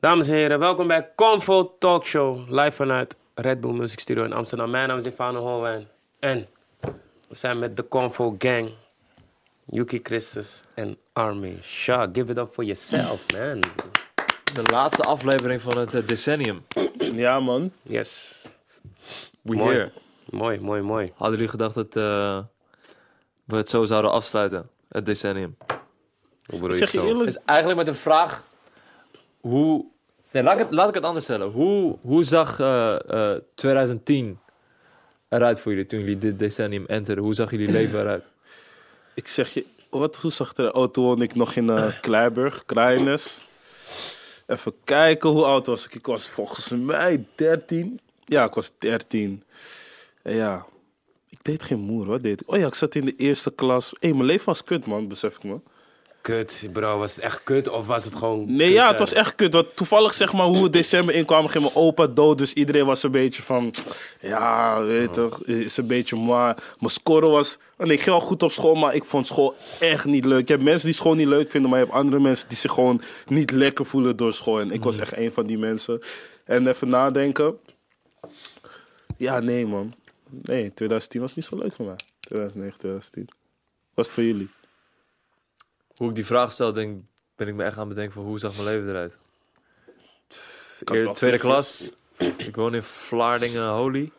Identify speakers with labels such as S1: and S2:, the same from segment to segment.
S1: Dames en heren, welkom bij Convo Talk Show. Live vanuit Red Bull Music Studio in Amsterdam. Mijn naam is Stefano Holwijn. En we zijn met de Convo Gang. Yuki Christus en Army Shah. Give it up for yourself, man.
S2: De laatste aflevering van het eh, decennium.
S3: Ja, man.
S1: Yes.
S2: We
S1: Mooi.
S2: Here.
S1: Mooi, mooi, mooi.
S2: Hadden jullie gedacht dat eh, we het zo zouden afsluiten? Het decennium.
S1: Hoe bedoel
S3: Ik
S1: je
S3: zeg je
S1: zo?
S3: eerlijk,
S2: Dus eigenlijk met een vraag. Hoe. Nee, laat ik het, laat ik het anders stellen. Hoe, hoe zag eh, eh, 2010 eruit voor jullie toen jullie dit decennium enterden? Hoe zag jullie leven eruit?
S3: ik zeg je, wat hoe zag er? Oh, toen woonde ik nog in eh Kleiburg, Kleines. Even kijken, hoe oud was ik? Ik was volgens mij 13. Ja, ik was 13. En ja, ik deed geen moer, wat deed ik? Oh ja, ik zat in de eerste klas. Hé, mijn leven was kut, man, besef ik me.
S1: Kut, bro. Was het echt kut of was het gewoon...
S3: Nee,
S1: kut,
S3: ja,
S1: eh?
S3: het was echt kut. Want toevallig, zeg maar, hoe we december inkwamen, ging mijn opa dood. Dus iedereen was een beetje van, ja, weet je toch, is een beetje maar. Mijn score was, nee, ik ging wel goed op school, maar ik vond school echt niet leuk. Je hebt mensen die school niet leuk vinden, maar je hebt andere mensen die zich gewoon niet lekker voelen door school. En ik
S2: Mm.
S3: was echt een van die mensen. En even nadenken. Ja, nee, man. Nee, 2010 was niet zo leuk voor mij. 2009, 2010. Was het voor jullie?
S2: Hoe ik die vraag stel, denk, ben ik me echt aan het bedenken van hoe zag mijn leven eruit?
S3: had
S2: Eer-
S3: wel
S2: tweede
S3: veel
S2: klas. Ik woon in Vlaardingen, Holy.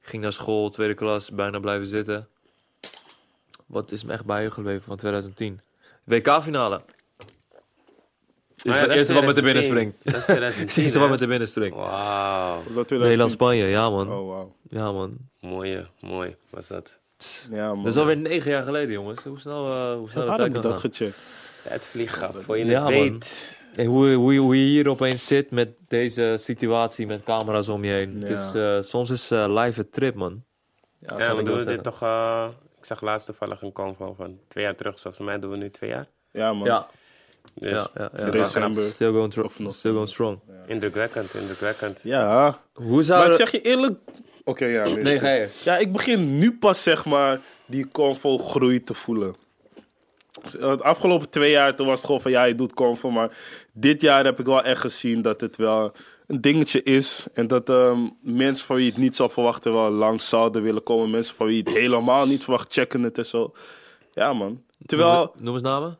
S2: Ging naar school, tweede klas, bijna blijven zitten. Wat is me echt bijgebleven van 2010? WK-finale.
S1: Ah
S2: Is
S1: ja,
S2: het
S1: dat
S2: eerste wat met de
S1: 2010.
S2: binnen springt.
S1: Dat is
S2: Het
S1: 2010,
S2: eerste wat
S1: hè?
S2: met de binnen springt.
S1: Wauw.
S3: Was dat 2010?
S2: Nederland-Spanje, ja man.
S3: Oh, wauw.
S2: Ja man.
S1: Mooie, mooi was dat.
S3: Ja, man.
S2: Dat is alweer negen jaar geleden jongens. Hoe snel, eh, hoe snel de
S3: Waarom
S2: tijd kan
S3: heb ik dat
S2: gaan.
S3: gecheckt?
S1: Het vliegap, voor je
S2: Ja,
S1: het
S2: man.
S1: weet.
S2: En hoe, hoe, hoe je hier opeens zit met deze situatie, met camera's om je heen.
S3: Ja.
S2: Het is, eh, soms is eh, live een trip man.
S3: Oh,
S1: Ja,
S2: Kan
S1: we
S2: ik wel
S1: doen dit
S2: zeggen.
S1: toch... eh, ik zag laatst toevallig een convo van twee jaar terug. Volgens mij doen we nu twee jaar.
S3: Ja, man.
S2: Ja,
S1: Dus
S2: ja, ja, ja.
S1: vind ik wel
S3: December.
S1: knap.
S2: Still going, tro-
S3: Of nog-
S2: still going strong.
S1: Indrukwekkend, indrukwekkend.
S3: Ja.
S2: Hoe
S3: Maar
S2: zou
S3: ik zeg je eerlijk... Oké, ja. nee,
S2: Nou, Nee,
S3: goed.
S2: ga je.
S3: Ja, ik begin nu pas, zeg maar, die convo groei te voelen. De afgelopen twee jaar toen was het gewoon van, ja, je doet convo. Maar dit jaar heb ik wel echt gezien dat het wel een dingetje is. En dat ehm, mensen van wie je het niet zou verwachten wel langs zouden willen komen. Mensen van wie je het helemaal niet verwacht, checken het en zo. Ja, man. Terwijl...
S2: Noem, noem eens namen.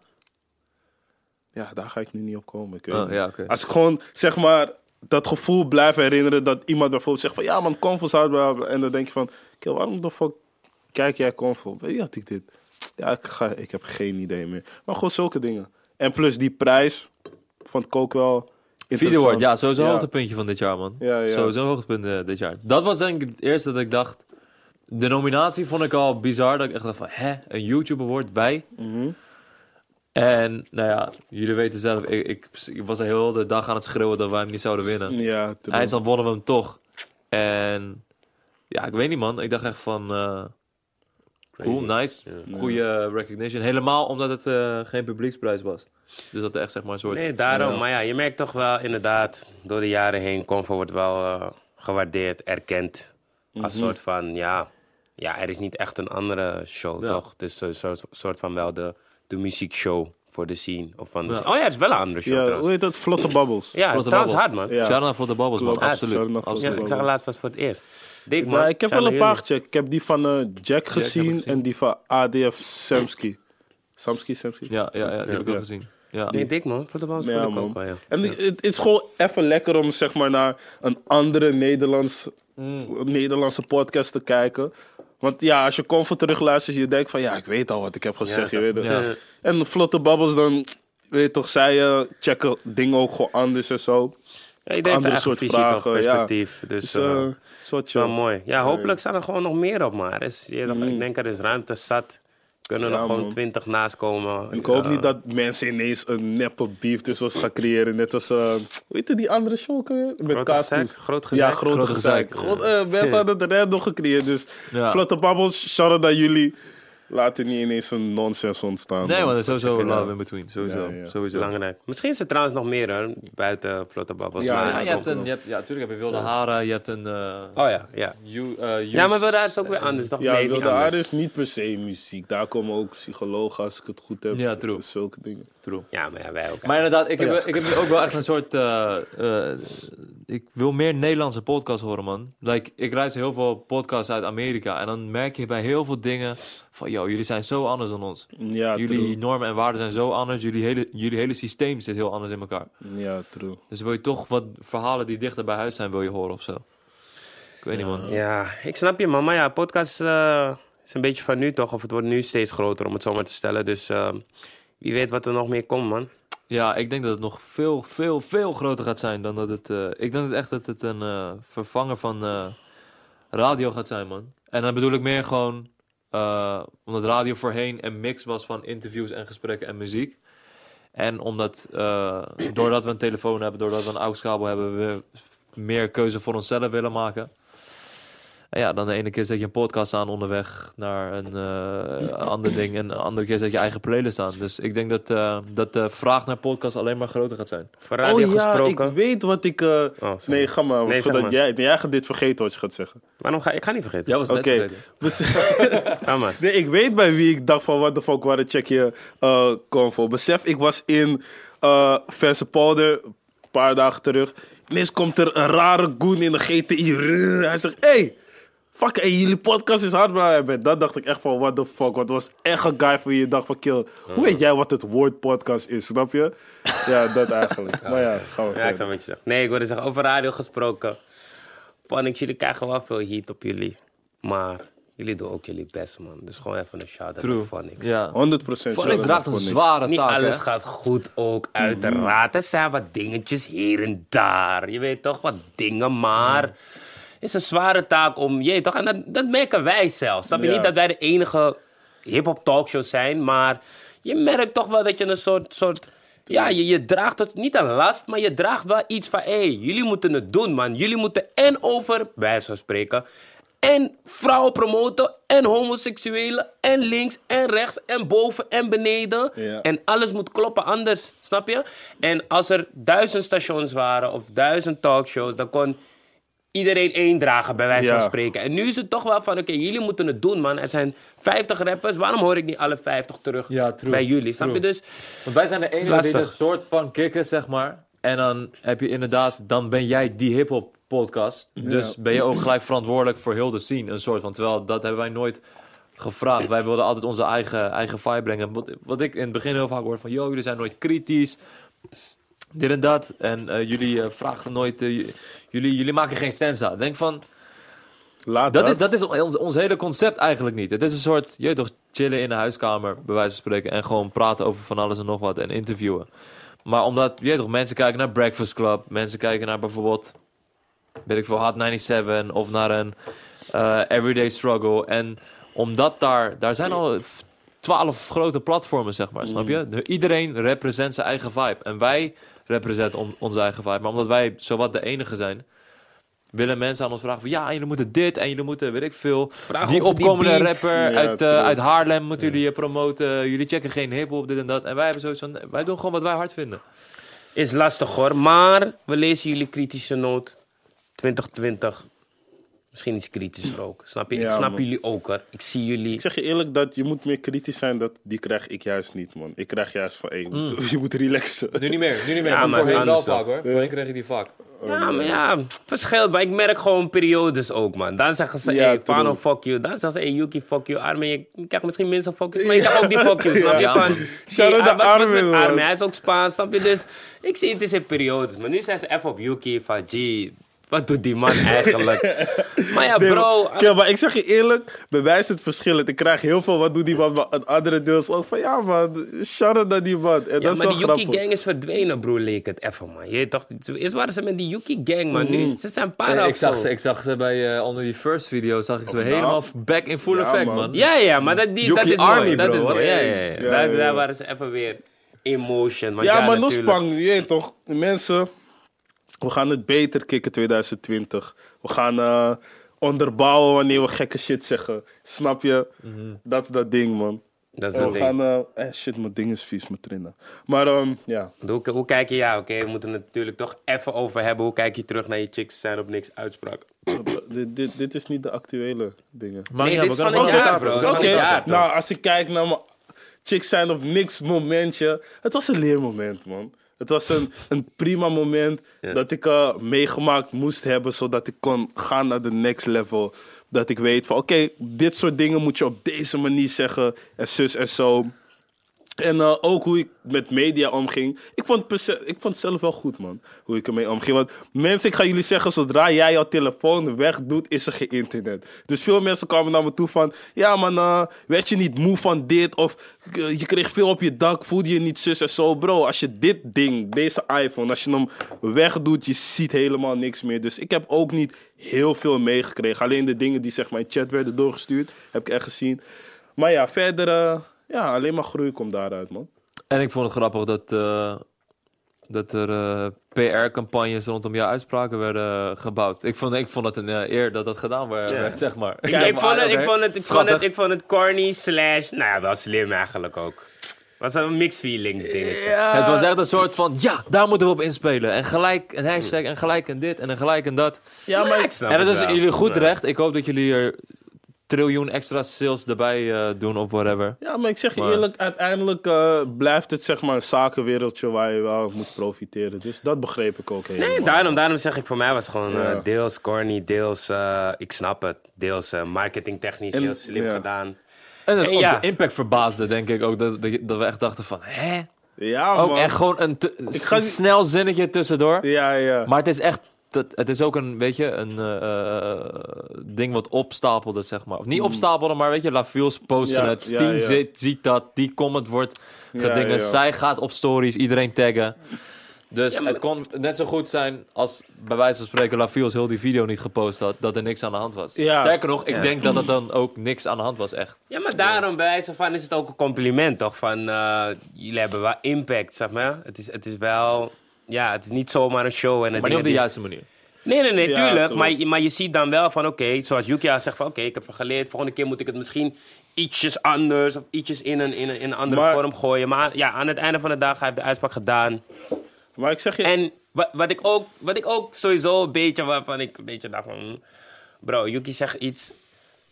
S3: Ja, daar ga ik nu niet op komen. Ik weet
S2: Oh,
S3: niet.
S2: ja, oké.
S3: Als ik gewoon, zeg maar, dat gevoel blijf herinneren dat iemand bijvoorbeeld zegt van... Ja man, Convo zou het wel hebben." En dan denk je van, "Kill, waarom de fuck kijk jij Convo? Bij wie had ik dit? Ja, ik, ga, ik heb geen idee meer. Maar gewoon zulke dingen. En plus die prijs vond ik ook wel interessant.
S2: Videowoord, ja, sowieso een
S3: Ja.
S2: hoogtepuntje van dit jaar, man.
S3: Ja, ja.
S2: Sowieso een hoogtepunt eh, dit jaar. Dat was denk ik het eerste dat ik dacht. De nominatie vond ik al bizar. Dat ik echt dacht van, hè, een YouTube Award bij?
S3: Mhm.
S2: En, nou ja, jullie weten zelf, ik, ik, ik was de hele dag aan het schreeuwen dat wij hem niet zouden winnen.
S3: Ja, true.
S2: Eindstand wonnen we hem toch. En, ja, ik weet niet, man. Ik dacht echt van, eh, cool,
S1: Crazy.
S2: nice.
S1: Ja.
S2: Goede recognition. Helemaal omdat het eh, geen publieksprijs was. Dus dat er echt, zeg maar, een soort...
S1: Nee, daarom. Maar ja, je merkt toch wel inderdaad, door de jaren heen, Convo wordt wel eh, gewaardeerd, erkend. Als
S3: Mhm.
S1: soort van, ja, ja, er is niet echt een andere show,
S2: Ja.
S1: toch? Het is een soort, soort van wel de, de muziekshow voor de scene. Of van de
S2: Ja.
S1: scene. Oh ja, het is wel een andere show
S3: ja, hoe
S1: trouwens.
S3: heet dat? Vlotte
S1: Ja,
S3: babbels.
S1: het
S2: Vlotte
S1: is trouwens hard,
S2: Babbels.
S1: man.
S3: Ja.
S2: Ja. Shout-out voor de babbels, man.
S3: Klopt.
S2: Absoluut.
S3: Shout-out voor de
S1: Ja,
S2: Absoluut.
S1: ik zag het laatst pas voor het eerst. Dik, man.
S3: Ja, ik heb
S1: Shout
S3: wel een
S1: naar
S3: paar
S1: jullie.
S3: gecheckt. Ik heb die van eh,
S2: heb
S3: Jack
S2: ik
S3: gezien
S2: gezien.
S3: en die van ADF Samsky. Samsky, Samsky?
S2: Ja, ja, ja, die heb ik ook
S3: Ja.
S2: gezien. Ja.
S1: Nee, dik, man. Voor de bal
S3: Ja,
S1: ik ook
S3: man.
S1: wel, ja.
S3: En het- het is gewoon even lekker om zeg maar naar een andere Nederlands,
S1: Mm.
S3: Nederlandse podcast te kijken. Want ja, als je comfort terugluistert, je denkt van ja, ik weet al wat ik heb gezegd.
S1: Ja,
S3: je weet het.
S2: ja.
S3: En vlotte babbels, dan weet je toch, zij eh, checken dingen ook gewoon anders en zo.
S1: Ja, ik denk
S3: Andere
S1: andere soort
S3: soort
S1: visie toch,
S3: vragen, ja.
S1: perspectief. Dus,
S3: Dus
S1: eh,
S3: eh,
S1: het
S3: zo
S1: is
S3: chill.
S1: wel mooi. Ja, hopelijk staan er gewoon nog meer op, maar er is, je- ik denk er is ruimte zat. Kunnen er
S3: Mm. Ja,
S1: nog gewoon
S3: man.
S1: twintig naast komen.
S3: En ik hoop
S1: Ja.
S3: niet dat mensen ineens een neppe beef tussen ons gaan creëren. Net als, eh weet je die andere show ook alweer? Met
S1: Groot
S3: Kaaskoes.
S1: gezeik? Groot gezeik?
S3: Ja, grote
S2: Grote
S3: gezeik.
S2: gezeik.
S3: God, eh, mensen hadden het random gecreëerd. Dus
S2: Ja.
S3: Vlotte Babbels, shout-out naar jullie. Laat er niet ineens een nonsens ontstaan.
S2: Nee,
S3: man.
S2: want er is sowieso
S3: Ja.
S2: love in between. Sowieso.
S3: Ja, ja.
S2: sowieso.
S1: Belangrijk. Misschien is er trouwens nog meer, hè? Buiten Vlotte Babbels.
S3: Ja,
S1: maar-
S2: Ja, je hebt een, je hebt, ja, natuurlijk heb je wilde haren, je hebt een... eh,
S1: Oh ja, ja.
S2: you- eh, you-
S1: Ja, maar Wilde Aarde is ook weer anders. Toch?
S3: Ja,
S1: nee, is
S3: Wilde
S1: niet anders.
S2: dus-
S3: Aarde is niet per se muziek. Daar komen ook psychologen, als ik het goed heb.
S2: Ja, true.
S3: Zulke dingen.
S2: True.
S1: Ja, maar ja, wij ook.
S2: Maar inderdaad, ik heb,
S3: Oh, Ja.
S2: ik heb nu ook wel echt een soort... eh, eh, ik wil meer Nederlandse podcasts horen, man. Like, ik luister heel veel podcasts uit Amerika. En dan merk je bij heel veel dingen van... Yo, jullie zijn zo anders dan ons.
S3: Ja,
S2: jullie
S3: true.
S2: normen en waarden zijn zo anders. Jullie hele, jullie hele systeem zit heel anders in elkaar.
S3: Ja, true.
S2: Dus wil je toch wat verhalen die dichter bij huis zijn, wil je horen of zo. Ik weet niet, man.
S1: Ja, ik snap je, man. Maar ja, podcast eh, is een beetje van nu toch? Of het wordt nu steeds groter, om het zo maar te stellen. Dus eh, wie weet wat er nog meer komt, man.
S2: Ja, ik denk dat het nog veel, veel, veel groter gaat zijn dan dat het... eh, ik denk dat echt dat het een eh, vervanger van eh, radio gaat zijn, man. En dan bedoel ik meer gewoon... eh, omdat radio voorheen een mix was van interviews en gesprekken en muziek. En omdat, eh, doordat we een telefoon hebben, doordat we een AUX-kabel hebben... we meer keuze voor onszelf willen maken. En ja, dan de ene keer zet je een podcast aan onderweg naar een eh, ander ding. En de andere keer zet je eigen playlist aan. Dus ik denk dat, eh, dat de vraag naar podcast alleen maar groter gaat zijn.
S1: Voor radio
S3: oh ja,
S1: gesproken. Oh,
S3: ik weet wat ik... eh,
S1: sorry.
S3: nee, ga maar.
S1: Nee, zeg
S3: voordat
S1: maar.
S3: Jij, jij gaat dit vergeten wat je gaat zeggen.
S1: Waarom ga ik ga niet vergeten?
S2: Jij was
S3: Oké.
S2: net vergeten.
S3: We z-
S1: Ga maar.
S3: Nee, ik weet bij wie ik dacht van what the fuck, waar de check je eh convo. Besef, ik was in eh Verse Polder, een paar dagen terug. Ineens komt er een rare goon in de GTI. Rrr, Hij zegt, hey, fuck, hey, jullie podcast is hard, maar bij dat dacht ik echt van what the fuck. Want het was echt een guy van je dacht van kill. Hoe weet jij wat het woord podcast is, snap je? Ja, dat eigenlijk. Maar ja, gaan we
S1: Ja, ik
S3: verder.
S1: zou wat je zeggen. Nee, ik wilde zeggen, over radio gesproken. Van, ik jullie krijgen wel veel heat op jullie. Maar jullie doen ook jullie best, man. Dus gewoon even een shout-out
S2: True.
S1: naar Phonics.
S2: Ja.
S3: 100%
S2: Phonics draagt een
S3: Phonics.
S2: zware
S1: Niet
S2: taak, hè?
S1: alles gaat goed ook, uiteraard. Er zijn wat dingetjes hier en daar. Je weet toch, wat dingen, maar... Het is een zware taak om... Je weet toch, en dat, dat merken wij zelf. Snap je
S3: Ja.
S1: niet dat wij de enige hip-hop talkshow zijn, maar... Je merkt toch wel dat je een soort... soort ja, je, je draagt het niet een last, maar je draagt wel iets van... Hé, jullie moeten het doen, man. Jullie moeten en over, bij wijze van spreken... En vrouwen promoten, en homoseksuelen, en links, en rechts, en boven, en beneden.
S3: Ja.
S1: En alles moet kloppen anders, snap je? En als er duizend stations waren of duizend talkshows, dan kon iedereen één dragen, bij wijze
S3: Ja.
S1: van spreken. En nu is het toch wel van, oké, jullie moeten het doen, man. Er zijn 50 rappers, waarom hoor ik niet alle 50 terug
S2: Ja, true.
S1: bij jullie? Snap je
S2: True.
S1: dus?
S2: Want wij zijn de enige
S1: lastig.
S2: die een soort van kikken, zeg maar. En dan heb je inderdaad, dan ben jij die hip-hop podcast. Dus ben je ook gelijk verantwoordelijk voor heel de scene, een soort van. Terwijl dat hebben wij nooit gevraagd. Wij wilden altijd onze eigen, eigen vibe brengen. Wat, wat ik in het begin heel vaak hoor van, yo, jullie zijn nooit kritisch. Dit en dat. En eh, jullie eh, vragen nooit, eh, j- jullie, jullie maken geen sensa. Denk van,
S3: Laat
S2: dat is, dat is ons, ons hele concept eigenlijk niet. Het is een soort, je weet toch, chillen in de huiskamer, bij wijze van spreken. En gewoon praten over van alles en nog wat en interviewen. Maar omdat, je weet toch, mensen kijken naar Breakfast Club. Mensen kijken naar bijvoorbeeld, weet ik veel, Hot 97 of naar een eh, Everyday Struggle. En omdat daar, daar zijn al twaalf grote platformen, zeg maar, snap je? De- Iedereen represent zijn eigen vibe. En wij representen on- onze eigen vibe. Maar omdat wij zowat de enige zijn, willen mensen aan ons vragen van... ja, en jullie moeten dit en jullie moeten, weet ik veel...
S1: Vraag
S2: die
S1: over die
S2: opkomende
S1: beef.
S2: rapper
S3: Ja,
S2: uit, eh,
S3: true.
S2: uit Haarlem moeten jullie eh, promoten. Jullie checken geen hiphop, dit en dat. En wij hebben zoiets van, nee, wij doen gewoon wat wij hard vinden.
S1: Is lastig hoor, maar we lezen jullie kritische noot 2020. Misschien iets kritischer ook, snap je?
S3: Ja,
S1: ik snap
S3: man.
S1: jullie ook hoor. Ik zie jullie.
S3: Ik zeg je eerlijk dat je moet meer kritisch zijn, dat, die krijg ik juist niet, man. Ik krijg juist van, hey, je, moet,
S1: Hmm.
S3: je moet relaxen.
S2: Nu niet meer, nu niet meer.
S1: Ja,
S2: maar
S1: maar het is
S2: voorheen wel
S1: anders
S2: vaak,
S1: toch?
S2: hoor. Voorheen kreeg je die vaak.
S3: Oh,
S1: Ja, maar ja, verschil. Maar ik merk gewoon periodes ook, man. Dan zeggen ze,
S3: Ja,
S1: hey, Fano,
S3: true.
S1: fuck you. Dan zeggen ze, hey, Yuki, fuck you. Armin, je krijgt misschien minstens fuck you, maar je krijgt ook die fuck you. Snap je?
S2: Ja.
S1: Van,
S3: Shout-out
S1: hey, ah,
S3: naar
S1: wat- wat is
S3: Armin,
S1: met
S3: man.
S1: Armin? Hij is ook Spaans, snap je? Dus ik zie het is in periodes. Maar nu zijn ze even op Yuki, van, gee, wat doet die man eigenlijk? maar ja,
S3: Nee,
S1: bro.
S3: maar- Kijk, maar ik zeg je eerlijk, bij mij is het verschillend. Ik krijg heel veel wat doet die man, maar het andere deel is ook van, ja man, shout-out naar die man. En
S1: Ja,
S3: dat is
S1: maar
S3: wel
S1: die Yuki
S3: grappig.
S1: gang is verdwenen, broer, leek het even, man. Je weet toch, eerst waren ze met die Yuki gang, man.
S3: Mhm.
S1: Nu, ze zijn para
S2: Eh, ik,
S1: of zo.
S2: zag ze, ik zag ze bij eh, onder die first video, zag ik ze weer helemaal back in full
S3: Ja,
S2: effect, man.
S3: man.
S1: Ja, ja, maar dat, die,
S2: Yuki
S1: dat is mooi.
S2: Army,
S1: Dat
S2: bro,
S1: is
S2: hoor.
S1: mooi. Ja, ja, ja.
S2: Ja,
S1: Daar,
S3: ja, ja.
S1: daar waren ze even weer emotion. Want
S3: Ja, maar
S1: natuurlijk.
S3: Nospang, je weet toch, mensen, we gaan het beter kicken 2020. We gaan eh, onderbouwen wanneer we gekke shit zeggen. Snap je? Dat is dat ding, man.
S1: Mhm. Dat is
S3: En
S1: dat
S3: we
S1: ding.
S3: gaan... eh, eh, shit, mijn ding is vies, mijn trainen. Maar ehm, ja,
S1: Hoe, hoe kijk je, ja, oké, we moeten het natuurlijk toch even over hebben. Hoe kijk je terug naar je chicks zijn op niks uitspraak?
S3: dit, dit, dit is niet de actuele dingen.
S2: Maar
S1: Nee, dit is van
S3: Oké,
S1: het jaar, bro.
S3: Oké,
S1: Dat is van het jaar, toch?
S3: nou, als ik kijk naar mijn chicks zijn op niks momentje. Het was een leermoment, man. Het was een, een prima moment dat ik eh, meegemaakt moest hebben, zodat ik kon gaan naar de next level. Dat ik weet van, oké, dit soort dingen moet je op deze manier zeggen en zus en zo. En eh, ook hoe ik met media omging. Ik vond, het perce- ik vond het zelf wel goed, man. Hoe ik ermee omging. Want mensen, ik ga jullie zeggen, zodra jij jouw telefoon wegdoet, is er geen internet. Dus veel mensen kwamen naar me toe van... Ja, man, eh, werd je niet moe van dit? Of eh, je kreeg veel op je dak, voelde je niet zus en zo. Bro, als je dit ding, deze iPhone, als je hem wegdoet, je ziet helemaal niks meer. Dus ik heb ook niet heel veel meegekregen. Alleen de dingen die zeg maar in chat werden doorgestuurd, heb ik echt gezien. Maar ja, verder... eh, ja, alleen maar groei komt daaruit, man.
S2: En ik vond het grappig dat, eh, dat er eh, PR-campagnes rondom jouw uitspraken werden eh, gebouwd. Ik vond, ik vond het een eh, eer dat dat gedaan werd, werd, zeg maar.
S1: Ik,
S2: dacht,
S1: ik, vond
S2: ah,
S1: het, ik,
S2: oké.
S1: vond het, ik, vond
S2: Schattig.
S1: het, ik vond het corny slash, nou ja, wel slim eigenlijk ook. Was dat een mixed feelings dingetje.
S2: Het was echt een soort van, ja, daar moeten we op inspelen. En gelijk een hashtag, en gelijk een dit, en een gelijk een dat.
S3: Ja, maar
S1: Ik snap
S2: en dat
S1: het
S2: is
S1: wel.
S2: jullie goed
S1: Ja.
S2: recht. Ik hoop dat jullie er triljoen extra sales erbij eh, doen of whatever.
S3: Ja, maar ik zeg je
S2: Maar-
S3: eerlijk, uiteindelijk eh, blijft het zeg maar een zakenwereldje waar je wel moet profiteren. Dus dat begreep ik ook helemaal.
S1: Nee, daarom, daarom zeg ik voor mij was gewoon eh,
S3: Ja.
S1: deels corny, deels, eh, ik snap het, deels eh, marketingtechnisch
S3: En-
S1: heel slim
S3: ja.
S1: gedaan.
S2: En het,
S1: En
S2: ook
S1: ja.
S2: de impact verbaasde, denk ik ook. Dat, dat, dat we echt dachten van, hè?
S3: Ja,
S2: Ook
S3: man.
S2: echt gewoon een te-
S3: ga niet-
S2: snel zinnetje tussendoor.
S3: Ja, ja.
S2: Maar het is echt. Dat, het is ook een, weet je, een eh, eh, ding wat opstapelde, zeg maar. Of niet opstapelde, maar weet je, Lafiel's posten
S3: Mm. Ja,
S2: het.
S3: ja,
S2: Steen
S3: ja.
S2: Zit, ziet dat, die comment wordt gedingen.
S3: ja.
S2: Zij gaat op stories iedereen taggen. Dus het kon net zo goed zijn als bij wijze van spreken Lafiel's heel die video niet gepost had, dat er niks aan de hand was.
S3: Ja.
S2: Sterker nog, ik denk dat het dan ook niks aan de hand was, echt.
S1: Ja, maar daarom bij wijze van is het ook een compliment, toch? Van, eh, jullie hebben wel impact, zeg maar. Het is, het is wel, ja, het is niet zomaar een show. En het
S2: Maar niet
S1: dingen
S2: op de
S1: die-
S2: juiste manier.
S1: Nee, nee, nee,
S3: Ja,
S1: tuurlijk.
S3: klopt.
S1: Maar, je- maar je ziet dan wel van, oké, zoals Yuki al zegt van, oké, ik heb van geleerd. Volgende keer moet ik het misschien ietsjes anders of ietsjes in een, in een, in een andere
S3: Maar-
S1: vorm gooien. Maar ja, aan het einde van de dag hij heeft de uitspraak gedaan.
S3: Maar ik zeg je...
S1: En wat, wat, ik ook, wat ik ook sowieso een beetje waarvan ik een beetje dacht van, hm, bro, Yuki zegt iets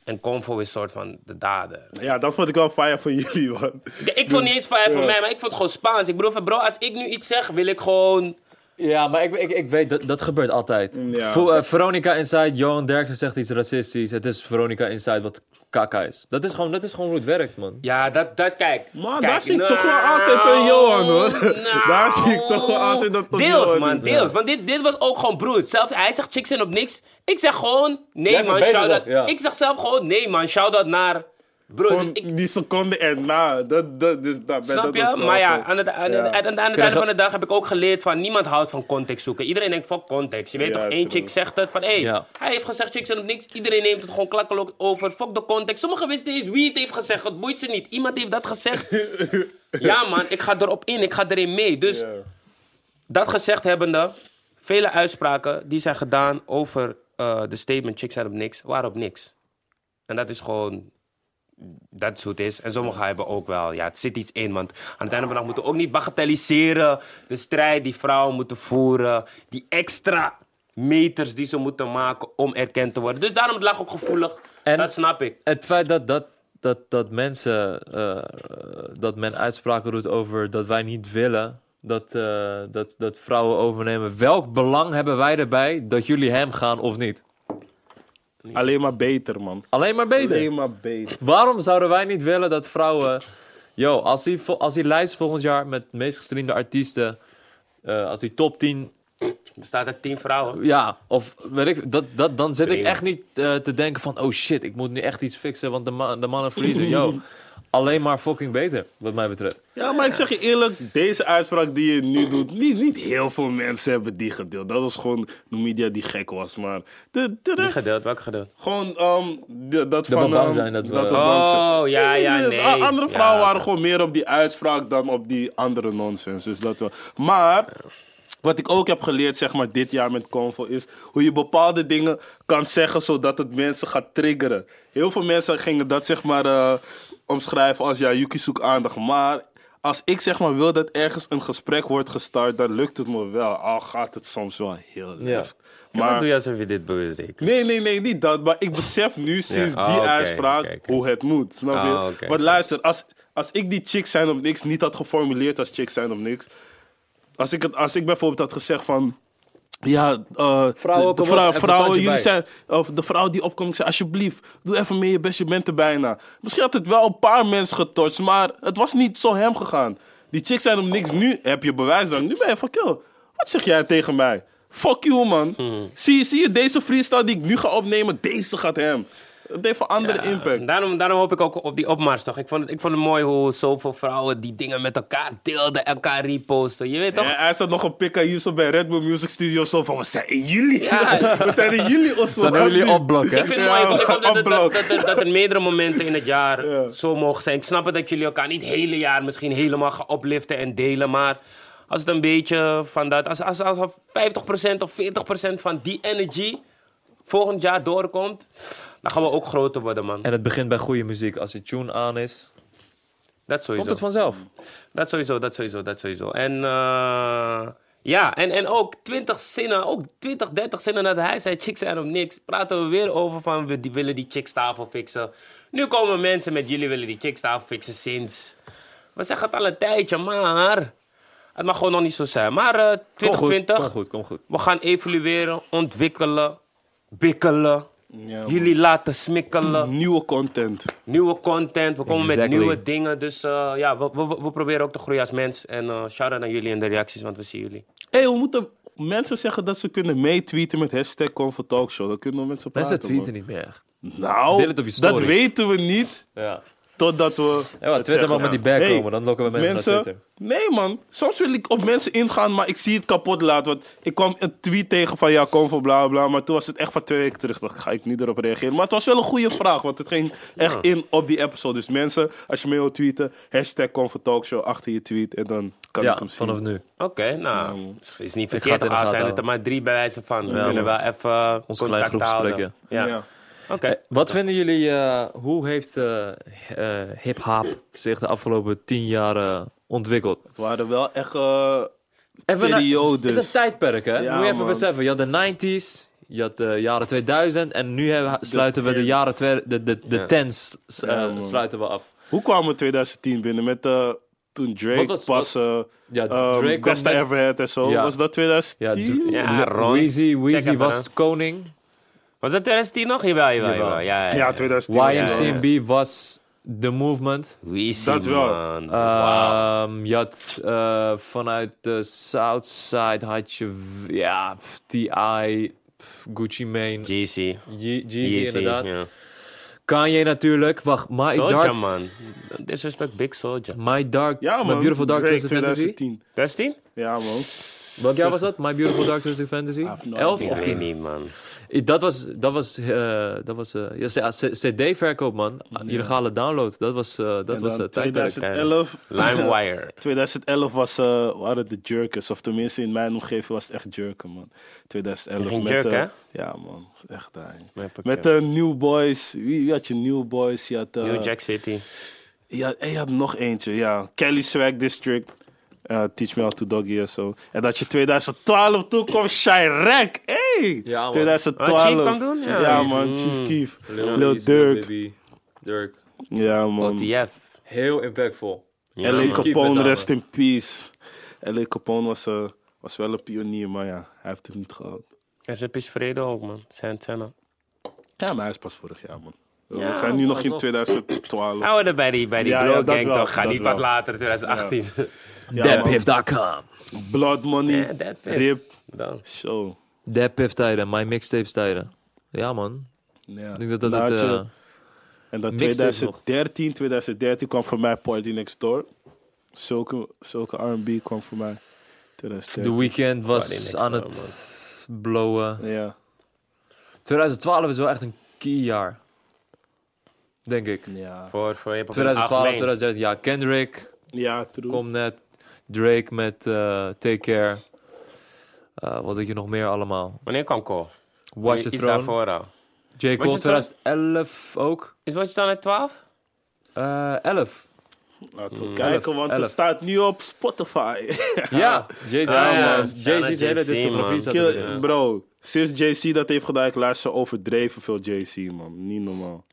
S1: en Convo is soort van de dader.
S3: Ja, dat vond ik wel fire van jullie, man.
S1: Ik, ik vond niet eens fijn van
S3: Ja.
S1: mij, maar ik vond het gewoon Spaans. Ik bedoel van, bro, als ik nu iets zeg, wil ik gewoon...
S2: Ja, maar ik, ik, ik weet, dat, dat gebeurt altijd.
S3: Mm, Ja.
S2: Vo- eh, Veronica Inside, Johan Derksen zegt iets racistisch. Het is Veronica Inside wat kaka is. Dat is gewoon, dat is gewoon hoe het werkt, man.
S1: Ja, dat, dat kijk.
S3: Maar
S1: Kijk,
S3: daar zie ik toch wel
S1: nou,
S3: altijd een Johan, hoor.
S1: nou.
S3: Daar zie ik toch wel altijd dat het een
S1: Deels,
S3: Johan
S1: man,
S3: is, ja.
S1: deels. Want dit, dit was ook gewoon broed. Zelfs hij zegt chicks en op niks. Ik zeg gewoon, nee
S2: Jij
S1: man,
S2: verbetert
S1: shout-out.
S2: dat, ja.
S1: Ik zeg zelf gewoon, nee man, shout-out naar... Broer, dus
S3: Gewoon
S1: ik,
S3: die seconde erna. Dat, dat, dus dat,
S1: snap
S3: dat was
S1: je?
S3: wel
S1: Maar ja,
S3: goed.
S1: aan het, aan,
S3: Ja.
S1: het- aan het- aan het
S2: Krijg-
S1: einde van de dag heb ik ook geleerd van... Niemand houdt van context zoeken. Iedereen denkt van context. Je weet
S3: Ja,
S1: toch, één
S3: true.
S1: chick zegt het van... Hé, hey,
S2: Ja.
S1: hij heeft gezegd chicks en op niks. Iedereen neemt het gewoon klakkeloos over. Fuck de context. Sommigen wisten niet eens wie het heeft gezegd. Het boeit ze niet. Iemand heeft dat gezegd. ja man, ik ga erop in. Ik ga erin mee. Dus...
S3: Ja.
S1: Dat gezegd hebbende, vele uitspraken die zijn gedaan over eh, de statement chicks zijn op niks, waren op niks. En dat is gewoon, dat is hoe het is. En sommigen hebben ook wel, ja, het zit iets in. Want aan het einde van de dag moeten we ook niet bagatelliseren de strijd die vrouwen moeten voeren. Die extra meters die ze moeten maken om erkend te worden. Dus daarom het lag ook gevoelig.
S2: En-
S1: dat snap ik.
S2: Het feit dat, dat, dat, dat mensen, eh, eh, dat men uitspraken doet over dat wij niet willen... Dat, eh, dat, dat vrouwen overnemen. Welk belang hebben wij erbij dat jullie hem gaan of niet?
S3: Alleen maar beter, man.
S2: Alleen maar beter.
S3: Alleen maar beter.
S2: Waarom zouden wij niet willen dat vrouwen. Yo, als die, vo- als die lijst volgend jaar met de meest gestreamde artiesten. eh, als die top 10.
S1: Er staat er tien vrouwen.
S2: Ja, of weet ik. Dat, dat, dan zit ik
S1: Prima.
S2: echt niet eh, te denken van. Oh shit, ik moet nu echt iets fixen. Want de, ma- de mannen verliezen. Yo, alleen maar fucking beter. Wat mij betreft.
S3: Ja, maar ik zeg je eerlijk, deze uitspraak die je nu doet, niet, niet heel veel mensen hebben die gedeeld. Dat was gewoon de media die gek was, maar de, de
S1: Wie
S3: rest,
S1: gedeeld? Welke gedeeld?
S3: gewoon ehm, de- dat
S2: we
S3: van...
S2: bang
S3: ehm,
S2: zijn dat we-
S3: we bang zijn.
S1: Oh, ja,
S3: Nee,
S1: ja,
S3: nee,
S1: nee.
S3: a- Andere vrouwen
S1: Ja.
S3: waren gewoon meer op die uitspraak dan op die andere nonsens, dus dat wel. Maar Wat ik ook heb geleerd, zeg maar, dit jaar met Convo, is hoe je bepaalde dingen kan zeggen zodat het mensen gaat triggeren. Heel veel mensen gingen dat, zeg maar, eh, omschrijven als, ja, Yuki zoekt aandacht. Maar als ik, zeg maar, wil dat ergens een gesprek wordt gestart, dan lukt het me wel. Al gaat het soms wel heel licht.
S1: Maar wat doe je alsof je dit bewust deed?
S3: Nee, nee, nee, niet dat. Maar ik besef nu sinds
S1: Ja, oh,
S3: die
S1: oké,
S3: uitspraak
S1: oké, oké.
S3: hoe het moet. Snap
S1: Ah,
S3: je?
S1: oké.
S3: Want luister, als, als ik die chicks zijn op niks niet had geformuleerd als chicks zijn op niks. Als ik, het, als ik bijvoorbeeld had gezegd van. Ja, eh,
S1: Vrouwen,
S3: de,
S1: kom
S3: de
S1: op,
S3: vrou-
S1: even
S3: vrouwen,
S1: tandje
S3: jullie
S1: bij.
S3: zijn, of de vrouw die opkomt, ik zei, alsjeblieft, doe even mee je best, je bent er bijna. Misschien had het wel een paar mensen getouched, maar het was niet zo hem gegaan. Die chicks zijn om niks, nu heb je bewijs dan. Nu ben je van, kill, wat zeg jij tegen mij? Fuck you, man. Zie, zie je deze freestyle die ik nu ga opnemen, deze gaat hem. Het heeft een andere impact.
S1: Daarom, daarom hoop ik ook op die opmars toch. Ik vond, het, ik vond het mooi hoe zoveel vrouwen die dingen met elkaar deelden, elkaar reposten. Je weet toch?
S3: Ja, hij staat nog een pikka hier zo bij Red Bull Music Studio zo van, we zijn in jullie.
S1: Ja.
S3: we zijn in jullie of zo.
S2: Zouden
S3: Wat
S2: jullie
S3: nu?
S2: opblokken, hè?
S1: Ik vind het mooi. Ik hoop- ik hoop dat, dat,
S3: Unblock.
S1: dat, dat- dat er meerdere momenten in het jaar zo mogen zijn. Ik snap het dat jullie elkaar niet het hele jaar misschien helemaal gaan opliften en delen. Maar als het een beetje van dat... Als, als, als 50% of 40% van die energy volgend jaar doorkomt... dan gaan we ook groter worden, man.
S2: En het begint bij goede muziek. Als je tune aan is,
S1: Dat sowieso.
S2: komt het vanzelf.
S1: Dat sowieso, dat sowieso, dat sowieso. En eh, ja, en, en ook 20 zinnen, ook 20, 30 zinnen nadat hij zei chicks zijn om niks, praten we weer over van we die willen die chickstafel fixen. Nu komen mensen met jullie willen die chickstafel fixen sinds. We zeggen het al een tijdje, maar het mag gewoon nog niet zo zijn. Maar eh,
S2: Kom goed,
S1: 2020,
S2: Kom goed, kom goed.
S1: we gaan evolueren, ontwikkelen, bikkelen.
S3: Ja, man.
S1: jullie laten
S2: Mhm.
S1: smikkelen
S3: Nieuwe content.
S1: nieuwe content. We komen met
S2: Exactly.
S1: nieuwe dingen. Dus eh, ja, we, we, we- we proberen ook te groeien als mens. En eh shout-out aan jullie in de reacties, want we zien jullie.
S3: Hé, we moeten mensen zeggen dat ze kunnen meetweeten met hashtag Comfort Talk Show. Dan kunnen we met ze praten.
S2: Mensen tweeten niet meer echt.
S3: niet. Nou,
S2: Deel het op je
S3: dat
S2: story.
S3: weten we niet
S2: Ja.
S3: totdat we.
S2: Ja, maar
S3: het
S2: Twitter
S3: zeggen.
S2: mag met die bag
S3: Hey,
S2: komen, dan lokken we mensen, naar Twitter.
S3: Nee, man. Soms wil ik op mensen ingaan, maar ik zie het kapot laten. Want ik kwam een tweet tegen van ja, kom voor bla bla. Maar toen was het echt van twee weken terug. Dacht, ik, ga ik niet erop reageren. Maar het was wel een goede vraag, want het ging echt in op die episode. Dus mensen, als je mee wilt tweeten, hashtag Comfort Talk Show achter je tweet. En dan kan ik
S2: Ja,
S3: hem zien.
S2: vanaf nu.
S1: Oké, nou, is- is niet
S2: Mm. ga het
S1: verkeerd.
S2: in de
S1: Al
S2: gaten
S1: zijn het er
S2: houden. Mm.
S1: maar drie bij wijze van. We kunnen wel even
S2: Ons klein
S1: contact
S2: groepsgesprek,
S1: houden.
S3: Ja.
S1: Ja, oké.
S2: Wat vinden jullie, eh, hoe heeft eh eh, hip-hop zich de afgelopen tien jaar eh, ontwikkeld?
S3: Het waren wel echt. eh,
S2: Even naar-
S3: Periodes.
S2: Het is een tijdperk, hè?
S3: Ja,
S2: Moet je even
S3: man.
S2: beseffen. Je had de 90s, je had de jaren 2000 en nu hebben, sluiten we de jaren twer- de, de, de
S1: Ja.
S2: tens s-
S3: Ja,
S2: eh,
S3: man.
S2: sluiten we af.
S3: Hoe kwam het 2010 binnen met eh, toen Drake
S2: Wat was-
S3: pas eh
S2: Ja,
S3: ehm,
S2: Drake kwam
S3: Best I
S2: met-
S3: Ever Had en zo.
S2: Ja.
S3: Was dat 2010?
S2: Ja, Dr-
S1: Ja, rond.
S2: Weezy, Weezy
S1: even,
S2: was
S1: hè.
S2: koning.
S1: Was dat 2010 nog? Jawel, jawel,
S2: Jawel.
S1: jawel. Ja, ja.
S3: Ja, 2010.
S2: YMCMB was The Movement.
S1: Wie is
S3: Dat
S1: die
S3: wel.
S1: man? Wauw.
S2: Ehm je had eh, vanuit de Southside had je w- ja, pff, TI, pff, Gucci Mane, Ye-
S1: GC.
S2: Yeezy
S1: GC,
S2: inderdaad. Ah,
S1: ja.
S2: Kanye natuurlijk. Wacht, My
S1: Soulja,
S2: Dark,
S1: man. Disrespect Big Soulja.
S2: My Dark,
S3: Ja, man.
S2: My Beautiful Dark
S3: Drake
S2: Twisted Fantasy.
S3: 2010.
S1: 16?
S3: Ja, man.
S2: Welk jaar was dat? My Beautiful Dark Twisted Fantasy?
S3: have no
S2: 11
S1: Ik
S2: of
S1: weet
S2: 10?
S1: niet, man.
S2: Dat was, dat was, eh, dat was eh, ja, c- c- CD-verkoop man. Illegale download. Dat was, eh, dat
S3: En
S2: was
S3: dan
S2: het tijdperk.
S3: 2011.
S1: LimeWire.
S3: 2011 was, eh, waren de jerkers, of tenminste in mijn omgeving was het echt jerken, man. 2011
S1: Je ging
S3: met
S1: jerken,
S3: eh,
S1: hè?
S3: Ja, man, echt daar.
S1: Met pakket.
S3: Met eh, de New Boys, wie, wie had je New Boys? Je had, eh,
S1: New Jack City.
S3: Ja, en je had nog eentje, ja. Kelly Swag District. eh, Teach Me How to Doggy en zo. En dat je 2012 toen kwam, Shirek. Hey!
S2: Ja, man.
S3: 2012.
S1: Ah, Chief kwam doen? Ja.
S3: Ja, man. Chief Keef.
S2: Mm.
S3: Lil,
S2: East,
S3: Durk.
S2: Baby, Durk.
S3: ja, man.
S1: OTF.
S2: Heel impactvol.
S1: Ja,
S3: L.A.
S1: man.
S2: Keef met
S3: Capone,
S2: name.
S3: rest in peace. L.A. Capone was, eh, was wel een pionier, maar ja, hij heeft het niet gehad.
S1: SAP is vrede ook, man. Santana.
S3: Ja, maar hij is pas vorig jaar, man.
S1: Ja,
S3: We zijn nu nog in
S2: alsnog.
S3: 2012.
S1: Houden we er bij die, bij die
S3: Ja,
S1: bro
S3: ja, dat
S1: gang
S3: wel,
S1: toch. Ga
S3: dat
S1: niet
S3: wel.
S1: pas later, 2018.
S3: Ja, man.
S2: Deadpiff.com.
S3: Blood Money,
S1: Ja, dat is-
S3: Rip,
S1: Dan.
S3: zo.
S2: Deadpiff tijden, my mixtapes tijden. Ja man.
S3: Ja.
S2: Ik denk dat dat
S3: Nou,
S2: het...
S3: had je-
S2: eh,
S3: En dat
S2: Mixtapes
S3: 2013, 2013 kwam voor mij Party Next Door. Zulke, zulke R&B kwam voor mij. 2013.
S2: The Weeknd
S1: Party next
S2: was aan
S1: door,
S2: het blowen.
S3: Ja.
S2: 2012 is wel echt een key jaar. Denk ik.
S3: Ja.
S1: Voor, voor hip-hop in het
S2: 2012,
S1: algemeen.
S2: 2013. Ja, Kendrick
S3: Ja, true.
S2: komt net. Drake met eh, Take Care. Eh, wat deed je nog meer allemaal?
S1: Wanneer kwam Cole?
S2: Watch the
S1: Iets
S2: Throne.
S1: daarvoor al.
S2: J.
S1: Throne?
S2: Cole 2011 ook.
S1: Is Watch dan uit 12?
S2: Eh 11.
S3: Laten we kijken, want het
S2: Mm. elf.
S3: staat nu op Spotify.
S2: Ja, Jay-Z.
S1: Ah, ja.
S2: man. Jay-Z's
S1: Ja,
S2: hele
S1: Jay-Z,
S2: discografie
S1: man.
S2: staat
S3: Kill-
S2: erin.
S3: bro, sinds JC dat heeft gedaan, ik luister overdreven veel JC, man. Niet normaal.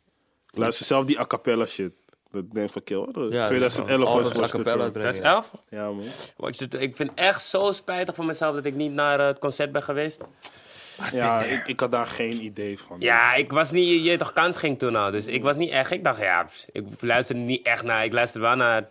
S3: Ik luister zelf die a cappella shit. Dat denk ik van kill. hoor.
S2: Ja,
S3: 2011
S2: albums
S3: was
S2: a
S3: was het.
S2: cappella
S3: ja.
S2: brengen.
S1: Dat is 11?
S3: Ja, man.
S1: Watch the- Ik vind echt zo spijtig voor mezelf dat ik niet naar eh, het concert ben geweest.
S3: Ja, ik, ik had daar geen idee van.
S1: Ja, ik was niet, je, je toch kans ging toen al. Dus ik was niet echt, ik dacht ja, pff, ik luisterde niet echt naar. Ik luisterde wel naar,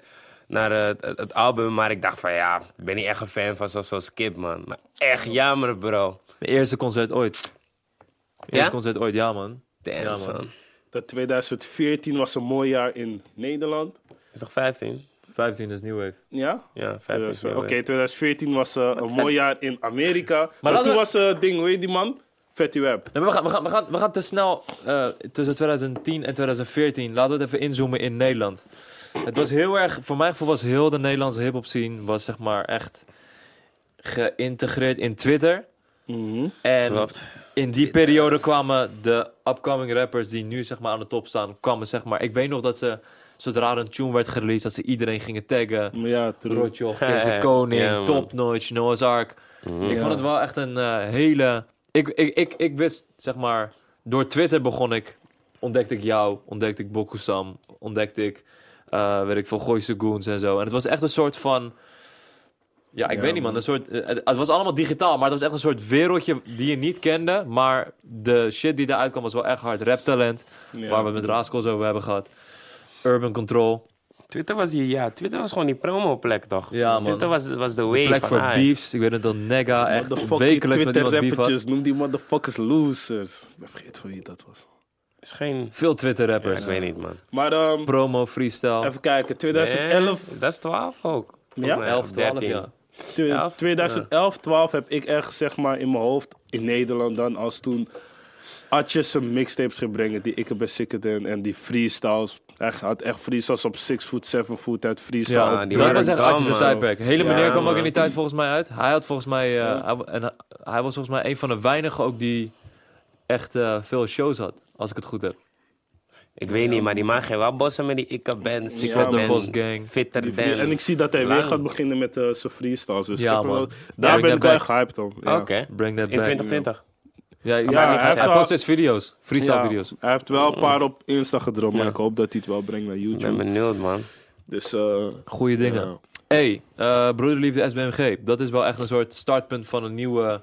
S1: naar eh, het, het album, maar ik dacht van ja, ik ben niet echt een fan van zo'n zo skip man. Maar echt jammer bro.
S2: Mijn eerste concert ooit. Mijn
S1: Ja?
S2: Eerste concert ooit, ja man.
S1: Damn
S2: Ja, man.
S1: son.
S3: Dat 2014 was een mooi jaar in Nederland.
S1: Is toch 15?
S2: 15 is New Wave.
S3: Ja?
S1: Ja, 15. is
S3: 2014.
S1: wel
S3: Oké,
S1: weer.
S3: 2014 was eh, een mooi jaar in Amerika. Maar,
S2: laten
S3: toen
S2: we-
S3: was eh ding, hoe heet die man? Fatty Web.
S2: Nee, maar we, gaan, we, gaan, we, gaan, we gaan te snel eh, tussen 2010 en 2014. Laten we het even inzoomen in Nederland. Het was heel erg, voor mijn gevoel was heel de Nederlandse hip-hop scene was zeg maar echt geïntegreerd in Twitter. En in die periode kwamen de upcoming rappers die nu zeg maar aan de top staan, kwamen zeg maar. Ik weet nog dat ze, zodra er een tune werd gereleased, dat ze iedereen gingen taggen.
S3: Ja, true.
S2: Rotjoch, Kees
S1: Ja,
S2: Koning,
S1: man.
S2: Top Notch, Noah's Ark. Ik
S3: Ja.
S2: vond het wel echt een eh, hele... Ik, ik, ik, ik wist, zeg maar... Door Twitter begon ik... Ontdekte ik jou, ontdekte ik Bokusam, ontdekte ik... eh weet ik veel, Gooise Goons en zo. En het was echt een soort van... Ja, ik
S3: Ja,
S2: weet niet, man.
S3: man.
S2: Een soort, eh, het, het was allemaal digitaal, maar het was echt een soort wereldje die je niet kende. Maar de shit die eruit kwam was wel echt hard. Raptalent,
S3: Ja.
S2: waar we het met Raaskos over hebben gehad. Urban Control.
S1: Twitter was hier, ja, Twitter was gewoon die promo plek toch?
S2: Ja, man.
S1: Twitter was, was de wave
S2: Plek
S1: van
S2: voor
S1: hype.
S2: beefs. Ik weet het dat Nega echt
S3: Motherfucking
S2: wekelijks met iemand beef had.
S3: Twitter-rappertjes. Noem die motherfuckers losers. Ik ben vergeten van wie dat was.
S1: Is geen...
S2: Veel Twitter-rappers.
S1: Ik weet niet man.
S3: Maar ehm,
S2: Promo, freestyle.
S3: even kijken. 2011,
S1: Nee, dat is 12 ook.
S3: Ja?
S2: 11, 12
S1: jaar.
S2: jaar.
S3: tw-
S1: elf?
S3: 2011, 12 heb ik echt zeg maar in mijn hoofd in Nederland dan als toen Atjes zijn mixtapes ging brengen die ik heb bij Sikkeden en die freestyles. Hij had echt freestyles op 6 foot, 7 foot, uit freestyle.
S2: Ja,
S1: Ja,
S3: op
S1: die
S2: dat
S1: waren
S2: was echt
S1: dam,
S2: Artjes'
S1: man.
S2: tijdperk. Hele
S3: Ja,
S2: meneer kwam ook
S1: man.
S2: in die tijd volgens mij uit. Hij had volgens mij... eh, hij, en, hij- hij was volgens mij een van de weinigen ook die echt eh, veel shows had. Als ik het goed heb.
S1: Ik weet niet, maar die man ging wel bossen met die Ikke Ben, Sikke
S3: man.
S2: de
S1: Ben,
S2: Vos Gang.
S1: Fitter
S3: Die
S1: Dan.
S3: free- en ik zie dat hij weer
S1: Lang.
S3: gaat beginnen met eh, zijn freestyles. Dus
S2: Ja,
S3: ik heb
S2: man.
S3: wel-
S2: Ja,
S3: daar
S2: ik
S3: ben
S2: ben
S3: ik wel
S2: back.
S3: echt hyped om. Ja.
S1: Oké.
S2: Bring that
S1: In
S2: back.
S1: 2020.
S2: Ja, ja,
S3: hij
S2: hij,
S3: heeft wel-
S2: post steeds video's. Freestyle
S3: Ja,
S2: video's.
S3: Hij heeft wel een paar op Insta gedropt, maar
S1: Ja.
S3: ik hoop dat hij het wel brengt naar
S1: Ik ben
S3: YouTube.
S1: benieuwd, man.
S3: Dus eh,
S2: Goeie dingen.
S3: ja.
S2: hey, eh, Broederliefde SBMG. Dat is wel echt een soort startpunt van een nieuwe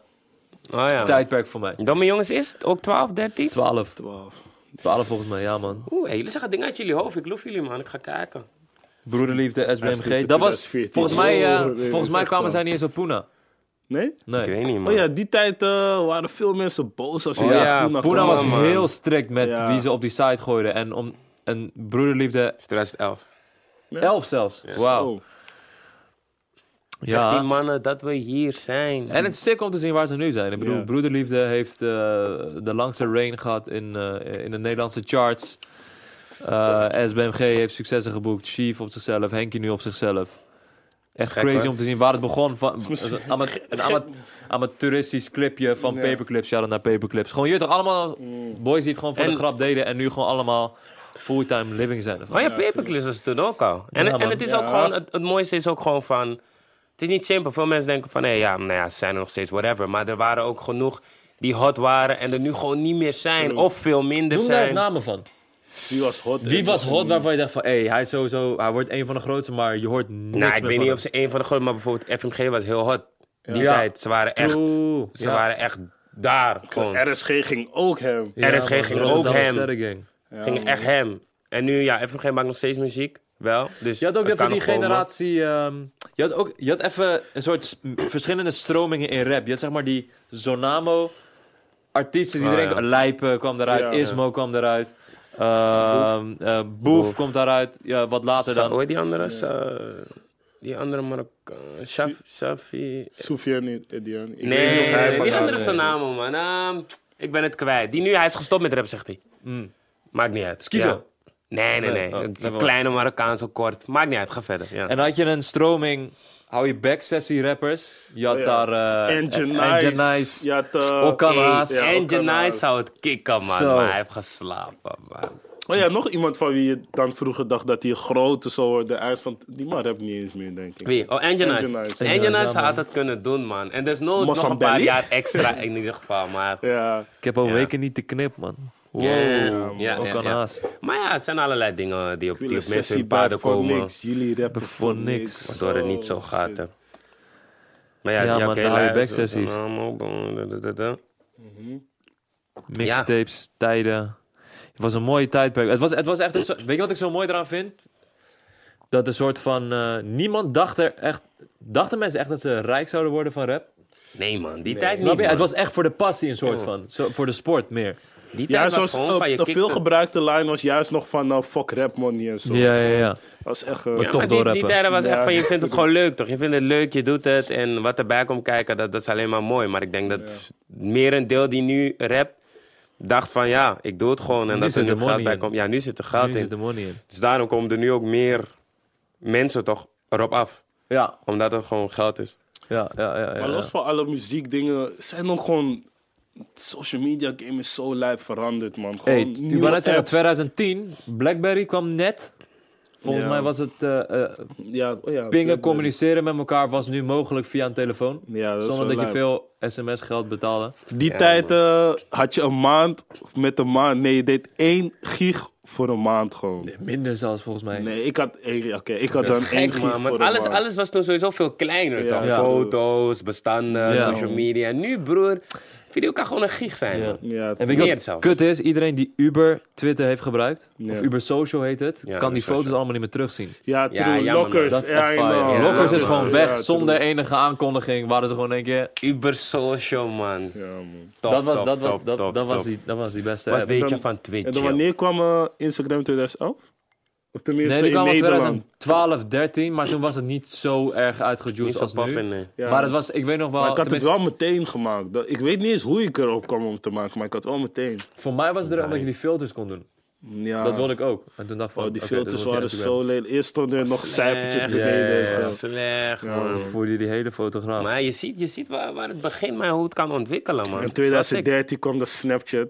S1: Oh ja.
S2: tijdperk voor mij.
S1: Domme jongens is het ook 12, 13?
S2: 12.
S3: 12.
S2: 12 volgens mij, ja man.
S1: Oeh, hey, jullie zeggen dingen uit jullie hoofd. Ik loof jullie, man. Ik ga kijken.
S2: Broederliefde,
S3: Hij
S2: SBMG.
S3: dus is
S2: Dat was,
S3: 2014.
S2: volgens mij, eh,
S3: Oh, nee, dat
S2: volgens
S3: is
S2: mij
S3: echt,
S2: kwamen
S3: eh,
S2: zij niet eens op Puna.
S3: Nee?
S1: Ik
S2: Nee.
S1: weet niet, man.
S3: Oh ja, die tijd eh, waren veel mensen boos als ze
S1: Oh
S3: naar
S1: ja,
S3: Poena
S2: Puna
S1: kom
S2: was
S1: op, man.
S2: heel strikt met
S3: Ja.
S2: wie ze op die site gooiden. En, om, en broederliefde,
S1: is 2011.
S3: Ja.
S2: 11 zelfs. Wauw.
S3: Oh.
S1: Zeg die
S2: Ja.
S1: mannen dat we hier zijn.
S2: En het is sick om te zien waar ze nu zijn. Ik bedoel,
S3: Ja.
S2: Broederliefde heeft eh, de langste reign gehad in, eh, in de Nederlandse charts. Eh, SBMG heeft successen geboekt. Chief op zichzelf, Henkie nu op zichzelf. Echt
S1: Gek,
S2: crazy
S1: hoor.
S2: om te zien waar het begon. Van, een ama- een ama- amateuristisch clipje van
S3: Ja. Mm.
S2: paperclips. Ja, dan naar paperclips. Gewoon, je weet toch allemaal boys die het gewoon voor
S1: En-
S2: de grap deden. En nu gewoon allemaal fulltime living zijn. ervan.
S1: Oh ja, paperclips was toen ook al. En,
S2: Ja,
S1: en
S2: man.
S1: het is
S3: Ja.
S1: ook gewoon, het, het mooiste is ook gewoon van... Het is niet simpel. Veel mensen denken van, hé, ja, nou ja, ze zijn er nog steeds, whatever. Maar er waren ook genoeg die hot waren en er nu gewoon niet meer zijn. Of veel minder
S2: Noem daar eens
S1: zijn.
S2: namen van.
S3: Wie was hot?
S2: Wie was hot waarvan je dacht van... Hé, hij, is sowieso, hij wordt een van de grootste, maar je hoort niks
S1: Nou,
S2: meer
S1: ik weet
S2: van
S1: niet of ze een van de grote, maar bijvoorbeeld FMG was heel hot. Die
S2: Ja.
S1: tijd. Ze waren echt,
S2: True.
S1: ze
S2: Ja.
S1: waren echt daar. Gewoon.
S3: RSG ging ook hem.
S2: hem.
S1: RSG
S2: man,
S1: ging
S2: dat is
S1: ook
S2: dan de
S1: hem.
S2: sterre gang.
S3: Ja,
S1: Ging echt hem. En nu, ja, FMG maakt nog steeds muziek. Wel. Dus
S2: Je had ook
S1: het
S2: even
S1: kan
S2: die
S1: nog komen.
S2: generatie. ehm, je had ook je had even een soort s- m- verschillende stromingen in rap. Je had zeg maar die Zonamo. Artiesten die
S1: Ah,
S2: iedereen.
S1: ja.
S2: Lijpen kwam eruit.
S3: Ja, ja.
S2: Ismo kwam eruit. ehm, eh, Boef.
S1: Boef.
S2: komt daaruit. Ja, wat later
S1: Sa-
S2: dan.
S1: Hoe heet die andere? Sa- die andere Marokkaan. Shaf- Shafi.
S3: Soufiane niet, Edian. Ik
S1: Nee,
S3: weet niet of hij
S1: nee,
S3: van
S1: die
S3: haar-
S1: andere is zijn naam, man. Ehm, ik ben het kwijt. Die nu, hij is gestopt met rap, zegt hij. Maakt niet uit.
S2: Mm. Schizo.
S1: Ja. Nee, nee,
S2: Nee,
S1: nee.
S2: oh,
S1: Een
S2: never mind.
S1: kleine Marokkaan, zo kort. Maakt niet uit, ga verder. Ja.
S2: En dan had je een stroming. hou je back sessie rappers. Je had
S3: Oh, ja.
S2: daar... eh,
S3: Engine
S2: eh,
S3: Nice.
S2: Engine Nice.
S3: Je had, eh,
S2: Okana's.
S3: Ja,
S1: Hey, Angel
S3: Okana's.
S1: Nice zou het kicken, man.
S2: Zo.
S1: Maar hij heeft geslapen, man.
S3: Oh ja, nog iemand van wie je dan vroeger dacht dat hij een grote zou worden. IJsland, die man heb niet eens meer, denk ik.
S1: Wie? Oh, Angel Nice.
S3: Angel Nice.
S1: Angel
S2: Ja,
S1: Nice
S2: man.
S1: had het kunnen doen, man. En desnoods nog een
S3: Mozambique?
S1: paar jaar extra in ieder geval, maar...
S3: Ja.
S2: Ik heb al
S1: Ja.
S2: weken niet de knip, man. Wow.
S1: Ja, ja, ja, ja.
S2: Okana's.
S1: Maar ja, het zijn allerlei dingen die op, die
S3: Jullie
S1: op mensen
S3: sessie
S1: hun
S3: bij
S1: paden
S3: voor
S1: komen.
S3: niks. Jullie rappen voor
S2: Voor niks.
S3: niks.
S1: Waardoor het niet zo
S3: Oh,
S1: gaat.
S3: shit.
S1: hè. Maar ja,
S2: Ja,
S1: die
S2: man,
S1: oké,
S2: dan hou je
S1: luister,
S2: backsessies.
S1: dan allemaal, dan, dan, dan, dan, dan.
S2: Mixtapes, tijden. Het was een mooie tijdperk. Het was, het was echt een soort- weet je wat ik zo mooi eraan vind? Dat een soort van... eh, niemand dacht er echt... Dachten mensen echt dat ze rijk zouden worden van rap?
S1: Nee, man, die tijd niet.
S2: Snap je?
S1: man.
S2: Het was echt voor de passie een soort van. Zo, voor de sport meer.
S1: die
S3: Ja,
S1: tijd was
S3: zoals
S1: gewoon
S3: eh,
S1: van je
S3: een
S1: kickte.
S3: veelgebruikte line was juist nog van eh, fuck rap money en zo.
S2: Ja, ja, ja.
S3: Dat is echt... eh,
S1: Ja, maar
S2: toch
S1: die, die
S2: doorrappen.
S1: tijden was echt
S3: Ja.
S1: van, je vindt het gewoon leuk, toch? Je vindt het leuk, je doet het. En wat erbij komt kijken, dat, dat is alleen maar mooi. Maar ik denk dat meer een deel die nu rapt, dacht van ja, ik doe het gewoon. En
S2: Nu
S1: dat er
S2: zit
S1: nu
S2: er
S1: geld
S2: money
S1: bij
S2: in.
S1: komt. Ja, nu zit er geld
S2: Nu
S1: in.
S2: zit de money in.
S1: Dus daarom komen er nu ook meer mensen toch erop af.
S2: Ja,
S1: Omdat het gewoon geld is.
S2: ja, ja. ja, ja,
S3: Maar
S2: ja.
S3: los van alle muziekdingen, zijn ook gewoon... Social media game is zo lijp veranderd, man. Gewoon
S2: Hey,
S3: nieuwe
S2: ik wou net zeggen,
S3: apps.
S2: 2010, Blackberry kwam net. Volgens
S3: Ja.
S2: mij was het eh, eh,
S3: Ja, oh ja,
S2: pingen,
S3: Blackberry.
S2: communiceren met elkaar was nu mogelijk via een telefoon.
S3: Ja, dat is
S2: zonder
S3: wel
S2: dat je
S3: lijp.
S2: veel sms-geld betaalde.
S3: Die tijd eh, had je een maand met een maand. Nee, je deed één gig voor een maand gewoon. Nee,
S2: Minder zelfs volgens mij.
S3: ik had één. Oké, ik had
S1: Dat
S3: dan
S1: is
S3: één
S1: gek,
S3: gig
S1: man.
S3: voor
S1: Want
S3: een
S1: alles,
S3: maand.
S1: alles was toen sowieso veel kleiner,
S3: Ja.
S1: toch?
S3: Ja.
S1: Foto's, bestanden,
S2: Ja.
S1: social media. En nu, broer, video kan gewoon een gig zijn,
S2: Ja.
S1: man.
S3: Ja,
S2: En weet je
S1: Meer
S2: wat
S1: zelfs.
S2: kut is? Iedereen die Uber Twitter heeft gebruikt,
S3: Ja.
S2: of Uber Social heet het,
S1: Ja,
S2: kan
S1: Uber
S2: die foto's
S1: Social.
S2: allemaal niet meer terugzien.
S3: ja,
S1: Ja,
S3: true.
S1: jammer,
S3: lockers.
S2: Dat is
S3: ja,
S2: echt
S3: I
S2: fire.
S3: know.
S2: Lockers is
S1: Ja,
S2: gewoon
S1: ja,
S2: weg.
S3: true.
S2: Zonder enige aankondiging waren ze gewoon één keer...
S1: Uber social, man.
S3: Ja, man.
S1: Top,
S2: dat, was,
S1: top,
S2: dat, was,
S1: top,
S2: dat,
S1: top,
S2: dat, was
S1: top.
S2: die, dat was die beste
S1: Wat
S2: app.
S1: weet je
S3: eh, Dan-
S1: van
S3: En
S1: Twitch?
S3: dan
S1: joh?
S3: wanneer kwam eh, Instagram 2011? Of tenminste
S2: Nee, die
S3: in
S2: kwam in
S3: Nederland.
S2: 2012, 13, maar toen was het niet zo erg
S1: Niet
S2: uitgejuiced
S1: zo
S2: als
S1: poppen,
S2: nu.
S1: nee.
S3: Ja.
S2: Maar het was, ik weet nog wel,
S3: Maar ik had het
S2: tenminste,
S3: wel meteen gemaakt. Dat- Ik weet niet eens hoe ik erop kwam om te maken, maar ik had wel meteen.
S2: voor mij was het er omdat je die filters kon doen.
S3: Ja.
S2: Dat wilde ik ook. En toen dacht ik van,
S3: Oh, die
S2: oké, dit
S3: filters
S2: wordt
S3: waren
S2: geen Instagram.
S3: zo lelijk. Eerst stonden er nog cijfertjes
S1: Slecht,
S3: beneden. en
S2: ja,
S3: zo.
S2: ja.
S1: Slecht,
S3: Ja,
S1: man.
S3: man.
S2: Voor die, die hele fotograaf.
S1: Maar je ziet, je ziet waar, waar het begint, maar hoe het kan ontwikkelen, man.
S3: In
S1: Zoals ik.
S3: 2013 kwam de Snapchat.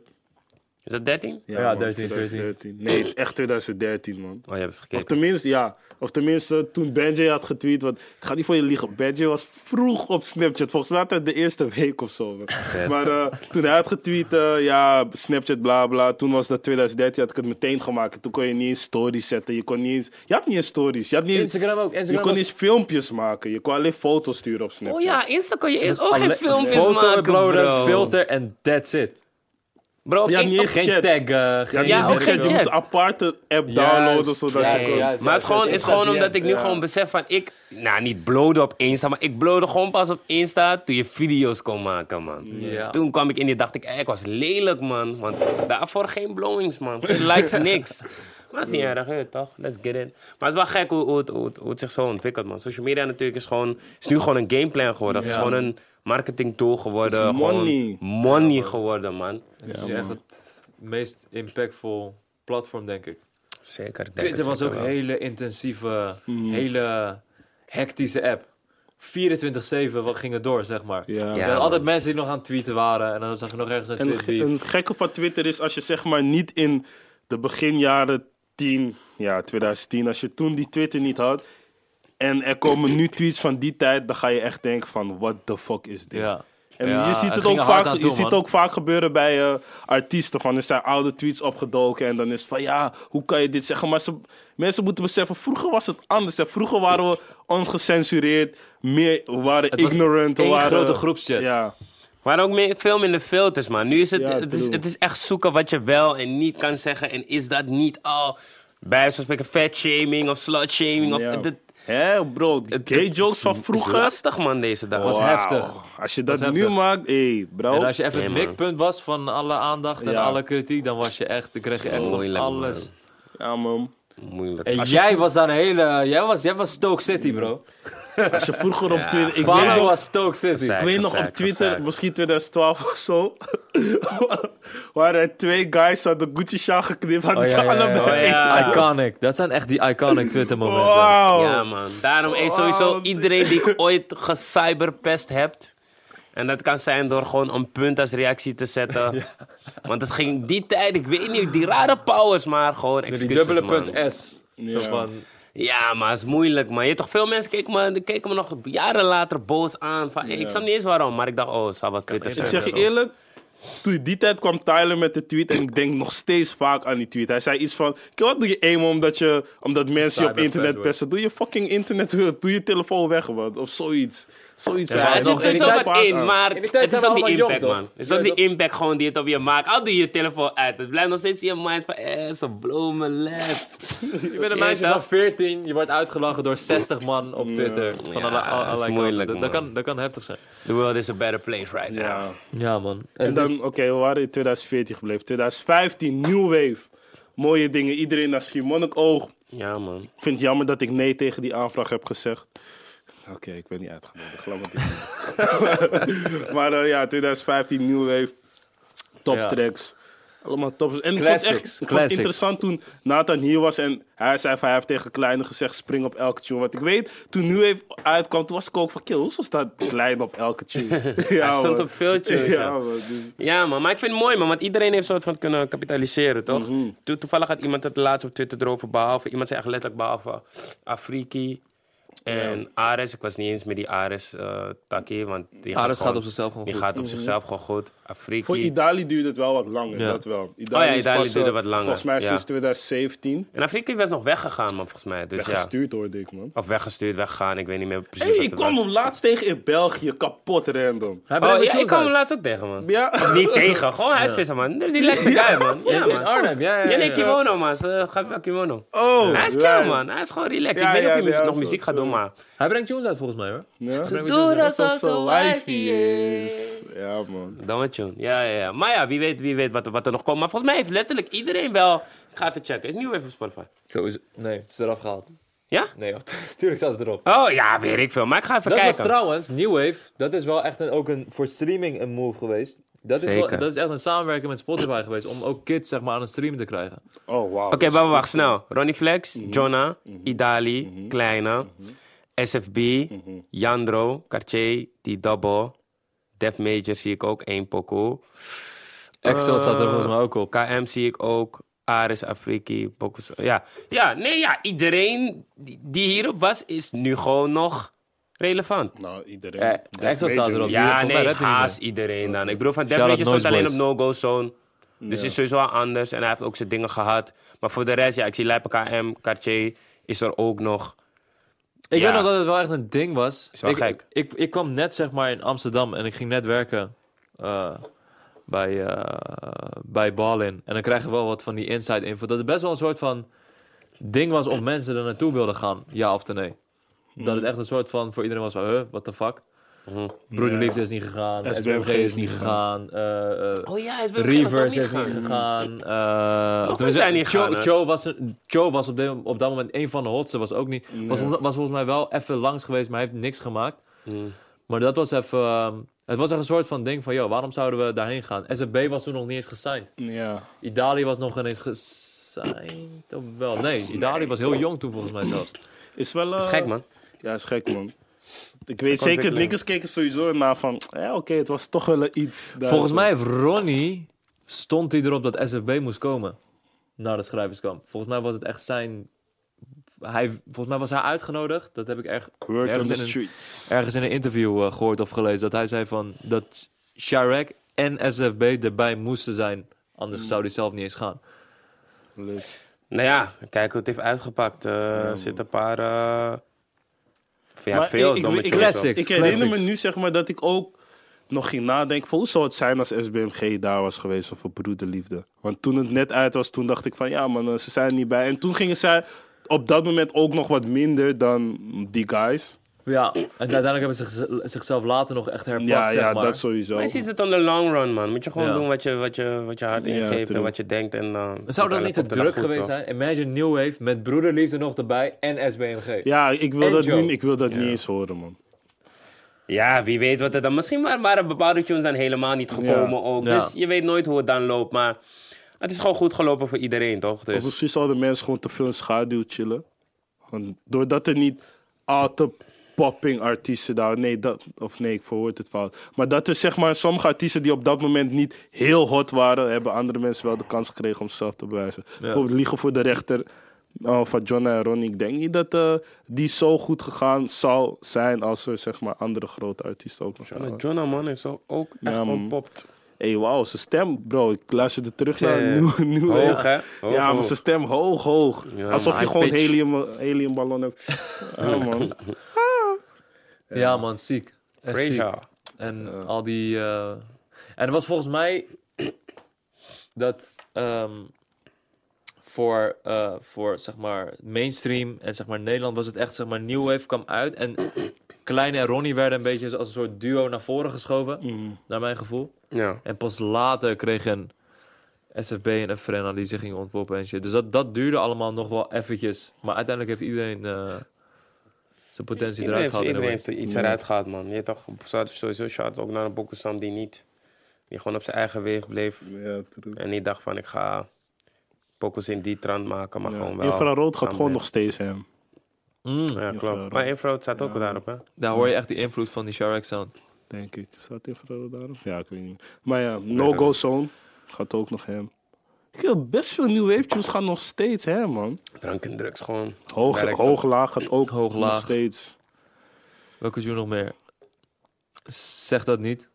S1: Is dat Oh, 13?
S2: Ja,
S3: man,
S2: 13,
S3: 2013. Nee, echt 2013, man.
S1: Oh, je hebt het
S3: Of
S1: gekeken.
S3: tenminste, ja. Of tenminste, toen Benji had getweet. Want ik ga niet voor je liegen. Benji was vroeg op Snapchat. Volgens mij had hij de eerste week of zo. man. Maar eh, toen hij had getweet, eh, ja, Snapchat, bla bla. Toen was dat 2013, had ik het meteen gemaakt. Toen kon je niet eens stories zetten. Je kon niet eens. Je had niet eens stories. Je, had niet eens-
S2: Instagram ook.
S3: je
S2: Instagram
S3: kon niet
S2: was-
S3: eens filmpjes maken. Je kon alleen foto's sturen op Snapchat.
S1: Oh ja, Insta kon je eerst ook geen
S2: Alle-
S1: filmpjes
S2: foto
S1: maken,
S2: uploaden,
S1: bro.
S2: filter en that's it.
S1: Bro,
S3: Ja,
S1: ik-
S3: niet eens
S2: Geen
S3: chat.
S2: tag, eh,
S3: Ja,
S2: geen...
S1: Ja,
S3: ja,
S1: ook
S3: ook
S1: geen
S3: Je moest
S1: chat.
S3: een aparte app
S2: Juist,
S3: downloaden zodat
S2: juist,
S3: je
S2: juist,
S3: kon...
S2: juist.
S1: Maar het is gewoon,
S2: het
S1: is gewoon
S2: Insta
S1: omdat ik nu
S3: ja.
S1: gewoon besef van ik... Nou, niet blode op Insta, maar ik blode gewoon pas op Insta toen je video's kon maken, man.
S2: Ja.
S1: Toen kwam ik in die dacht ik, eh, ik was lelijk, man. Want daarvoor geen blowings, man. Geen likes, niks. Maar dat is niet erg, hè, toch? Let's get in. Maar het is wel gek hoe, hoe, het- hoe, het- hoe het zich zo ontwikkelt, man. Social media natuurlijk is gewoon... is nu gewoon een gameplan geworden. Het is
S2: Ja.
S1: gewoon een marketing tool geworden.
S3: Het is money.
S1: Gewoon money geworden, man.
S2: Het is echt het meest impactful platform, denk ik.
S1: Zeker. ik denk
S2: Twitter
S1: het
S2: was ook
S1: zeker
S2: een
S1: wel.
S2: hele intensieve,
S3: Mm.
S2: hele hectische app. 24-7 wat ging het door, zeg maar.
S3: Ja.
S2: Er
S1: Ja,
S2: waren
S1: man.
S2: altijd mensen die nog aan het tweeten waren. En dan zag je nog ergens een
S3: En
S2: tweet
S3: ge- een gekke van Twitter is als je zeg maar niet in de beginjaren 10, ja 2010, als je toen die Twitter niet had en er komen nu tweets van die tijd, dan ga je echt denken van what the fuck is dit?
S2: Ja.
S3: En
S2: Ja,
S3: je ziet
S2: het
S3: het,
S2: ging
S3: ook
S2: er hard
S3: vaak,
S2: aan
S3: je
S2: toe,
S3: ziet
S2: man.
S3: ook vaak gebeuren bij eh, artiesten. Van, er zijn oude tweets opgedoken en dan is het van ja, hoe kan je dit zeggen? Maar ze, mensen moeten beseffen, vroeger was het anders. Hè. Vroeger waren we ongecensureerd, meer, we waren
S2: Het was
S3: ignorant. we
S2: één
S3: waren,
S2: grote groepschat.
S3: Ja.
S1: Maar ook meer, veel minder filters, man. Nu is het,
S3: Ja,
S1: het, is,
S3: true.
S1: het is echt zoeken wat je wel en niet kan zeggen. En is dat niet al bij zo'n spreken fat-shaming of slut-shaming? Of,
S3: ja.
S1: het, het-
S3: Hè bro,
S1: het-
S3: gay
S1: het
S3: jokes
S1: is-
S3: van
S1: is
S3: vroeger.
S1: lastig, man, deze dag.
S2: Was
S3: Wauw.
S2: heftig.
S3: Als je
S2: Was
S3: dat, nu
S2: heftig.
S3: maakt, hé, bro.
S2: En als je even
S1: Nee,
S2: het
S1: man.
S2: mikpunt was van alle aandacht en
S3: Ja.
S2: alle kritiek, dan was je echt, dan kreeg je echt van
S1: Moeilijk, man.
S2: alles.
S3: Ja, man.
S1: Moeilijk.
S2: En jij was dan hele, jij was, jij was Stoke City, bro.
S3: Als je vroeger op Twitter... Ik weet
S2: Fano
S3: nog,
S2: was Stoke City.
S1: Zij-
S3: ik weet nog
S1: Gezeik,
S3: op Twitter,
S1: gezeik.
S3: misschien 2012 of zo... waren er twee guys aan de Gucci-sjaal geknipt. Hadden
S2: Oh,
S3: ze
S2: ja, ja, ja,
S3: allebei...
S1: oh, ja.
S2: Iconic. Dat zijn echt die iconic Twitter momenten.
S3: Wauw.
S1: Ja, man. Daarom is sowieso iedereen die ik ooit gecyberpest hebt. En dat kan zijn door gewoon een punt als reactie te zetten. Want het ging die tijd, ik weet niet, die rare powers, maar gewoon
S2: Die
S1: excuses,
S2: dubbele
S1: man.
S2: punt S. Zo
S3: Ja.
S2: van,
S1: Ja, maar het is moeilijk, man. Je hebt toch veel mensen keken me, keken me nog jaren later boos aan. Van, Ik snap niet eens waarom, maar ik dacht, oh, het zou wat kritisch zijn.
S3: Ik zeg je
S1: of zo.
S3: eerlijk, toen die tijd kwam Tyler met de tweet en ik denk nog steeds vaak aan die tweet. Hij zei iets van, "Kijk, wat doe je eenmaal omdat, je, omdat mensen je op
S2: Cyberpest
S3: internet
S2: wordt.
S3: pesten? Doe je fucking internet, doe je telefoon weg man. of zoiets. Zoiets.
S1: Ja,
S3: hij
S1: er zit
S3: nog- en ik
S1: sowieso
S3: vaak
S1: wat in,
S3: aan.
S1: maar
S2: In die
S1: het
S2: tijd
S1: is
S2: zijn
S1: ook
S2: we
S1: die
S2: allemaal
S1: impact,
S2: jong,
S1: man.
S2: toch?
S1: Het is ook
S2: Ja,
S1: die impact gewoon die het op je maakt. Al doe je telefoon uit, het blijft nog steeds in je mind van, eh, zo'n bloemen lep.
S2: Je bent een
S1: Ja,
S2: meisje
S1: toch?
S2: van 14, je wordt uitgelachen door 60 man op Twitter.
S1: Ja,
S2: Van alle,
S1: dat is
S2: alle kanten.
S1: moeilijk,
S2: dat,
S1: man.
S2: dat, kan, dat kan heftig zijn.
S1: The world is a better place right now.
S3: Ja.
S2: Ja, man.
S3: En
S1: Dus-
S3: dan, Oh, oké, we waren in 2014 gebleven. 2015, New Wave. Mooie dingen, iedereen naar Schiermonnikoog.
S1: Ja, man.
S3: Ik vind het jammer dat ik nee tegen die aanvraag heb gezegd. Oké, ik ben niet uitgenodigd. Laat maar dit. maar eh, ja, 2015 New Wave. Top
S2: Ja.
S3: tracks. Allemaal tops. En ik vond het
S2: Classics,
S3: echt ik vond het
S2: classics.
S3: interessant toen Nathan hier was en hij zei van hij heeft tegen Kleine gezegd spring op elke tune. Want ik weet, toen New Wave uitkwam, toen was ik ook van kill, hoezo staat Klein op elke tune? ja,
S1: Hij stond
S3: man.
S1: op veel tunes, ja.
S3: Ja, man, dus-
S1: Ja, man. Maar ik vind het mooi, man. Want iedereen heeft soort van kunnen kapitaliseren, toch? Toe- toevallig had iemand het laatst op Twitter erover behalve. Iemand zei echt letterlijk behalve Afriki en Ares. Ik was niet eens met die Ares eh takkie, want die
S2: Ares gaat op zichzelf gewoon
S1: die
S2: goed.
S1: gaat op zichzelf gewoon goed. Afriki.
S3: Voor Idali duurde het wel wat langer, dat wel. Idali, is
S1: Oh Idali
S3: pas, eh,
S1: duurde wat langer,
S3: Volgens mij
S1: ja.
S3: sinds 2017.
S1: En Afriki was nog weggegaan, man, volgens mij. Dus ja.
S3: Gestuurd hoorde ik, man.
S1: Of weggestuurd, weggegaan. Ik weet niet meer precies
S3: Hey,
S1: wat
S3: ik
S1: het
S3: kwam
S1: was.
S3: hem laatst tegen in België, kapot random.
S2: Hij
S1: Oh,
S2: brengt
S1: ja,
S2: tunes
S1: ik kwam hem
S2: uit.
S1: laatst ook tegen, man.
S3: Ja.
S1: Of niet tegen, gewoon huisvisser, man. Die lekkere guy, man. Ja,
S2: In
S1: man.
S2: Arnhem, ja, ja, ja.
S1: Yannick
S2: ja.
S1: Kimono, man. Ze gaat wel kimono.
S3: Oh,
S1: Hij is chill,
S3: lijn.
S1: man. Hij is gewoon relaxed.
S3: Ja,
S1: ik weet niet
S3: ja,
S1: of hij
S3: ja,
S1: muziek- nog
S3: zo,
S1: muziek gaat
S3: zo.
S1: doen, maar...
S2: Hij brengt tunes uit volgens mij, hoor.
S3: Ja?
S2: Hij brengt tunes uit.
S3: Alsof ze wifey is. Ja, man.
S1: Domme tune. Ja, ja, ja. Maar ja, wie weet, wie weet wat, er- wat er nog komt. Maar volgens mij heeft letterlijk iedereen wel... Ik ga even checken. Is nieuw even op Spotify.
S2: Zo is het. Nee, het is eraf gehaald.
S1: Ja?
S2: Nee, joh, tuurlijk staat het erop.
S1: Oh ja, weet ik veel. Maar ik ga even
S2: Dat was
S1: kijken.
S2: trouwens, New Wave, dat is wel echt een, ook een, voor streaming een move geweest. Dat is, wel,
S1: Zeker.
S2: dat is echt een samenwerking met Spotify geweest om ook kids zeg maar, aan het streamen te krijgen.
S3: Oh, wauw.
S1: Oké, wacht, wacht, snel. Ronnie Flex,
S3: Mhm.
S1: Jonna, Idali, Kleine, SFB,
S3: Mhm.
S1: Jandro, Cartier, die Double, Def Major zie ik ook, één pokoe.
S2: Excel
S1: Eh,
S2: staat er volgens mij ook op.
S1: KM zie ik ook, Aris, Afriki, Bokus. Ja. ja, nee, ja, iedereen die- die hierop was, is nu gewoon nog relevant.
S3: Nou, iedereen.
S2: Eh,
S3: Def
S2: Axel staat
S3: Major.
S2: erop.
S3: Ja,
S1: Ja,
S2: Volgens mij
S1: nee,
S2: rapt hij niet
S1: haast iedereen dan. Ik bedoel, van Def
S2: Shout out
S1: Major stond
S2: Noise
S1: alleen op
S2: Boys.
S1: no-go zone. Dus is sowieso al anders. En hij heeft ook zijn dingen gehad. Maar voor de rest, ja, ik zie Lijpen KM, Cartier is er ook nog.
S2: Ik
S1: Ja.
S2: weet nog dat het wel echt een ding was.
S1: wel
S2: ik,
S1: gek.
S2: Ik, ik, kwam net zeg maar in Amsterdam en ik ging net werken eh, bij, eh, bij Balin. En dan krijg je wel wat van die inside info. Dat het best wel een soort van ding was of mensen er naartoe wilden gaan, ja of nee. Dat het echt een soort van voor iedereen was van, huh, what the fuck. Hmm. Broederliefde is niet gegaan, SBMG is niet gegaan, eh, eh,
S1: Oh ja, hij is bij
S2: Reverse is niet gegaan. eh, of tenminste,
S1: zijn niet
S2: Cho,
S1: gegaan, hè?
S2: Cho was, een- Cho was op, de- op dat moment een van de hotste. Was ook niet. Was, was volgens mij wel even langs geweest, maar hij heeft niks gemaakt. Maar dat was even. ehm, het was echt een soort van ding van, joh, waarom zouden we daarheen gaan? SFB was toen nog niet eens gesigned.
S3: Ja.
S2: Idali was nog niet eens gesigned. Of wel? Nee, Idali was heel jong toen volgens mij zelfs.
S3: Is wel... eh,
S1: Dat is gek, man.
S3: Ja, is gek, man. Ik weet zeker,
S1: ontwikkeling.
S3: niggers keken sowieso naar van... Ja, oké, het was toch wel iets. daar
S2: Volgens
S3: zo.
S2: mij heeft Ronnie, stond hij erop dat SFB moest komen naar het schrijverskamp. Volgens mij was het echt zijn... Hij, volgens mij was hij uitgenodigd. Dat heb ik echt
S3: Word on
S2: ergens,
S3: the
S2: in een,
S3: streets.
S2: ergens in een interview eh, gehoord of gelezen. Dat hij zei van dat Sharek en SFB erbij moesten zijn. Anders zou hij zelf niet eens gaan.
S3: Leuk.
S1: Nou ja, kijk hoe het heeft uitgepakt. Eh, Er zitten een paar... eh, of ja,
S3: Maar
S1: veel
S3: ik- ik-
S1: domme
S3: ik-
S1: tunes
S2: classics.
S1: op.
S3: Ik herinner me
S2: classics.
S3: nu, zeg maar, dat ik ook nog ging nadenken van... Hoe zou het zijn als SBMG daar was geweest of op Broederliefde? Want toen het net uit was, toen dacht ik van... Ja, man, eh, ze zijn er niet bij. En toen gingen zij op dat moment ook nog wat minder dan die guys.
S2: Ja, en uiteindelijk hebben ze zich- zichzelf later nog echt herpakt,
S3: Ja,
S2: zeg
S3: ja,
S2: maar.
S3: dat sowieso.
S1: Maar je ziet het on the long run, man. Moet je gewoon
S2: Ja.
S1: doen wat je, wat je, wat je hart
S3: Ja,
S1: ingeeft en
S3: true.
S1: wat je denkt. En, eh,
S2: Zou dat niet
S1: uiteindelijk
S2: te
S1: komt het
S2: druk
S1: goed,
S2: geweest
S1: toch?
S2: zijn? Imagine New Wave met Broederliefde nog erbij en SBMG.
S3: Ja, ik wil
S2: En
S3: dat,
S2: Joe.
S3: niet, ik wil dat niet eens horen, man.
S1: Ja, wie weet wat er dan... Misschien waren, waren bepaalde tunes dan helemaal niet gekomen ook.
S2: Ja.
S1: Dus je weet nooit hoe het dan loopt. Maar het is gewoon goed gelopen voor iedereen, toch?
S3: Of
S1: Dus,
S3: misschien zouden mensen gewoon te veel in schaduw chillen. Want doordat er niet al te popping artiesten daar... Nee, dat, of nee, ik verwoord het fout. Maar dat er zeg maar sommige artiesten die op dat moment niet heel hot waren... hebben andere mensen wel de kans gekregen om zichzelf te bewijzen. Bijvoorbeeld Liegen voor de Rechter eh, van John en Ronnie. Ik denk niet dat eh, die zo goed gegaan zou zijn... als er zeg maar andere grote artiesten ook nog
S1: Maar
S3: waren.
S1: Jonah, man, is ook ook echt
S3: Ja, man.
S1: ontpopt.
S3: hey, wauw, zijn stem, bro. Ik luisterde terug naar
S1: Ja, ja.
S3: een nieuwe... nieuwe
S1: Hoog, hè? Hoog,
S3: ja, maar
S1: hoog.
S3: zijn stem hoog, hoog.
S1: Ja,
S3: Alsof
S2: maar
S3: je
S2: high
S3: gewoon
S2: pitch.
S3: helium, heliumballon hebt. Ja, man.
S2: Ja, man, ziek. Echt
S1: Crazy.
S2: ziek. En al die... eh, En het was volgens mij dat ehm, voor, eh, voor zeg maar mainstream en zeg maar Nederland was het echt zeg maar New Wave kwam uit en Kleine en Ronnie werden een beetje als een soort duo naar voren geschoven, naar mijn gevoel.
S1: Ja.
S2: En pas later kreeg een SFB en Frenna die zich gingen ontpoppen en shit. Dus dat, dat duurde allemaal nog wel eventjes. Maar uiteindelijk heeft iedereen eh, zijn potentie
S1: Iedereen
S2: eruit
S1: heeft,
S2: gehaald. in
S1: iedereen
S2: een
S1: heeft er iets eruit gehaald, man. Je hebt toch zou sowieso shout ook naar een Bokusam die niet... Die gewoon op zijn eigen weg bleef.
S3: Ja, true.
S1: En niet dacht van, ik ga pokus in die trant maken, maar gewoon wel...
S3: Infrarood gaat
S1: samen
S3: gewoon
S1: met-
S3: nog steeds hem.
S2: way. Mm,
S1: Ja,
S3: Infrarood.
S1: klopt. Maar infrarood staat ook daarop, hè?
S2: daar hoor je echt die invloed van die Shark sound.
S3: Denk ik. Staat infrarood daarop? Ja, ik weet niet. meer. Maar ja, no-go zone gaat ook nog hem. Ik heb best veel nieuwe wavetunes gaan nog steeds hem, man.
S1: Drank en drugs gewoon.
S3: Hoog,
S1: Werkt
S3: hoog laag gaat ook
S2: Hoog,
S3: nog
S2: laag.
S3: steeds.
S2: Welke tune nog meer? Zeg dat niet.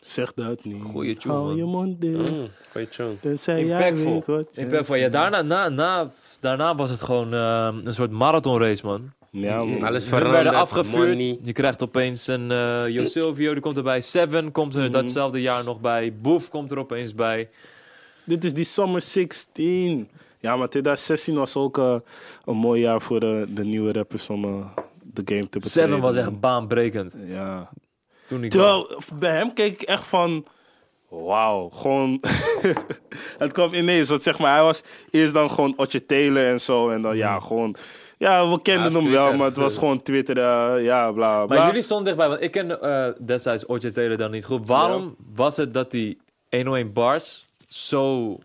S3: Zeg dat niet.
S2: Goeie tune,
S3: Hou
S2: man.
S3: je mond dicht.
S1: Mm, goeie tune.
S3: Tenzij jij
S2: Impactful.
S3: weet wat je-
S2: Impactful. Ja, daarna, na, na, daarna was het gewoon ehm, een soort marathonrace, man.
S3: Ja, man.
S1: Mm, Alles
S2: We
S1: veranderd.
S2: werden afgevuurd.
S1: money.
S2: Je krijgt opeens een eh Jo Silvio, die komt erbij. Seven komt er datzelfde jaar nog bij. Boef komt er opeens bij.
S3: Dit is die Summer 16. Ja, maar 2016 was ook eh, een mooi jaar voor eh, de nieuwe rappers om eh, de game te betreden.
S2: Seven was echt baanbrekend.
S3: Ja.
S2: Toen ik
S3: Terwijl, bij hem keek ik echt van... Wauw, gewoon... het kwam ineens, want zeg maar, hij was eerst dan gewoon Otje Telen en zo. En dan ja, gewoon... Ja, we kenden
S1: Hmm. Ja,
S3: hem wel,
S1: Twitter.
S3: maar het was gewoon Twitter, eh, ja, bla, bla.
S2: Maar jullie stonden dichtbij, want ik ken eh, destijds Orchard Taylor dan niet goed. Waarom was het dat die 101 bars zo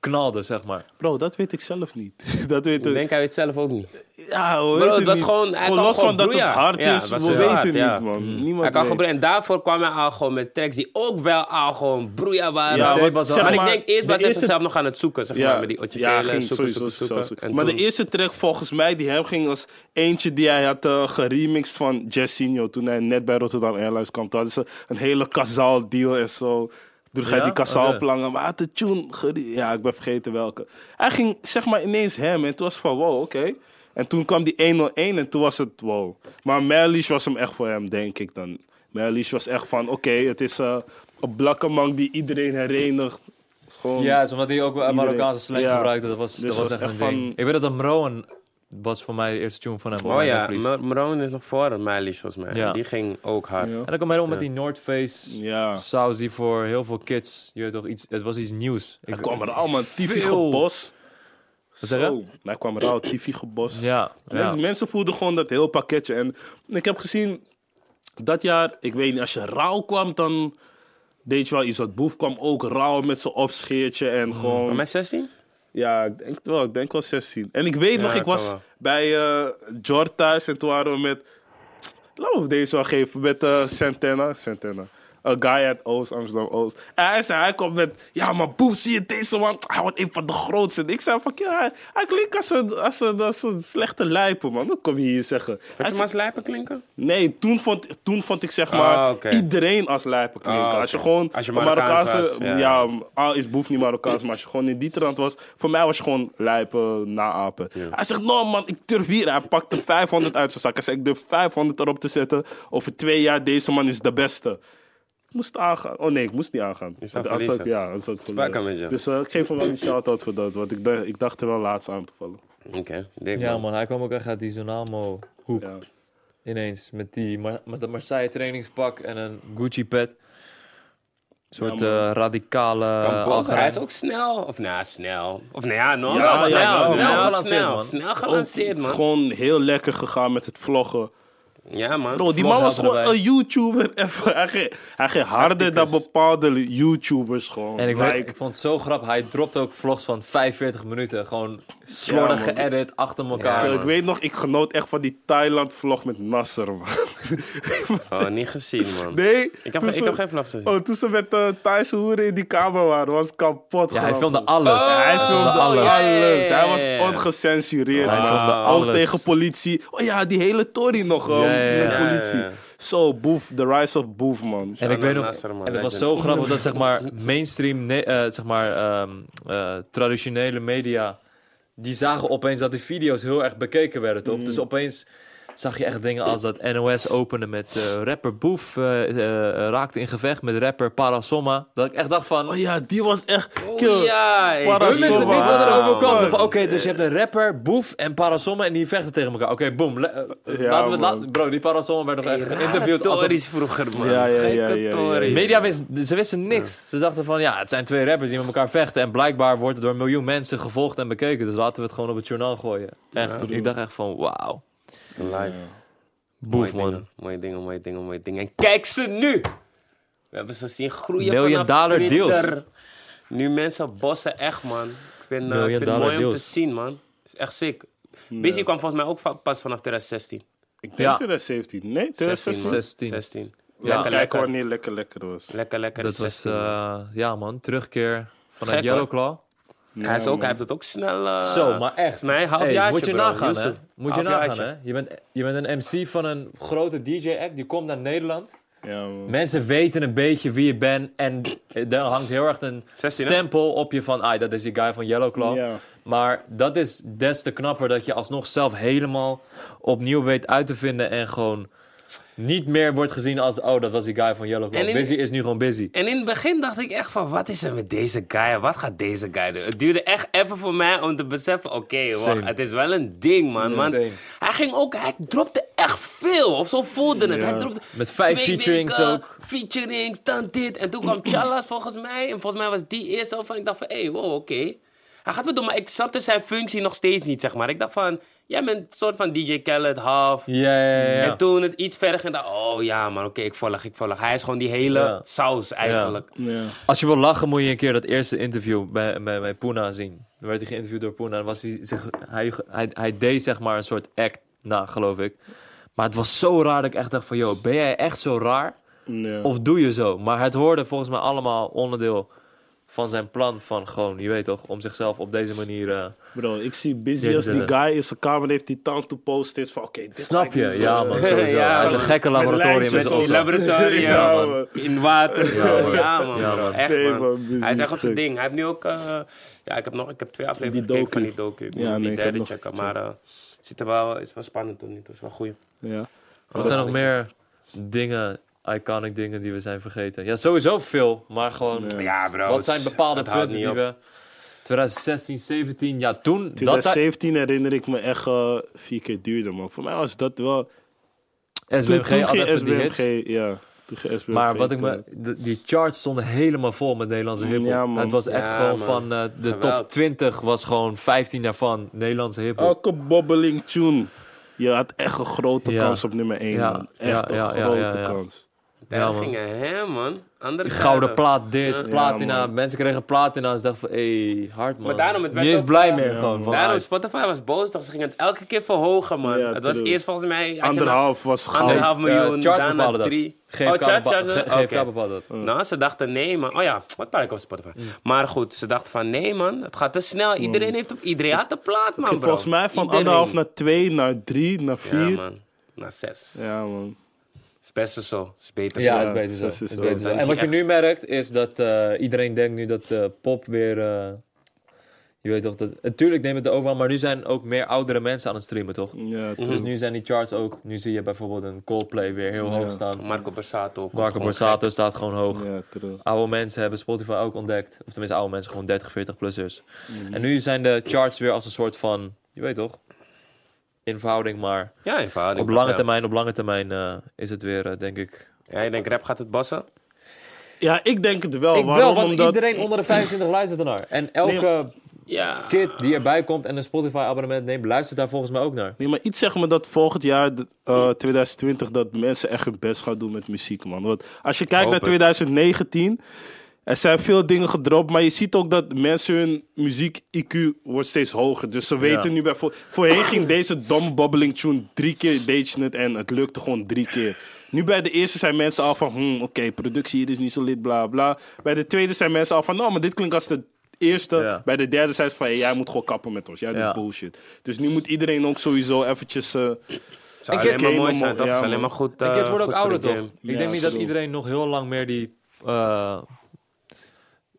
S2: knalde, zeg maar?
S3: Bro, dat weet ik zelf niet. dat weet
S1: Ik
S3: ik...
S1: denk hij weet zelf ook niet.
S3: Ja, we
S1: Bro,
S3: weten
S1: het was
S3: niet.
S1: gewoon- hij kan
S3: los
S1: gewoon
S3: van dat het
S1: broeien.
S3: hard
S1: Ja,
S3: is,
S1: het was
S3: we
S1: heel
S3: weten
S1: hard,
S3: niet,
S1: ja. Hmm.
S3: man. Niemand
S1: hij kan
S3: weet.
S1: gebruiken. En daarvoor kwam hij al gewoon met tracks die ook wel al gewoon broeia waren.
S3: Ja,
S2: Nee,
S3: want
S2: was wel-
S3: zeg
S1: maar,
S3: maar,
S1: ik denk eerst
S3: de
S1: was hij
S3: eerste-
S1: zichzelf nog aan het zoeken, zeg maar, met die Otje Telen,
S3: ging
S1: zoeken,
S3: sowieso,
S1: zoeken,
S3: sowieso,
S1: zoeken. En
S3: Maar
S1: toen-
S3: de eerste track volgens mij die hem ging was eentje die hij had eh, geremixed van Jessinho. Toen hij net bij Rotterdam Airlines kwam. Toen hadden ze een hele kazaal deal en zo. Toen ga je
S2: Ja?
S3: die
S1: Oh,
S3: kazaal
S2: Oké.
S3: plangen. Maar hij had de tune gere- Ja, ik ben vergeten welke. Hij ging zeg maar ineens hem en toen was het van wow, oké. En toen kwam die 101 en toen was het wow. Maar Merlish was hem echt voor hem, denk ik dan. Merlish was echt van oké, het is eh, een blakke man die iedereen herenigt. Het is gewoon-
S2: Ja, dus omdat hij ook wel
S3: Iedereen.
S2: Marokkaanse slang
S3: Ja.
S2: gebruikte, dat was,
S3: Dus
S2: dat was, echt een ding.
S3: van-
S2: Ik weet dat dat Mroen was voor mij de eerste tune van hem.
S1: Oh
S2: Mroen
S1: ja,
S2: Humphries.
S1: Mer- Meron is nog voor Meilish, volgens mij.
S2: Ja.
S1: Die ging ook hard.
S3: Ja.
S2: En dan kwam helemaal met die North Face
S3: Ja.
S2: saus die voor heel veel kids, je weet toch, iets, het was iets nieuws. Ik
S3: Hij kwam er allemaal tifi
S2: Veel.
S3: gebos.
S2: Wat zeg je?
S3: Zo. Hij kwam er al tifi gebos.
S2: Ja, ja.
S3: Mensen, mensen voelden gewoon dat heel pakketje. En ik heb gezien, dat jaar, ik weet niet, als je rauw kwam, dan deed je wel iets. Wat Boef kwam ook rauw met zijn opscheertje en
S2: Hmm.
S3: gewoon...
S1: Maar met 16?
S3: Ja, ik denk het wel. Ik denk wel 16. En ik weet nog, ik
S1: kan
S3: was
S1: wel.
S3: bij eh Jort thuis en toen waren we met... Laten we deze wel geven, met eh, Santana. Santana. Een guy uit Oost, Amsterdam-Oost. En hij zei, hij komt met... Ja, maar boef, zie je deze man? Hij wordt een van de grootste. En ik zei van, ja, hij, hij klinkt als een, als, een, als een slechte lijper, man. Dat kom je hier zeggen. Hij
S1: Vind je
S3: zei-
S1: maar slijpen klinken?
S3: Nee, toen vond, toen vond ik zeg maar
S1: Ah, oké.
S3: iedereen als lijpen klinken.
S1: Ah, oké.
S3: Als je gewoon
S1: Als je
S3: een
S1: Marokkaans was, ja.
S3: ja. al is Boef niet Marokkaans, maar als je gewoon in die trant was, voor mij was je gewoon lijpen, naapen. Hij zegt, no man, ik durf hier. Hij pakte 500 uit zijn zak. Hij zei, ik durf 500 erop te zetten. Over twee jaar, deze man is de beste. Ik moest aangaan. Oh nee, ik moest niet aangaan.
S1: zou
S3: Want anders had-
S1: verliezen.
S3: ja, anders had ik
S1: Spaken
S3: verloren.
S1: met je.
S3: Dus eh, ik geef hem wel een shout-out voor dat, want ik, dacht- ik dacht er wel laatst aan te vallen.
S1: Oké, dik,
S2: ja
S1: man.
S2: man, hij kwam ook echt uit die Zonamo hoek.
S3: Ja.
S2: Ineens met, die, Mar- met dat Marseille trainingspak en een Gucci pet. Een soort
S3: man.
S2: eh, radicale
S1: Kamboka,
S2: Algerijn.
S1: hij is ook snel. Of nou, snel. Of nou ja, nog
S3: Ja,
S1: wel
S3: ja,
S1: snel.
S3: ja,
S1: snel, snel,
S2: snel gelanceerd,
S1: snel,
S2: man.
S3: Oh,
S1: gelanceerd, man.
S3: Gewoon heel lekker gegaan met het vloggen.
S1: Ja, man.
S3: Bro, die
S2: Vlog
S3: man was
S2: helpt
S3: gewoon
S2: erbij.
S3: een YouTuber. even. Hij ging, hij ging harder dan bepaalde YouTubers gewoon.
S2: En ik, weet-
S3: Like,
S2: ik vond het zo grappig. Hij dropt ook vlogs van 45 minuten. Gewoon slordig
S3: Ja, man.
S2: geëdit achter elkaar.
S1: Ja,
S3: ik
S1: man.
S3: weet nog, ik genoot echt van die Thailand-vlog met Nasser, man.
S1: Oh, niet gezien, man.
S3: Nee,
S1: Ik heb,
S3: toen
S1: ik
S3: ze-
S1: heb geen vlag gezien.
S3: Oh, toen ze met eh Thaise hoeren in die kamer waren, was het kapot.
S2: Ja, hij
S3: grappig.
S2: filmde alles.
S1: Oh,
S3: Hij filmde
S1: ja,
S3: alles.
S1: ja, ja, ja, ja.
S3: Hij was ongecensureerd.
S2: Hij
S3: man.
S2: filmde
S3: Ook
S2: alles.
S3: tegen politie. Oh ja, die hele Tory nog. eh,
S2: Ja, ja, ja.
S3: met
S1: Ja, ja, ja.
S3: politie. Zo, Boef. The Rise of Boef, man.
S2: En ik
S1: Shout-out
S2: weet nog,
S1: Nasser, man.
S2: en het was
S1: Legend.
S2: zo grappig dat zeg maar mainstream, ne- eh, zeg maar ehm, eh, traditionele media, die zagen opeens dat die video's heel erg bekeken werden, toch?
S1: Mhm.
S2: Dus opeens zag je echt dingen als dat NOS opende met eh, rapper Boef eh, eh, raakte in gevecht met rapper Parasomma. Dat ik echt dacht van,
S3: Oh ja, die was echt...
S1: Oh,
S3: kill.
S1: ja, hey.
S3: Parasomma.
S2: hun wisten niet wat er
S1: Wauw,
S2: overkwam.
S1: man.
S2: Zo van, Oké, dus je hebt een rapper, Boef en Parasomma en die vechten tegen elkaar. Oké, boom. le- eh,
S3: Ja,
S2: laten we het
S3: man.
S2: la- bro, die Parasomma werd nog echt
S1: Rare
S2: geïnterviewd als
S1: Tories vroeger, man.
S3: Ja, ja, ja,
S1: Gekke
S3: ja, ja,
S1: Tories.
S2: Media wist, ze wisten niks. Ze dachten van ja, het zijn twee rappers die met elkaar vechten. En blijkbaar wordt het door een miljoen mensen gevolgd en bekeken. Dus laten we het gewoon op het journaal gooien. Echt, ik dacht echt van wauw.
S1: Live. mooie
S2: Boef man.
S1: Dingen, mooie dingen, mooie dingen, mooie dingen. En kijk ze nu! We hebben ze zien groeien
S2: Million
S1: vanaf
S2: dollar
S1: Twitter.
S2: deals.
S1: Nu mensen bossen echt, man. Ik vind, eh, ik
S2: Million
S1: vind het
S2: dollar
S1: mooi om te
S2: deals.
S1: zien, man. Is echt sick. Busy kwam volgens mij ook va- pas vanaf 2016.
S3: Ik denk
S2: Ja. eh,
S3: 2017. Nee,
S1: 16,
S3: 2016.
S1: man.
S2: 16.
S1: 16.
S2: Ja,
S1: Lekker,
S3: Kijk
S1: lekker.
S3: wanneer lekker lekker was.
S1: Lekker, lekker.
S2: Dat
S1: die
S2: was
S1: 16, man.
S2: eh, ja man, terugkeer vanuit
S1: Gek, hoor.
S2: Yellowclaw.
S1: hij, is ook,
S3: man.
S1: hij heeft het ook snel... eh,
S2: Zo, maar echt.
S1: volgens mij een halfjaartje,
S2: Hey, moet je
S1: bro.
S2: nagaan hè.
S1: Yusuf,
S2: Moet je
S1: halfjaartje.
S2: nagaan hè. Je bent, je bent een MC van een grote DJ-act. Die komt naar Nederland.
S3: Ja, man.
S2: Mensen weten een beetje wie je bent. En daar hangt heel erg een
S1: 16, hè?
S2: stempel op je van... Ah, dat is die guy van Yellowclaw.
S3: Ja.
S2: Maar dat is des te knapper dat je alsnog zelf helemaal opnieuw weet uit te vinden. En gewoon niet meer wordt gezien als... Oh, dat was die guy van Yellowclaw.
S1: En in-
S2: Busy is nu gewoon busy.
S1: En in het begin dacht ik echt van, wat is er met deze guy? Wat gaat deze guy doen? Het duurde echt even voor mij om te beseffen, oké,
S2: Same.
S1: wacht, het is wel een ding, man. Want
S2: Same.
S1: hij ging ook, hij dropte echt veel, of zo voelde het. Hij dropte
S2: Met vijf
S1: twee
S2: featurings
S1: weken,
S2: ook.
S1: featurings, dan dit. En toen kwam Chalas volgens mij, en volgens mij was die eerst al van, ik dacht van, hé, hey, wow, oké. Hij gaat het doen, maar ik snapte zijn functie nog steeds niet, zeg maar. Ik dacht van, jij bent een soort van DJ Khaled, half.
S2: Ja, ja, ja, ja.
S1: En toen het iets verder ging, dacht oh ja man, oké, ik volg, ik volg. Hij is gewoon die hele
S2: Ja.
S1: saus eigenlijk.
S3: Ja.
S2: Als je wil lachen moet je een keer dat eerste interview bij, bij, bij Poena zien. Dan werd hij geïnterviewd door Poena. En was hij, zich, hij, hij, hij deed zeg maar een soort act na, geloof ik. Maar het was zo raar dat ik echt dacht van... Yo, ben jij echt zo raar?
S3: Ja.
S2: Of doe je zo? Maar het hoorde volgens mij allemaal onderdeel van zijn plan van gewoon, je weet toch, om zichzelf op deze manier... eh,
S3: Bro, ik zie busy
S2: Dit
S3: als die
S2: is het.
S3: guy in zijn kamer heeft die tand to post is van oké, dit
S2: snap
S3: ga ik
S2: je?
S3: niet
S2: Ja
S3: doen.
S2: man, sowieso.
S1: Ja,
S2: Hij had
S1: man.
S2: een gekke laboratorium in
S3: lijntjes
S2: zijn
S3: op.
S1: In
S2: opdracht.
S1: laboratorium,
S2: Ja, man.
S1: man. in water.
S2: Ja,
S1: Ja,
S2: man.
S1: man.
S2: Ja,
S1: bro.
S2: man.
S1: Echt,
S3: Nee,
S1: man.
S3: man, dit
S1: Hij
S3: is
S1: is echt op zijn
S3: gek.
S1: ding. Hij heeft nu ook... eh, ja, ik heb, nog, ik heb twee afleveringen
S3: Die
S1: gekeken van die
S3: docu.
S1: docu. Ik
S3: Ja,
S1: moet die
S3: nee, ik heb
S1: derde
S3: nog
S1: checken,
S3: gekeken.
S1: maar... eh, zit er wel, is wel spannend tot nu toe. Is wel goed.
S3: Ja.
S2: Wat zijn nog meer dingen, iconic dingen die we zijn vergeten? Ja, sowieso veel, maar gewoon...
S1: Ja, bro.
S2: Wat
S1: het-
S2: zijn bepaalde
S1: het houdt
S2: punten die
S1: niet op.
S2: we... 2016, 17, ja toen... Dat daar-
S3: 2017 herinner ik me echt eh, vier keer duurder, man. Voor mij was dat wel... Toen,
S2: SBMG
S3: toen
S2: had
S3: ging
S2: even die hits.
S3: SBMG, ja. Toen ging SBMG.
S2: Maar wat ik me,
S3: komen.
S2: de- die charts stonden helemaal vol met Nederlandse hiphop.
S3: Ja, man.
S2: het was echt
S1: Ja,
S2: gewoon
S1: man.
S2: van eh, de top
S1: Geweld.
S2: 20 was gewoon 15 daarvan Nederlandse hiphop.
S3: Elke bobbeling tune. Je had echt een grote
S2: Ja.
S3: kans op nummer 1,
S2: Ja.
S3: man. Echt
S2: Ja, ja,
S3: een
S2: ja,
S3: grote
S2: ja, ja.
S3: kans.
S1: Daar
S2: Ja, man.
S1: gingen hem, man. Andere
S2: Gouden
S1: plaat.
S2: plaat dit, platina.
S3: man.
S2: Mensen kregen platina en ze dachten van, hey, hard man.
S1: Maar daarom, het werd
S2: Niet eens
S1: ook,
S2: blij
S1: eh,
S2: meer
S1: ja,
S2: gewoon. Van,
S1: Daarom,
S2: ah,
S1: Spotify was boos, toch? Ze gingen het elke keer verhogen, man.
S3: Ja,
S1: het was
S3: true.
S1: eerst volgens mij... had je nou-
S3: Anderhalf was goud.
S1: Anderhalf
S2: eh,
S1: miljoen,
S2: charts
S1: daarna
S2: bepaalde dat.
S1: drie.
S2: GFK,
S1: Oh, charts,
S2: bepa-
S1: charts,
S2: G-
S1: oké.
S2: GFK bepaalde dat.
S3: Mm.
S1: Nou, ze dachten nee, man. Oh ja, wat ben ik op Spotify. Maar goed, ze dachten van nee, man. Het gaat te snel. Iedereen, heeft op, iedereen had de plaat, man, bro.
S3: Mm. Volgens mij van
S1: Iedereen.
S3: anderhalf naar twee, naar drie, naar
S1: Ja,
S3: vier.
S1: man. Naar zes.
S3: Ja, man.
S1: Is best zo. Is beter
S2: Ja,
S1: zo.
S2: is beter zo.
S3: dat is dus
S2: is
S3: zo.
S2: beter zo.
S1: Dan is
S2: En wat
S1: hij
S2: je nu merkt is dat eh, iedereen denkt nu dat eh, pop weer... eh, je weet toch, dat, natuurlijk neemt het de overhand, maar nu zijn ook meer oudere mensen aan het streamen, toch?
S3: Ja,
S1: Mhm.
S2: Dus nu zijn die charts ook... Nu zie je bijvoorbeeld een Coldplay weer heel hoog staan.
S1: Marco Borsato. komt
S2: Marco
S1: gewoon
S2: Borsato staat gewoon hoog.
S3: Ja, true.
S2: Oude mensen hebben Spotify ook ontdekt. Of tenminste, oude mensen,
S3: Mhm.
S2: gewoon 30, 40-plussers. En nu zijn de charts weer als een soort van... Je weet toch? in verhouding, maar
S1: Ja, in verhouding.
S2: op
S1: toch
S2: lange
S1: wel.
S2: termijn, op lange termijn eh, is het weer, eh, denk ik.
S1: Ja, je denkt rap gaat het bassen?
S3: Ja, ik denk het wel.
S2: ik
S3: Waarom?
S2: wel, want
S3: Omdat...
S2: iedereen onder de 25 luistert ernaar. En elke
S1: Ja.
S2: kid die erbij komt en een Spotify-abonnement neemt, luistert daar volgens mij ook naar.
S3: Nee, maar iets zegt me dat volgend jaar, d- eh, 2020, dat mensen echt hun best gaan doen met muziek, man. Want als je kijkt
S1: Hoop
S3: naar
S1: het.
S3: 2019, er zijn veel dingen gedropt, maar je ziet ook dat mensen hun muziek-IQ wordt steeds hoger. Dus ze weten nu bijvoorbeeld... Voorheen ging deze domme bobbeling tune drie keer deed je het en het lukte gewoon drie keer. Nu bij de eerste zijn mensen al van, hmm, oké, productie hier is niet zo lid, bla bla. Bij de tweede zijn mensen al van, nou, maar dit klinkt als de eerste.
S2: Ja.
S3: Bij de derde zijn ze van, hey, jij moet gewoon kappen met ons, jij
S2: Ja.
S3: doet bullshit. Dus nu moet iedereen ook sowieso eventjes... eh,
S1: Zou
S2: Ik
S1: alleen
S2: heb-
S1: maar mooi zijn,
S3: helemaal-
S1: toch?
S3: ja,
S1: Is alleen
S3: man.
S1: maar goed.
S2: De
S1: eh,
S2: kids worden ook
S1: goed voor
S2: ouder,
S1: de
S2: toch?
S1: game.
S2: Ik
S3: Ja,
S2: denk niet dat
S3: bedoel.
S2: iedereen nog heel lang meer die... eh,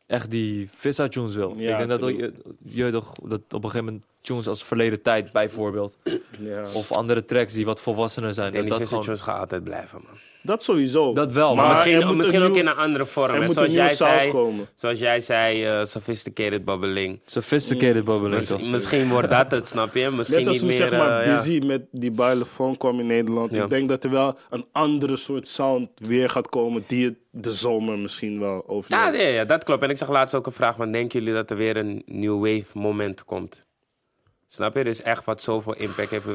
S2: echt die Vissa-tunes wil.
S3: Ja,
S2: ik denk dat
S3: bedoel.
S2: je, je toch dat op een gegeven moment tunes als Verleden Tijd bijvoorbeeld...
S3: Ja.
S2: of andere tracks die wat volwassener zijn.
S1: Ik denk
S2: dat
S1: die
S2: dat gewoon-
S1: visitjes gaan altijd blijven, man.
S3: Dat sowieso.
S2: Dat wel, maar
S1: Maar
S3: er
S1: misschien
S3: moet
S1: misschien
S3: een
S1: ook
S3: nieuw-
S1: in een andere vorm.
S3: Er
S1: hè.
S3: moet
S1: Zoals
S3: een nieuwe
S1: jij,
S3: saus
S1: zei,
S3: komen.
S1: zoals jij zei, eh, sophisticated bubbling.
S2: Sophisticated bubbeling,
S1: Miss-
S2: toch?
S1: misschien wordt dat het, snap je? Misschien
S3: Net als
S1: niet
S3: toen
S1: meer.
S3: zeg maar
S1: eh, ja.
S3: Busy met die Bilefoon kwam in Nederland.
S1: Ja.
S3: Ik denk dat er wel een andere soort sound weer gaat komen die het de zomer misschien wel
S1: Ja,
S3: overleeft.
S1: nee, ja, dat klopt. En ik zag laatst ook een vraag: van, denken jullie dat er weer een new wave moment komt? Snap je? Dus echt wat zoveel impact heeft.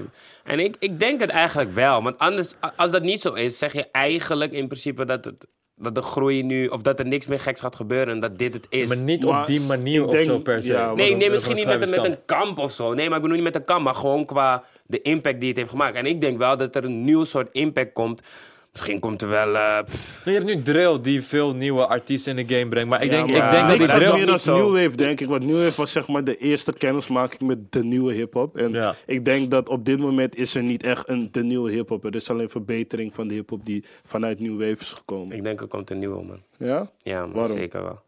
S1: En ik, ik denk het eigenlijk wel. Want anders, a- als dat niet zo is, zeg je eigenlijk in principe dat, het, dat de groei nu. of dat er niks meer geks gaat gebeuren en dat dit het is.
S2: Maar niet
S3: Maar
S2: op die manier
S3: ik
S2: of
S3: denk-
S2: zo per se.
S3: ja, maar
S1: Nee,
S2: Van
S1: nee,
S2: de
S1: misschien niet met, een- met
S2: schrijverskamp.
S1: een kamp of zo. Nee, maar ik bedoel niet met een kamp, maar gewoon qua de impact die het heeft gemaakt. En ik denk wel dat er een nieuw soort impact komt. Misschien komt er wel. eh, pff,
S2: Je hebt nu drill die veel nieuwe artiesten in de game brengt. Maar ik denk,
S1: maar-
S2: ik denk
S1: Ja,
S2: dat die
S1: maar
S3: is
S1: dat
S2: drill...
S1: is
S3: meer
S1: niet
S3: als
S1: zo.
S3: New Wave, denk ik. Want New Wave was zeg maar de eerste kennismaking met de nieuwe hip-hop. En
S2: Ja.
S3: ik denk dat op dit moment is er niet echt een de nieuwe hip-hop. Er is alleen verbetering van de hip-hop die vanuit New Wave is gekomen.
S1: ik denk er komt een nieuwe, man.
S3: Ja?
S1: Ja, maar
S3: Waarom?
S1: zeker wel.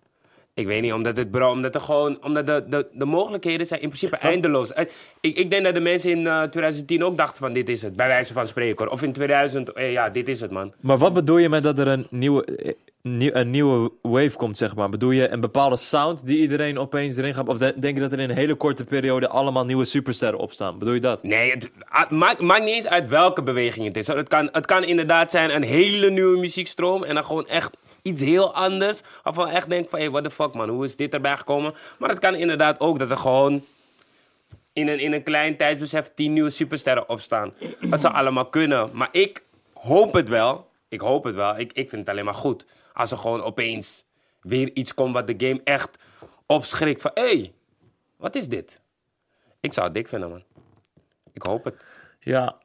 S1: Ik weet niet, omdat het bro, omdat er gewoon, omdat de, de, de mogelijkheden zijn in principe eindeloos. Eh, Ik, ik denk dat de mensen in eh, 2010 ook dachten van dit is het, bij wijze van spreken. hoor. Of in 2000, eh, ja, dit is het man.
S2: Maar wat bedoel je met dat er een nieuwe, eh, nieuw- een nieuwe wave komt, zeg maar? Bedoel je een bepaalde sound die iedereen opeens erin gaat? Of de- denk je dat er in een hele korte periode allemaal nieuwe supersterren opstaan? Bedoel je dat?
S1: Nee, het ah, maakt, maakt niet eens uit welke beweging het is. hoor. Het kan, het kan inderdaad zijn een hele nieuwe muziekstroom en dan gewoon echt iets heel anders. Waarvan je echt denkt van, hé, what the fuck man, hoe is dit erbij gekomen? Maar het kan inderdaad ook dat er gewoon in een, in een klein tijdsbesef tien nieuwe supersterren opstaan. Dat zou allemaal kunnen. Maar ik hoop het wel. Ik hoop het wel. Ik, ik vind het alleen maar goed. Als er gewoon opeens weer iets komt wat de game echt opschrikt. Van, hé, hey, wat is dit? Ik zou het dik vinden, man. Ik hoop het.
S2: Ja,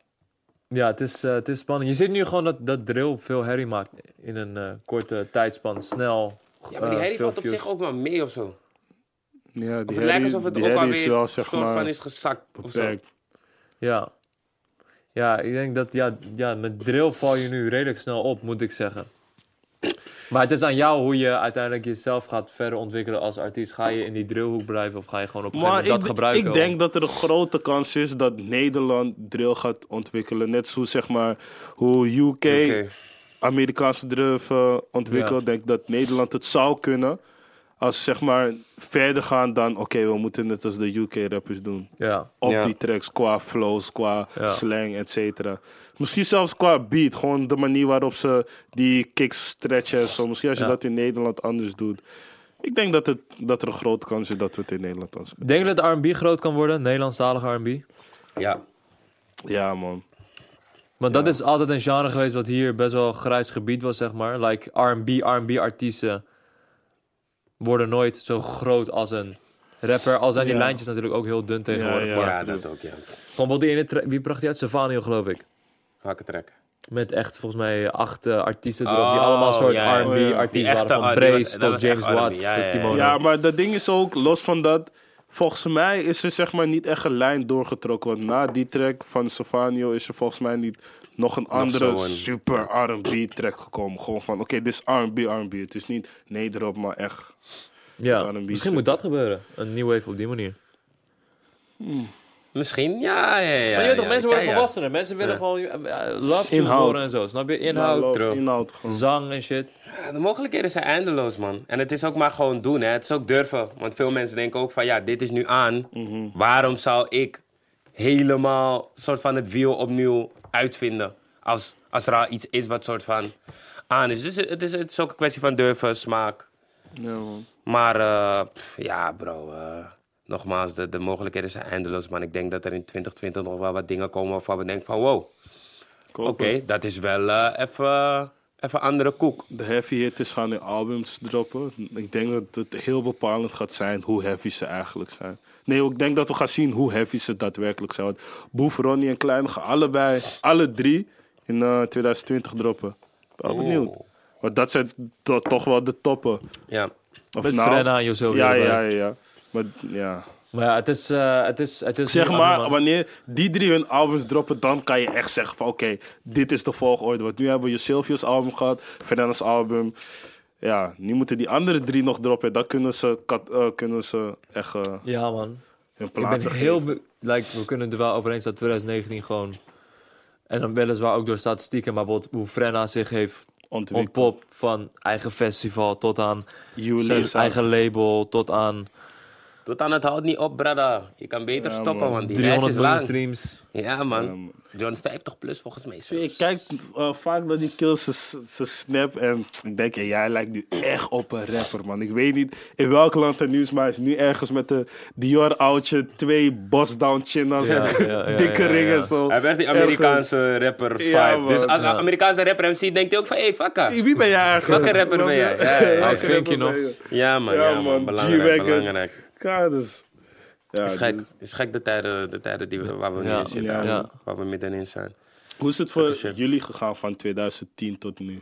S2: ja het, is, eh, het is spannend. Je ziet nu gewoon dat, dat drill veel herrie maakt in een eh, korte tijdspan. Snel.
S1: Ja, maar die
S2: eh,
S1: herrie
S2: veel
S1: valt op
S2: views.
S1: zich ook wel mee of zo. Of
S3: Ja, die
S1: het lijkt
S3: herrie-
S1: alsof het
S3: die
S1: ook
S3: herrie is
S1: alweer
S3: wel,
S1: een
S3: zeg
S1: soort
S3: maar,
S1: van is gezakt of zo.
S3: beperkt.
S2: Ja. Ja, ik denk dat ja, ja, met drill val je nu redelijk snel op, moet ik zeggen. Maar het is aan jou hoe je uiteindelijk jezelf gaat verder ontwikkelen als artiest. Ga je in die drillhoek blijven of ga je gewoon op een gegeven
S3: Maar
S2: moment
S3: ik,
S2: dat gebruiken?
S3: ik
S2: om-
S3: denk dat er een grote kans is dat Nederland drill gaat ontwikkelen. Net zo zeg maar hoe UK
S1: Oké.
S3: Amerikaanse drill eh, ontwikkelt.
S2: Ja.
S3: Denk dat Nederland het zou kunnen. Als ze zeg maar verder gaan dan, oké, we moeten het als de UK rappers doen.
S2: Ja,
S3: Op
S1: Ja.
S3: die tracks, qua flows, qua
S2: Ja.
S3: slang, et cetera. Misschien zelfs qua beat. Gewoon de manier waarop ze die kicks stretchen en zo. Misschien als je
S2: Ja.
S3: dat in Nederland anders doet. Ik denk dat, het, dat er een grote kans is dat we het in Nederland anders kunnen.
S2: denk je dat R&B groot kan worden? Nederlandstalige R&B?
S1: Ja.
S3: Ja, man.
S2: Want dat is altijd een genre geweest wat hier best wel grijs gebied was, zeg maar. Like, R&B, R&B-artiesten worden nooit zo groot als een rapper. Al zijn die
S3: Ja.
S2: lijntjes natuurlijk ook heel dun tegenwoordig.
S3: Ja,
S1: Ja,
S2: Maar
S1: dat ook, ja.
S2: gewoon wel die ene tra- Wie bracht die uit? Savanio, geloof ik.
S1: Hakken trekken.
S2: Met echt volgens mij acht eh, artiesten erop. die
S1: Oh,
S2: allemaal soort
S1: ja, ja.
S3: Oh, ja.
S1: Die
S2: R&B-artiesten
S1: echte
S2: waren. Van
S1: R&B was-
S2: Brace
S1: dat
S2: tot
S1: was
S2: James
S1: echt R&B,
S2: Watts
S1: ja,
S2: tot
S1: ja,
S2: Kimono.
S3: Ja, maar dat ding is ook, los van dat, volgens mij is er zeg maar niet echt een lijn doorgetrokken. Want na die track van Savanio is er volgens mij niet nog een andere
S1: zo'n-
S3: super R&B track gekomen. Gewoon van, oké, dit is R&B, R&B. Het is niet nederop, maar echt.
S2: Ja,
S3: R&B
S2: Misschien moet dat gebeuren. Een new wave op die manier.
S1: Misschien, ja, ja, ja.
S2: maar je weet toch,
S1: ja,
S2: mensen
S1: ja,
S2: worden
S1: ja.
S2: volwassener. Mensen willen gewoon eh, love tunes
S3: Inhoud.
S2: horen en zo. Snap je? Inhoud,
S3: Inhoud,
S2: terug.
S3: inhoud gewoon.
S2: zang en shit.
S3: Nou.
S1: Ja, De mogelijkheden zijn eindeloos, man. En het is ook maar gewoon doen, hè. Het is ook durven. Want veel mensen denken ook van, ja, dit is nu aan. Waarom zou ik helemaal soort van het wiel opnieuw uitvinden. Als, als er al iets is wat soort van aan is. Dus het is, het is ook een kwestie van durven, smaak.
S3: Ja, man.
S1: Maar eh, pff, ja, bro. eh, nogmaals, de, de mogelijkheden zijn eindeloos. Maar ik denk dat er in 2020 nog wel wat dingen komen waarvan we denken van... wow,
S3: Koop
S1: oké,
S3: het.
S1: dat is wel eh, even even andere koek.
S3: De heavy hitters gaan hun albums droppen. Ik denk dat het heel bepalend gaat zijn hoe heavy ze eigenlijk zijn. Nee, ik denk dat we gaan zien hoe heavy ze daadwerkelijk zijn. Want Boef, Ronnie en Klein gaan allebei, alle drie, in eh, 2020 droppen. Ik ben wel benieuwd. Want dat zijn to- toch wel de toppen.
S1: Ja.
S3: Of nou-
S2: Met Frenna en José
S3: Ja,
S2: erbij.
S3: ja, ja, ja. Maar ja.
S2: Maar ja, het is... eh, het is, het is
S3: Zeg
S2: nu
S3: maar,
S2: allemaal-
S3: wanneer die drie hun albums droppen, dan kan je echt zeggen van oké, dit is de volgorde. Want nu hebben we je Sylvius album gehad, Fernandes album. Ja, nu moeten die andere drie nog droppen. Dan kunnen ze, kat- eh, kunnen ze echt eh,
S2: Ja, man.
S3: hun
S2: Ik ben
S3: plaatsen
S2: heel...
S3: geven.
S2: be- Like, we kunnen er wel over eens dat 2019 gewoon... En dan weliswaar ook door statistieken, maar bijvoorbeeld hoe Frenna zich heeft
S3: Ontwikkeld.
S2: ontpopt van eigen festival tot aan zijn
S3: Jullie
S2: eigen label, tot aan
S1: Tot aan het houdt niet op, brada. Je kan beter
S3: Ja,
S1: stoppen,
S3: man.
S1: want die reis
S2: 300
S1: is lang.
S2: miljoen streams.
S1: Ja,
S3: Ja,
S1: man.
S3: man.
S1: 350 plus volgens mij. zelfs.
S3: Ik kijk eh, vaak naar die kills, ze- ze snap en ik denk, ja, jij lijkt nu echt op een rapper, man. Ik weet niet in welk land het nieuws, maar hij is nu ergens met de Dior oudje, twee boss down chinnas,
S2: Ja, ja, ja,
S3: dikke
S2: ja, ja.
S3: ringen zo.
S1: Hij werd die
S3: Ergens.
S1: Amerikaanse rapper vibe.
S3: Ja, man.
S1: dus als
S2: Ja.
S1: een Amerikaanse rapper hem ziet, denkt hij ook van... Hé, hey,
S3: Hey, Wie ben jij eigenlijk?
S1: Welke rapper ben jij? Ja, ja, ja.
S3: Welke
S2: Fink je
S3: rapper
S2: nog?
S3: ben je?
S1: Ja, man. Ja, man. Belangrijk,
S3: G-Wagon.
S1: belangrijk.
S3: Kaders. Ja,
S1: Het is gek.
S3: dus-
S1: Het is gek de tijden, de tijden die we, waar we nu
S2: Ja,
S1: in zitten.
S3: ja.
S1: eigenlijk. Waar we middenin zijn.
S3: Hoe is het voor
S1: shit.
S3: jullie gegaan van 2010 tot nu?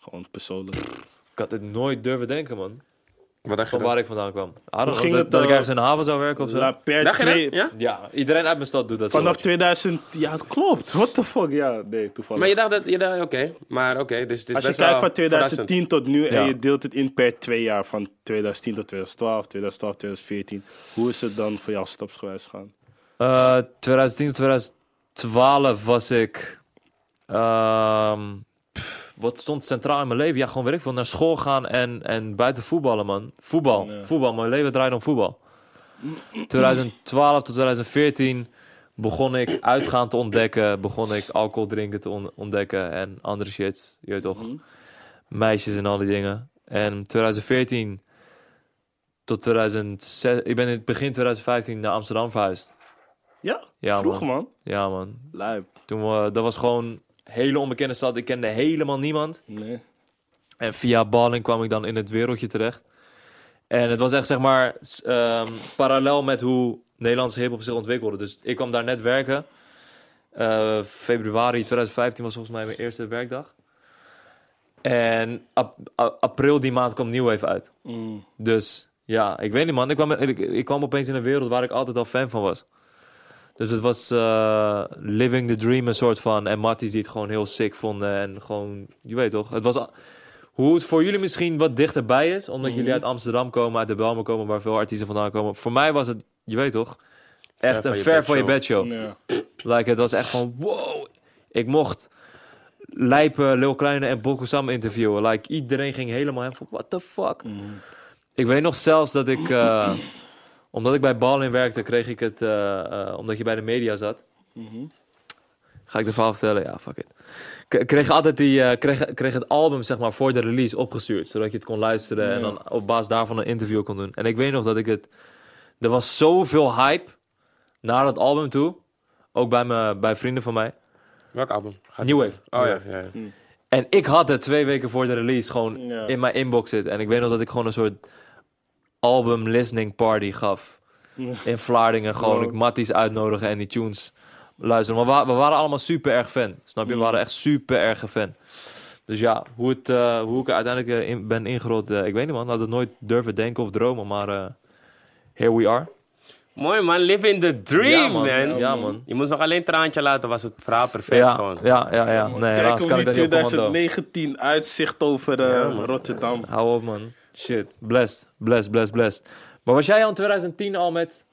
S3: Gewoon persoonlijk.
S2: Ik had dit nooit durven denken, man.
S1: Wat dacht je
S2: Van
S1: dan?
S2: waar ik vandaan kwam. I don't know,
S3: ging
S2: dat,
S3: het,
S2: dat ik
S3: eh,
S2: ergens in de haven zou werken of zo.
S3: La per
S1: Dacht je dat?
S3: twee,
S1: Ja?
S2: Ja, iedereen uit mijn stad doet dat.
S3: Vanaf
S2: zo.
S3: 2000... Ja, het klopt. What the fuck? Ja, nee, toevallig.
S1: Maar je dacht dat... je dacht, Oké, maar oké. dus het is
S3: Als je
S1: best
S3: kijkt
S1: wel
S3: van 2010 tot nu en
S2: Ja.
S3: je deelt het in per twee jaar. Van 2010 tot 2012, 2012, 2014. Hoe is het dan voor jou stapsgewijs gaan?
S2: Eh, 2010 tot 2012 was ik. ehm, pff, wat stond centraal in mijn leven? Ja, gewoon weet ik veel. Naar school gaan en, en buiten voetballen, man. Voetbal.
S3: Ja.
S2: Voetbal. Mijn leven draaide om voetbal. 2012 tot 2014 begon ik uitgaan te ontdekken. Begon ik alcohol drinken te on- ontdekken. En andere shit. Je weet toch. Meisjes en al die dingen. En 2014 tot 2006. Ik ben in het begin 2015 naar Amsterdam verhuisd.
S3: Ja,
S2: Ja,
S3: vroeg
S2: man.
S3: man.
S2: Ja, man.
S3: Lijp.
S2: Toen we, dat was gewoon een hele onbekende stad. Ik kende helemaal niemand.
S3: Nee.
S2: En via Balling kwam ik dan in het wereldje terecht. En het was echt, zeg maar, s- ehm, parallel met hoe Nederlandse hiphop zich ontwikkelde. Dus ik kwam daar net werken. Eh, februari 2015 was volgens mij mijn eerste werkdag. En ap- a- april die maand kwam Nieuw even uit.
S3: Mm.
S2: Dus ja, ik weet niet man. Ik kwam, ik, ik kwam opeens in een wereld waar ik altijd al fan van was. Dus het was eh, living the dream een soort van. En Matties die het gewoon heel sick vonden. En gewoon, je weet toch. Het was a- hoe het voor jullie misschien wat dichterbij is. Omdat
S1: Mhm.
S2: jullie uit Amsterdam komen, uit de Belmen komen. Waar veel artiesten vandaan komen. Voor mij was het, je weet toch. Echt
S1: van
S2: een
S1: je
S2: ver
S1: bed
S2: van je
S1: show.
S2: bed show.
S3: Ja.
S2: Like, het was echt van, wow. Ik mocht Lijpen, Lil Kleine en Boko Sam interviewen. Like, iedereen ging helemaal hem van, what the fuck.
S3: Mm-hmm.
S2: Ik weet nog zelfs dat ik, eh, omdat ik bij Ballin werkte, kreeg ik het, eh, eh, omdat je bij de media zat. Ga ik de verhaal vertellen? Ja, fuck it. Ik kreeg altijd die, eh, kreeg, kreeg het album, zeg maar, voor de release opgestuurd. Zodat je het kon luisteren en dan op basis daarvan een interview kon doen. En ik weet nog dat ik het, er was zoveel hype naar dat album toe. Ook bij, me, bij vrienden van mij.
S1: Welk album? Gaat-
S2: New Wave.
S1: Oh ja, ja. ja.
S2: En ik had het twee weken voor de release gewoon
S3: Ja.
S2: in mijn inbox zitten. En ik weet nog dat ik gewoon een soort album listening party gaf. In Vlaardingen gewoon.
S3: Wow.
S2: Ik matties uitnodigen en die tunes luisteren. Maar we, we waren allemaal super erg fan. Snap
S3: Mm.
S2: je? We waren echt super erg fan. Dus ja, hoe, het, eh, hoe ik er uiteindelijk eh, in, ben ingerold, eh, ik weet niet man. Had het nooit durven denken of dromen, maar eh, here we are.
S1: Mooi man, living the dream,
S2: ja,
S1: man.
S2: Ja man.
S1: Je moest nog alleen traantje laten, was het verhaal perfect
S2: Ja,
S1: gewoon.
S2: ja, ja, ja. Nee,
S3: Kijk
S2: helaas
S3: hoe
S2: kan
S3: die
S2: ik dat niet op commando.
S3: 2019 uitzicht over eh, Rotterdam.
S2: Hou op, man. Shit. Blessed, blessed, blessed, blessed. Maar was jij al in 2010 al met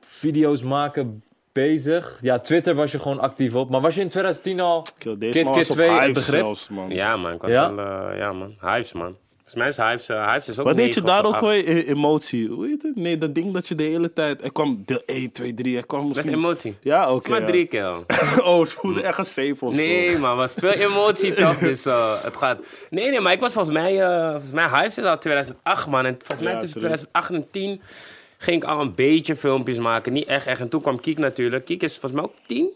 S2: video's maken bezig? Ja, Twitter was je gewoon actief op. Maar was je in 2010 al...
S3: Kill, deze
S2: Kid
S3: man
S2: Kid
S3: was op
S2: twee, het
S3: hype
S2: begrip.
S3: zelfs, man.
S1: Ja man, ik was
S2: Ja?
S1: wel... eh, ja man, hypes man. Volgens mij is Hives, eh, Hives is ook
S3: Wat deed je
S1: negen of
S3: daar
S1: zo,
S3: ook
S1: acht.
S3: weer? E- Emotie. Hoe heet het? Nee, dat ding dat je de hele tijd... Er kwam deel 1, 2, 3. Er kwam
S1: Dat is
S3: misschien...
S1: emotie.
S3: Ja, oké.
S1: Dat is maar
S3: ja.
S1: drie keer. al.
S3: oh, het voelde echt een safe of zo.
S1: Nee, man, maar speel emotie toch? Dus eh, het gaat. Nee, nee, maar ik was volgens mij. eh volgens mij Hives is al 2008, man. En volgens mij
S3: Ja,
S1: tussen
S3: tuurlijk.
S1: 2008 en 10 ging ik al een beetje filmpjes maken. Niet echt, echt. En toen kwam Kiek natuurlijk. Kiek is volgens mij ook 10?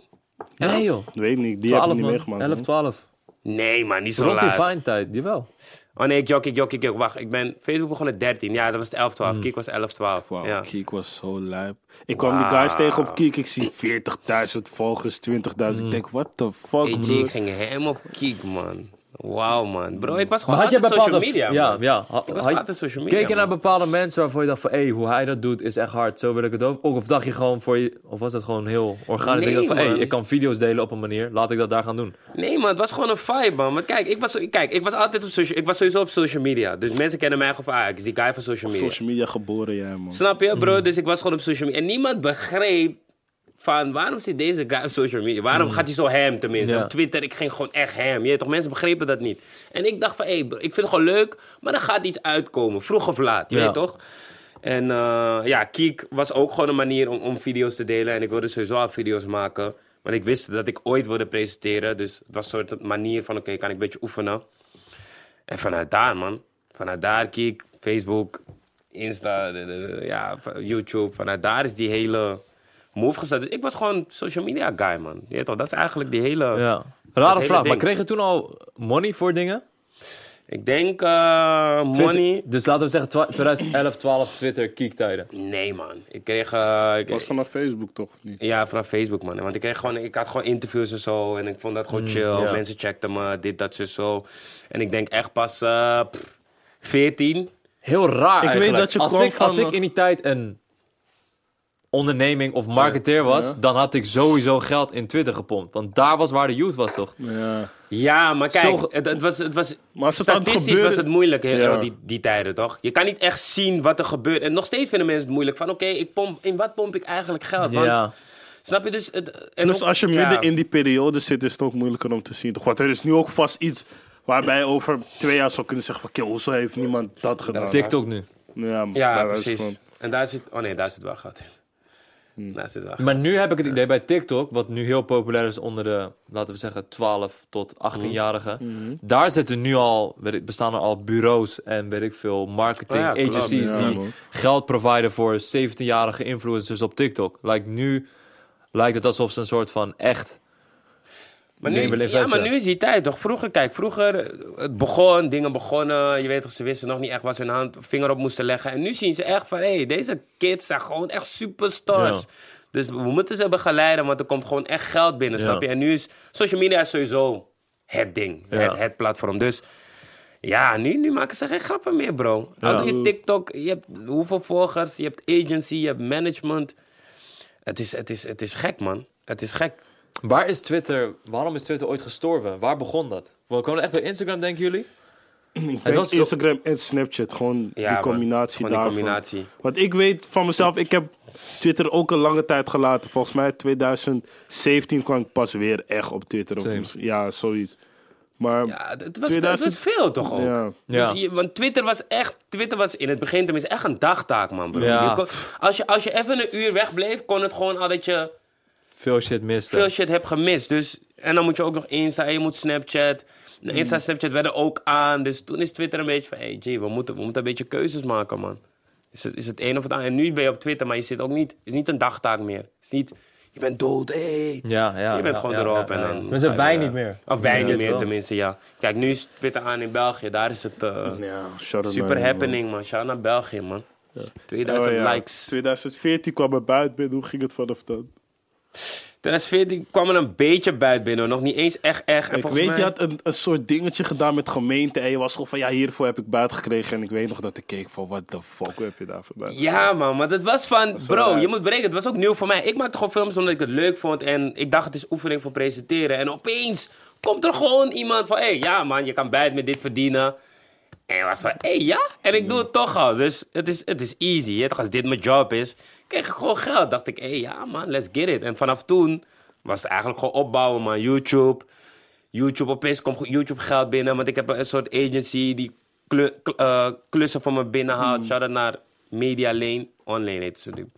S2: Nee joh,
S3: Weet niet, die heb ik
S2: 12
S3: niet
S2: man,
S3: meegemaakt.
S2: 11,
S3: man.
S2: 12.
S1: Nee, man, niet zo
S2: Rond die
S1: laat.
S2: fine tijd, jawel.
S1: Oh nee, ik jok, ik jok, ik jok. Wacht, ik ben... Facebook begon het 13. Ja, dat was het 11, 12.
S2: Hmm.
S1: Kiek was 11, 12.
S3: Wauw,
S1: ja.
S3: Kiek was zo lijp. Ik kwam die guys tegen op Kiek. Ik zie 40.000 volgers, 20.000. Ik denk, what the fuck,
S1: AG
S3: broer?
S1: ging hem op Kiek, man. Wauw, man. Bro, ik was
S2: Maar
S1: gewoon
S2: had je
S1: altijd
S2: bepaalde...
S1: social media,
S2: ja,
S1: man.
S2: ja. ha-
S1: Ik was
S2: had-
S1: altijd social media,
S2: Keek je naar
S1: man.
S2: bepaalde mensen waarvan je dacht van... hé, hoe hij dat doet is echt hard, zo wil ik het ook. Ook of dacht je gewoon voor je... Of was dat gewoon heel organisch?
S1: Nee,
S2: ik dacht van, hé,
S1: man.
S2: ik kan video's delen op een manier. Laat ik dat daar gaan doen.
S1: Nee, man, het was gewoon een vibe, man. Want kijk, ik was, zo- kijk, ik was altijd op social... Ik was sowieso op social media. Dus mensen kennen mij gewoon van... Ah, ik is die guy van social media.
S3: Social media geboren, jij, man.
S1: Snap je,
S2: Mm.
S1: bro? Dus ik was gewoon op social media. En niemand begreep van waarom zit deze guy op social media? Waarom gaat hij zo hem tenminste?
S2: Mm. Ja.
S1: Op Twitter, ik ging gewoon echt hem. Je weet toch, mensen begrepen dat niet. En ik dacht van, hé, bro, ik vind het gewoon leuk, maar er gaat iets uitkomen. Vroeg of laat, je
S2: Ja.
S1: weet toch? En eh, ja, Kiek was ook gewoon een manier om, om video's te delen. En ik wilde sowieso al video's maken. Want ik wist dat ik ooit wilde presenteren. Dus het was een soort manier van, oké, kan ik een beetje oefenen. En vanuit daar, man. Vanuit daar kijk Facebook, Insta, de- de- de- ja, van- YouTube. Vanuit daar is die hele move gestart. Dus ik was gewoon social media guy, man. Je weet toch, dat is eigenlijk die hele...
S2: Ja. Rare
S1: hele
S2: vraag, maar
S1: ding.
S2: kreeg je toen al money voor dingen?
S1: Ik denk eh, money...
S2: Dus laten we zeggen twa- 2011, 12, Twitter, kiektijden.
S1: Nee, man. Ik kreeg... eh, ik-
S3: was vanaf Facebook, toch? of Niet?
S1: ja, vanaf Facebook, man. Want ik, kreeg gewoon, ik had gewoon interviews en zo. En ik vond dat gewoon chill.
S2: Mm, ja.
S1: Mensen checkten me, dit, dat, zo, zo. En ik denk echt pas eh, pff, 14.
S2: Heel raar
S3: Ik weet
S2: eigenlijk.
S3: dat je
S2: als
S3: kwam
S2: ik, als
S3: van,
S2: ik
S3: eh,
S2: in die tijd een onderneming of marketeer was, dan had ik sowieso geld in Twitter gepompt. Want daar was waar de youth was, toch?
S3: Ja.
S1: Ja, maar kijk,
S2: Zo-
S1: het, het was, het was,
S3: Maar als het aan het
S1: statistisch
S3: gebeuren-
S1: was het moeilijk hè,
S3: Ja.
S1: die, die tijden, toch? Je kan niet echt zien wat er gebeurt. En nog steeds vinden mensen het moeilijk. Van oké, ik pomp, in wat pomp ik eigenlijk geld? Want,
S2: Ja.
S1: Snap je dus? Het, en
S3: En dus
S1: ook-
S3: als je midden
S1: ja.
S3: in die periode zit, is het ook moeilijker om te zien. toch? Want er is nu ook vast iets waarbij je over twee jaar zou kunnen zeggen van... Kill, hoezo heeft niemand dat gedaan?
S2: TikTok nu.
S3: Ja, man,
S1: Ja,
S3: daar is
S1: precies.
S3: van-
S1: En daar zit... Oh nee, daar zit wel gat in.
S3: Hm.
S1: Daar zit wel gat
S2: Maar nu heb ik het idee bij TikTok, wat nu heel populair is onder de, laten we zeggen, 12 tot 18-jarigen. Daar zitten nu al, weet ik, bestaan er al bureaus en weet ik veel, marketing
S1: Oh ja, klopt.
S2: agencies
S3: Ja,
S2: die
S3: man.
S2: geld providen voor 17-jarige influencers op TikTok. Like nu lijkt het alsof ze een soort van echt.
S1: Maar
S2: Nee, we
S1: nu,
S2: leven
S1: ja, maar
S2: wedstrijd.
S1: nu is die tijd toch? Vroeger, kijk, vroeger eh, het begon, dingen begonnen. Je weet toch, ze wisten nog niet echt wat ze hun hand, vinger op moesten leggen. En nu zien ze echt van, hé, hey, deze kids zijn gewoon echt superstars.
S2: Ja.
S1: Dus we moeten ze begeleiden, want er komt gewoon echt geld binnen,
S2: Ja.
S1: snap je? En nu is social media is sowieso het ding,
S2: Ja.
S1: het, het platform. Dus ja, nu, nu maken ze geen grappen meer, bro. Al doe je TikTok, je hebt hoeveel volgers, je hebt agency, je hebt management. Het is, het is, het is gek, man. Het is gek.
S2: Waar is Twitter? Waarom is Twitter ooit gestorven? Waar begon dat? We komen echt door Instagram, denken jullie?
S3: Ik denk
S2: was zo-
S3: Instagram en Snapchat, gewoon
S1: Ja,
S3: die
S1: man.
S3: combinatie
S1: Gewoon die
S3: daarvan.
S1: combinatie.
S3: Want ik weet van mezelf, ik heb Twitter ook een lange tijd gelaten. Volgens mij 2017 kwam ik pas weer echt op Twitter. Of
S2: Same.
S3: mis- ja, zoiets. Maar
S1: Ja, het- het was,
S3: 2000
S1: het was veel toch ook?
S3: Ja.
S2: Ja.
S1: Dus je- want Twitter was echt, Twitter was in het begin tenminste echt een dagtaak, man. Bro.
S2: Ja.
S1: Je kon- als, je, als je even een uur wegbleef, kon het gewoon al dat je
S2: Veel shit miste.
S1: veel shit hebt gemist. Dus, en dan moet je ook nog Insta, en je moet Snapchat. Nou, Insta en Snapchat werden ook aan. Dus toen is Twitter een beetje van, hey, gee, we moeten, we moeten een beetje keuzes maken, man. Is het, is het een of het ander? En nu ben je op Twitter, maar je zit ook niet, is niet een dagtaak meer. Het is niet, je bent dood, hey.
S2: Ja, ja.
S1: Je bent
S2: ja,
S1: gewoon
S2: ja,
S1: erop
S2: ja,
S1: en
S2: ja.
S1: dan...
S2: Tenminste, wij niet meer.
S1: Of wij
S2: Ja,
S1: niet
S2: dat
S1: meer,
S2: wel.
S1: tenminste, ja. Kijk, nu is Twitter aan in België. Daar is het eh,
S3: ja, shout out naar
S1: super
S3: hem, man.
S1: happening, man. Shout naar België, man. 2000
S3: Oh, ja.
S1: likes.
S3: 2014 kwam er buiten binnen. Hoe ging het vanaf dan?
S1: 2014 kwam er een beetje buiten binnen. hoor. Nog niet eens echt, echt. En
S3: ik
S1: volgens
S3: weet, je
S1: mij-
S3: had een, een soort dingetje gedaan met gemeente. En je was gewoon van, ja, hiervoor heb ik buiten gekregen. En ik weet nog dat ik keek van, what the fuck hoe heb je daarvoor buiten?
S1: Ja, man, maar dat was van.
S3: is wel
S1: Bro,
S3: raar.
S1: je moet berekenen. Het was ook nieuw voor mij. Ik maakte gewoon films omdat ik het leuk vond. En ik dacht, het is oefening voor presenteren. En opeens komt er gewoon iemand van: hé, hey, ja, man, je kan bijt met dit verdienen. En ik was van: hé, hey, ja? En ik doe het toch al. Dus het is, het is easy. Je weet toch, als dit mijn job is, kreeg ik gewoon geld. Dacht ik: hé, hey, ja, man, let's get it. En vanaf toen was het eigenlijk gewoon opbouwen, man. YouTube. YouTube, opeens komt YouTube geld binnen, want ik heb een soort agency die kle- k- eh, klussen van me binnenhaalt.
S2: Hmm.
S1: Shout-out naar Media Lane. Online heet ze nu.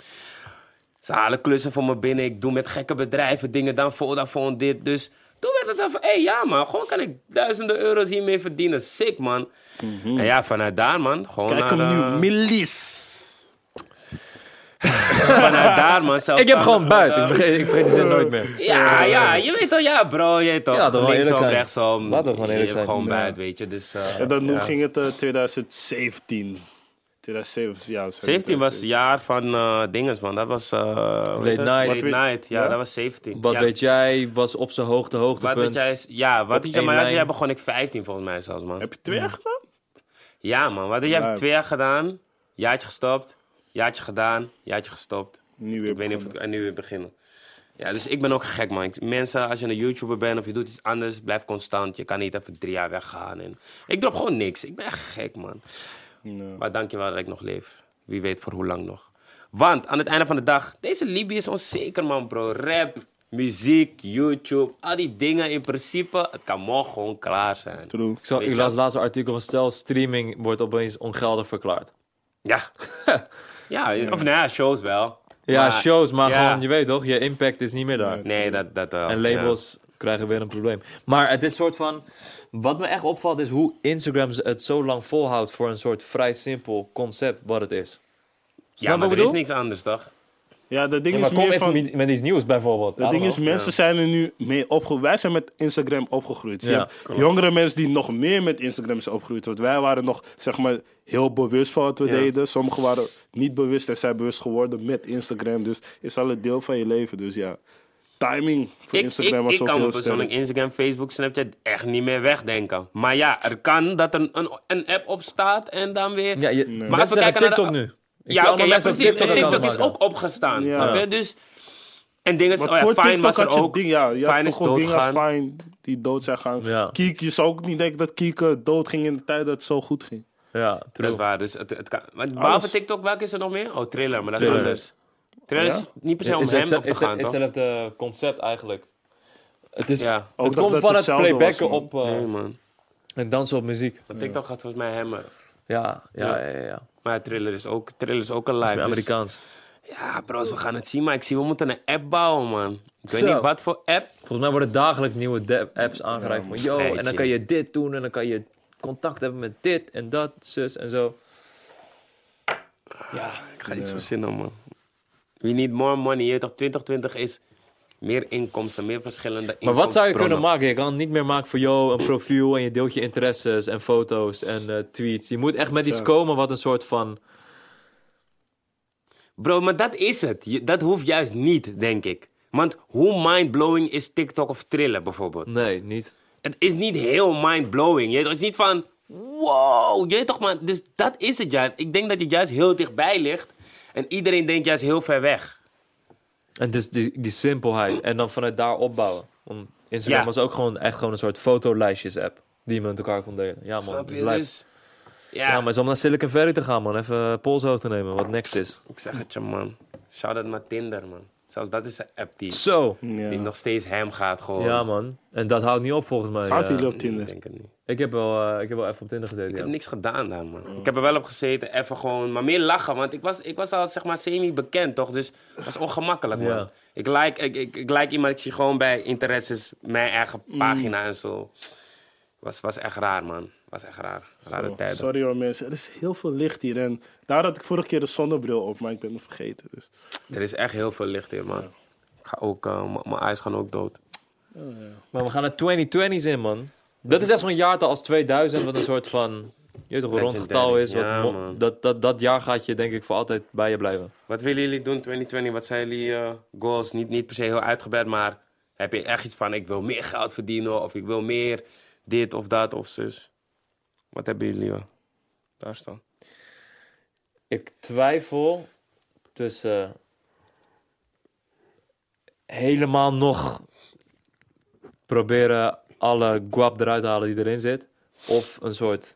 S1: Ze halen klussen van me binnen. Ik doe met gekke bedrijven dingen. Dan Vodafone dit. Dus toen werd het dan van... Hé, hey, ja man. Gewoon kan ik duizenden euro's hiermee verdienen. Sick, man.
S2: Hmm.
S1: En ja, vanuit daar, man. Gewoon
S3: Kijk hem
S1: naar,
S3: nu,
S1: eh,
S3: Milies.
S1: vanuit daar, man.
S2: Ik heb gewoon buiten.
S1: buiten.
S2: Ik vergeet, ik vergeet die zin nooit meer.
S1: Ja, ja, je weet toch, ja bro, je weet toch.
S2: Ja, toch wel eerlijk
S1: Linksom,
S2: zijn.
S1: rechtsom.
S2: Laten we gewoon eerlijk
S1: je
S2: zijn.
S1: Gewoon
S2: Ja.
S1: buiten, weet je. Dus, eh,
S3: En dan hoe
S1: ja.
S3: ging het eh, 2017. 2017, ja. sorry,
S1: 17 was het jaar van eh dinges, man. Dat was... eh, hoe heet
S2: Late
S1: het?
S2: night.
S1: Late
S3: Wat-
S1: night, ja,
S3: ja?
S1: dat was 17.
S2: Wat
S1: ja.
S2: weet jij, was op zijn hoogte
S1: Wat
S2: hoogtepunt.
S1: weet jij? is- Ja, wat weet jij?
S2: één
S1: Maar wat weet jij
S2: lijn.
S1: begon ik 15 volgens mij zelfs, man.
S3: Heb je twee jaar gedaan?
S1: Ja, man. Wat weet jij? Heb ik
S3: Ja.
S1: twee jaar gedaan, jaartje gestopt, jaartje gedaan, jaartje gestopt.
S3: Nu weer
S1: Ik weet niet of
S3: begonnen.
S1: het en nu weer beginnen. Ja, dus ik ben ook gek, man. Ik- Mensen, als je een YouTuber bent of je doet iets anders, blijf constant. Je kan niet even drie jaar weggaan. En ik drop gewoon niks. Ik ben echt gek, man.
S3: Nee.
S1: Maar dankjewel dat ik nog leef. Wie weet voor hoe lang nog. Want aan het einde van de dag, deze Libië is onzeker, man, bro. Rap, muziek, YouTube, al die dingen in principe, het kan morgen gewoon klaar zijn.
S3: True.
S2: Ik, zal,
S1: Weet
S2: ik
S1: je-
S2: las het laatste artikel van Stel, streaming wordt opeens ongeldig verklaard.
S1: Ja. ja, of nou ja, shows wel.
S2: Ja, shows, maar
S1: ja.
S2: gewoon, je weet toch, je impact is niet meer daar.
S1: Nee, dat... dat wel,
S2: En
S1: ja.
S2: labels krijgen weer een probleem. Maar het is soort van. Wat me echt opvalt is hoe Instagram het zo lang volhoudt voor een soort vrij simpel concept wat het is.
S1: Ja, maar
S2: Snap wat ik
S1: er is
S2: bedoel?
S1: niks anders, toch?
S3: Ja, dat ding
S2: maar
S3: is
S2: kom
S3: meer
S2: even
S3: van...
S2: met, met iets nieuws bijvoorbeeld.
S3: Dat
S2: I
S3: ding
S2: don't
S3: is,
S2: know.
S3: mensen zijn er nu mee opgegroeid. Wij zijn met Instagram opgegroeid. Dus
S2: Ja,
S3: je hebt jongere mensen die nog meer met Instagram zijn opgegroeid. Want wij waren nog, zeg maar, heel bewust van wat we
S1: Ja.
S3: deden. Sommigen waren niet bewust en zijn bewust geworden met Instagram. Dus is al een deel van je leven. Dus ja, timing voor
S1: Ik, ik,
S3: Instagram was
S1: ik
S3: ook
S1: kan me
S3: heel sterk.
S1: persoonlijk Instagram, Facebook, Snapchat echt niet meer wegdenken. Maar ja, er kan dat er een, een app op staat en dan weer...
S2: Ja, je,
S1: Maar
S2: Maar
S1: als we
S2: mensen zeggen
S1: kijken naar de-
S2: TikTok nu. Ik zie
S1: ja, oké,
S2: allemaal
S1: ja,
S2: mensen op
S1: precies. TikTok,
S2: TikTok
S1: TikTok is
S2: maken.
S1: ook opgestaan,
S3: Ja.
S1: snap je? Dus, en dingen,
S3: Want
S1: oh ja,
S3: voor
S1: Fine
S3: TikTok
S1: was er
S3: had je
S1: ook.
S3: ding, ja, je had
S1: Fine
S3: toch
S1: is
S3: gewoon dingen als
S1: doodgaan.
S3: Fine die dood zijn gaan.
S2: Ja.
S3: Kiek, je zou ook niet denken dat Kiek eh, dood ging in de tijd dat het zo goed ging.
S2: Ja, true.
S1: Dat is waar, dus het, het kan... Want behalve
S3: Alles.
S1: TikTok, welke is er nog meer? Oh, Thriller, maar dat is
S2: Thriller.
S1: anders. Thriller
S3: Ja?
S1: is niet per se om
S2: Is
S1: hem
S2: hetze-
S1: op te
S2: is
S1: gaan, toch?
S2: hetzelfde concept eigenlijk. Het, is,
S1: Ja.
S3: Ook
S2: het
S3: dat
S2: komt
S3: het
S2: van het
S3: hetzelfde was,
S2: playbacken
S3: man.
S2: op eh,
S1: Nee, man.
S2: en dansen op muziek.
S1: Want TikTok gaat volgens mij hem. eh,
S2: Ja, ja, ja. ja, ja.
S1: Maar ja, Thriller is ook, Thriller is ook een live.
S2: Is
S1: dus-
S2: Amerikaans.
S1: ja, bros, we gaan het zien. Maar ik zie, we moeten een app bouwen, man. Ik weet
S2: Zo.
S1: niet wat voor app.
S2: Volgens mij worden dagelijks nieuwe de- apps aangereikt van yo,
S1: Eitje.
S2: en dan kan je dit doen en dan kan je contact hebben met dit en dat, zus en zo.
S1: Ik ga iets verzinnen, man. We need more money. Je weet toch, 2020 is meer inkomsten, meer verschillende
S2: Maar wat zou je kunnen
S1: inkomstenbronnen.
S2: maken? Je kan niet meer maken voor jou een profiel en je deelt je interesses en foto's en eh, tweets. Je moet echt met iets komen wat een soort van...
S1: Bro, maar dat is het. Je- dat hoeft juist niet, denk ik. Want hoe mindblowing is TikTok of Thriller bijvoorbeeld?
S2: Nee, niet.
S1: Het is niet heel mindblowing. Je weet toch, Het is niet van, wow, je weet toch man. Dus dat is het juist. Ik denk dat je juist heel dichtbij ligt. En iedereen denkt juist heel ver weg.
S2: En dus die, die simpelheid. En dan vanuit daar opbouwen. Om, Instagram
S1: Ja.
S2: was ook gewoon echt gewoon een soort fotolijstjes app. Die je met elkaar kon delen. Ja man,
S1: Snap
S2: dat is
S1: je?
S2: lijp.
S1: Dus, ja,
S2: Ja, maar het is om naar Silicon Valley te gaan man. Even polshoog te nemen, wat next is.
S1: ik zeg het je man. Shout-out naar Tinder man. Zelfs dat is een app die,
S2: Zo!
S3: Ja.
S1: die nog steeds hem gaat gewoon.
S2: Ja man, en dat houdt niet op volgens mij.
S3: Zaten
S2: eh.
S3: jullie op
S1: Ik
S3: Tinder?
S1: denk het niet.
S2: Ik heb wel, eh, ik heb wel even op Tinder gezeten.
S1: Ik
S2: Ja. Mm.
S1: heb niks gedaan daar, man. Ik heb er wel op gezeten, even gewoon, maar meer lachen. Want ik was, ik was al, zeg maar, semi-bekend, toch? Dus het was ongemakkelijk, man.
S2: Ja.
S1: Ik, like, ik, ik, ik like iemand, ik zie gewoon bij interesses mijn eigen
S2: Mm.
S1: pagina en zo. Was, was echt raar, man. Was echt raar. Rare
S3: Oh,
S1: tijden.
S3: Sorry hoor mensen, er is heel veel licht hier. En daar had ik vorige keer de zonnebril op, maar ik ben hem vergeten. Dus.
S1: Er is echt heel veel licht hier, man. Ik ga ook, eh, m- mijn eyes gaan ook dood.
S2: Maar we gaan naar 2020's in, man. Dat is echt zo'n jaartal als 2000, wat een soort van. Je weet toch, een rond getal is. Wat
S1: Ja,
S2: mo-
S1: man.
S2: dat, dat, dat jaar gaat je, denk ik, voor altijd bij je blijven.
S1: Wat willen jullie doen 2020? Wat zijn jullie eh, goals? Niet, niet per se heel uitgebreid, maar heb je echt iets van ik wil meer geld verdienen of ik wil meer dit of dat of zus? Wat hebben jullie eh, daar staan?
S2: Ik twijfel tussen. helemaal nog proberen alle guap eruit te halen die erin zit. Of een soort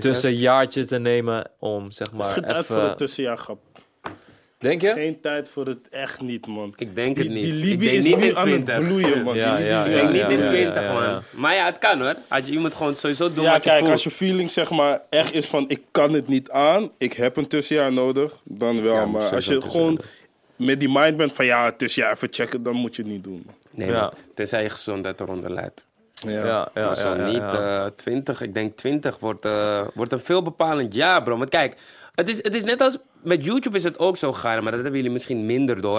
S2: tussenjaartje te nemen om zeg maar.
S3: Schiet uit voor
S2: even.
S3: het tussenjaar, grap.
S2: Denk je?
S3: Geen tijd voor het echt niet, man.
S1: Ik denk
S3: Die,
S1: het niet.
S3: die
S1: ik
S3: Libi
S1: denk
S3: is
S1: niet
S3: nu
S1: in
S3: aan het
S1: 20.
S3: bloeien, man.
S2: Ja,
S3: Die Libi
S2: ja,
S3: is
S1: Ik
S3: nu
S1: denk
S3: aan het
S1: niet in
S2: ja,
S1: 20,
S2: ja,
S1: man.
S2: ja.
S1: Maar ja, het kan hoor. Als je, je moet gewoon sowieso doen
S3: Ja,
S1: wat je
S3: kijk,
S1: voelt.
S3: als je feeling zeg maar echt is van ik kan het niet aan, ik heb een tussenjaar nodig, dan wel.
S2: Ja, moet
S3: maar als
S2: sowieso
S3: je
S2: een
S3: gewoon met die mind bent van ja, tussenjaar even checken, dan moet je het niet doen. man.
S1: Nee,
S2: Ja.
S1: man. Tenzij je gezondheid eronder leidt.
S3: Ja.
S2: Ja, ja,
S1: maar zo
S2: ja, ja,
S1: niet.
S2: ja.
S1: eh, 20, ik denk 20 wordt, eh, wordt een veelbepalend jaar, bro. Maar kijk, het is, het is net als met YouTube is het ook zo gaar, maar dat hebben jullie misschien minder door.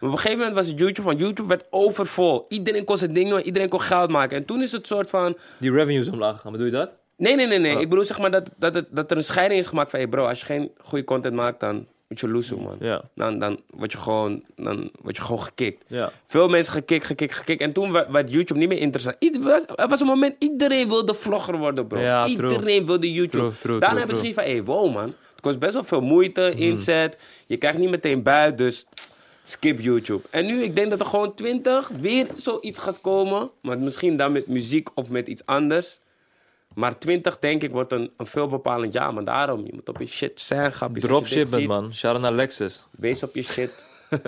S1: Maar op een gegeven moment was het YouTube, want YouTube werd overvol. Iedereen kon zijn ding doen, iedereen kon geld maken. En toen is het soort van,
S2: Die revenues omlaag gaan, bedoel je dat?
S1: Nee, nee, nee,
S2: Oh.
S1: nee. Ik bedoel zeg maar dat, dat, het- dat er een scheiding is gemaakt van... Hey bro, als je geen goede content maakt, dan moet je loesoe, man.
S2: Ja.
S1: Dan, dan, word je gewoon, dan word je gewoon gekikt.
S2: Ja.
S1: Veel mensen gekikt, gekikt, gekikt. En toen werd, werd YouTube niet meer interessant. Ieder, was, er was een moment, iedereen wilde vlogger worden, bro.
S2: Ja, true.
S1: iedereen wilde YouTube.
S2: True, true,
S1: Daarna
S2: true,
S1: hebben ze
S2: true. Mhm.
S1: gezien van... Hey, wow, man. Het kost best wel veel moeite, inzet. Je krijgt niet meteen buiten, dus... Skip YouTube. En nu, ik denk dat er gewoon 20 weer zoiets gaat komen. Maar misschien dan met muziek of met iets anders. Maar 20 denk ik wordt een, een veelbepalend jaar. Maar daarom, je moet op je shit zijn, grapjes. Als je dit
S2: Dropshipment,
S1: ziet,
S2: man. Shout out naar Lexus.
S1: Wees op je shit.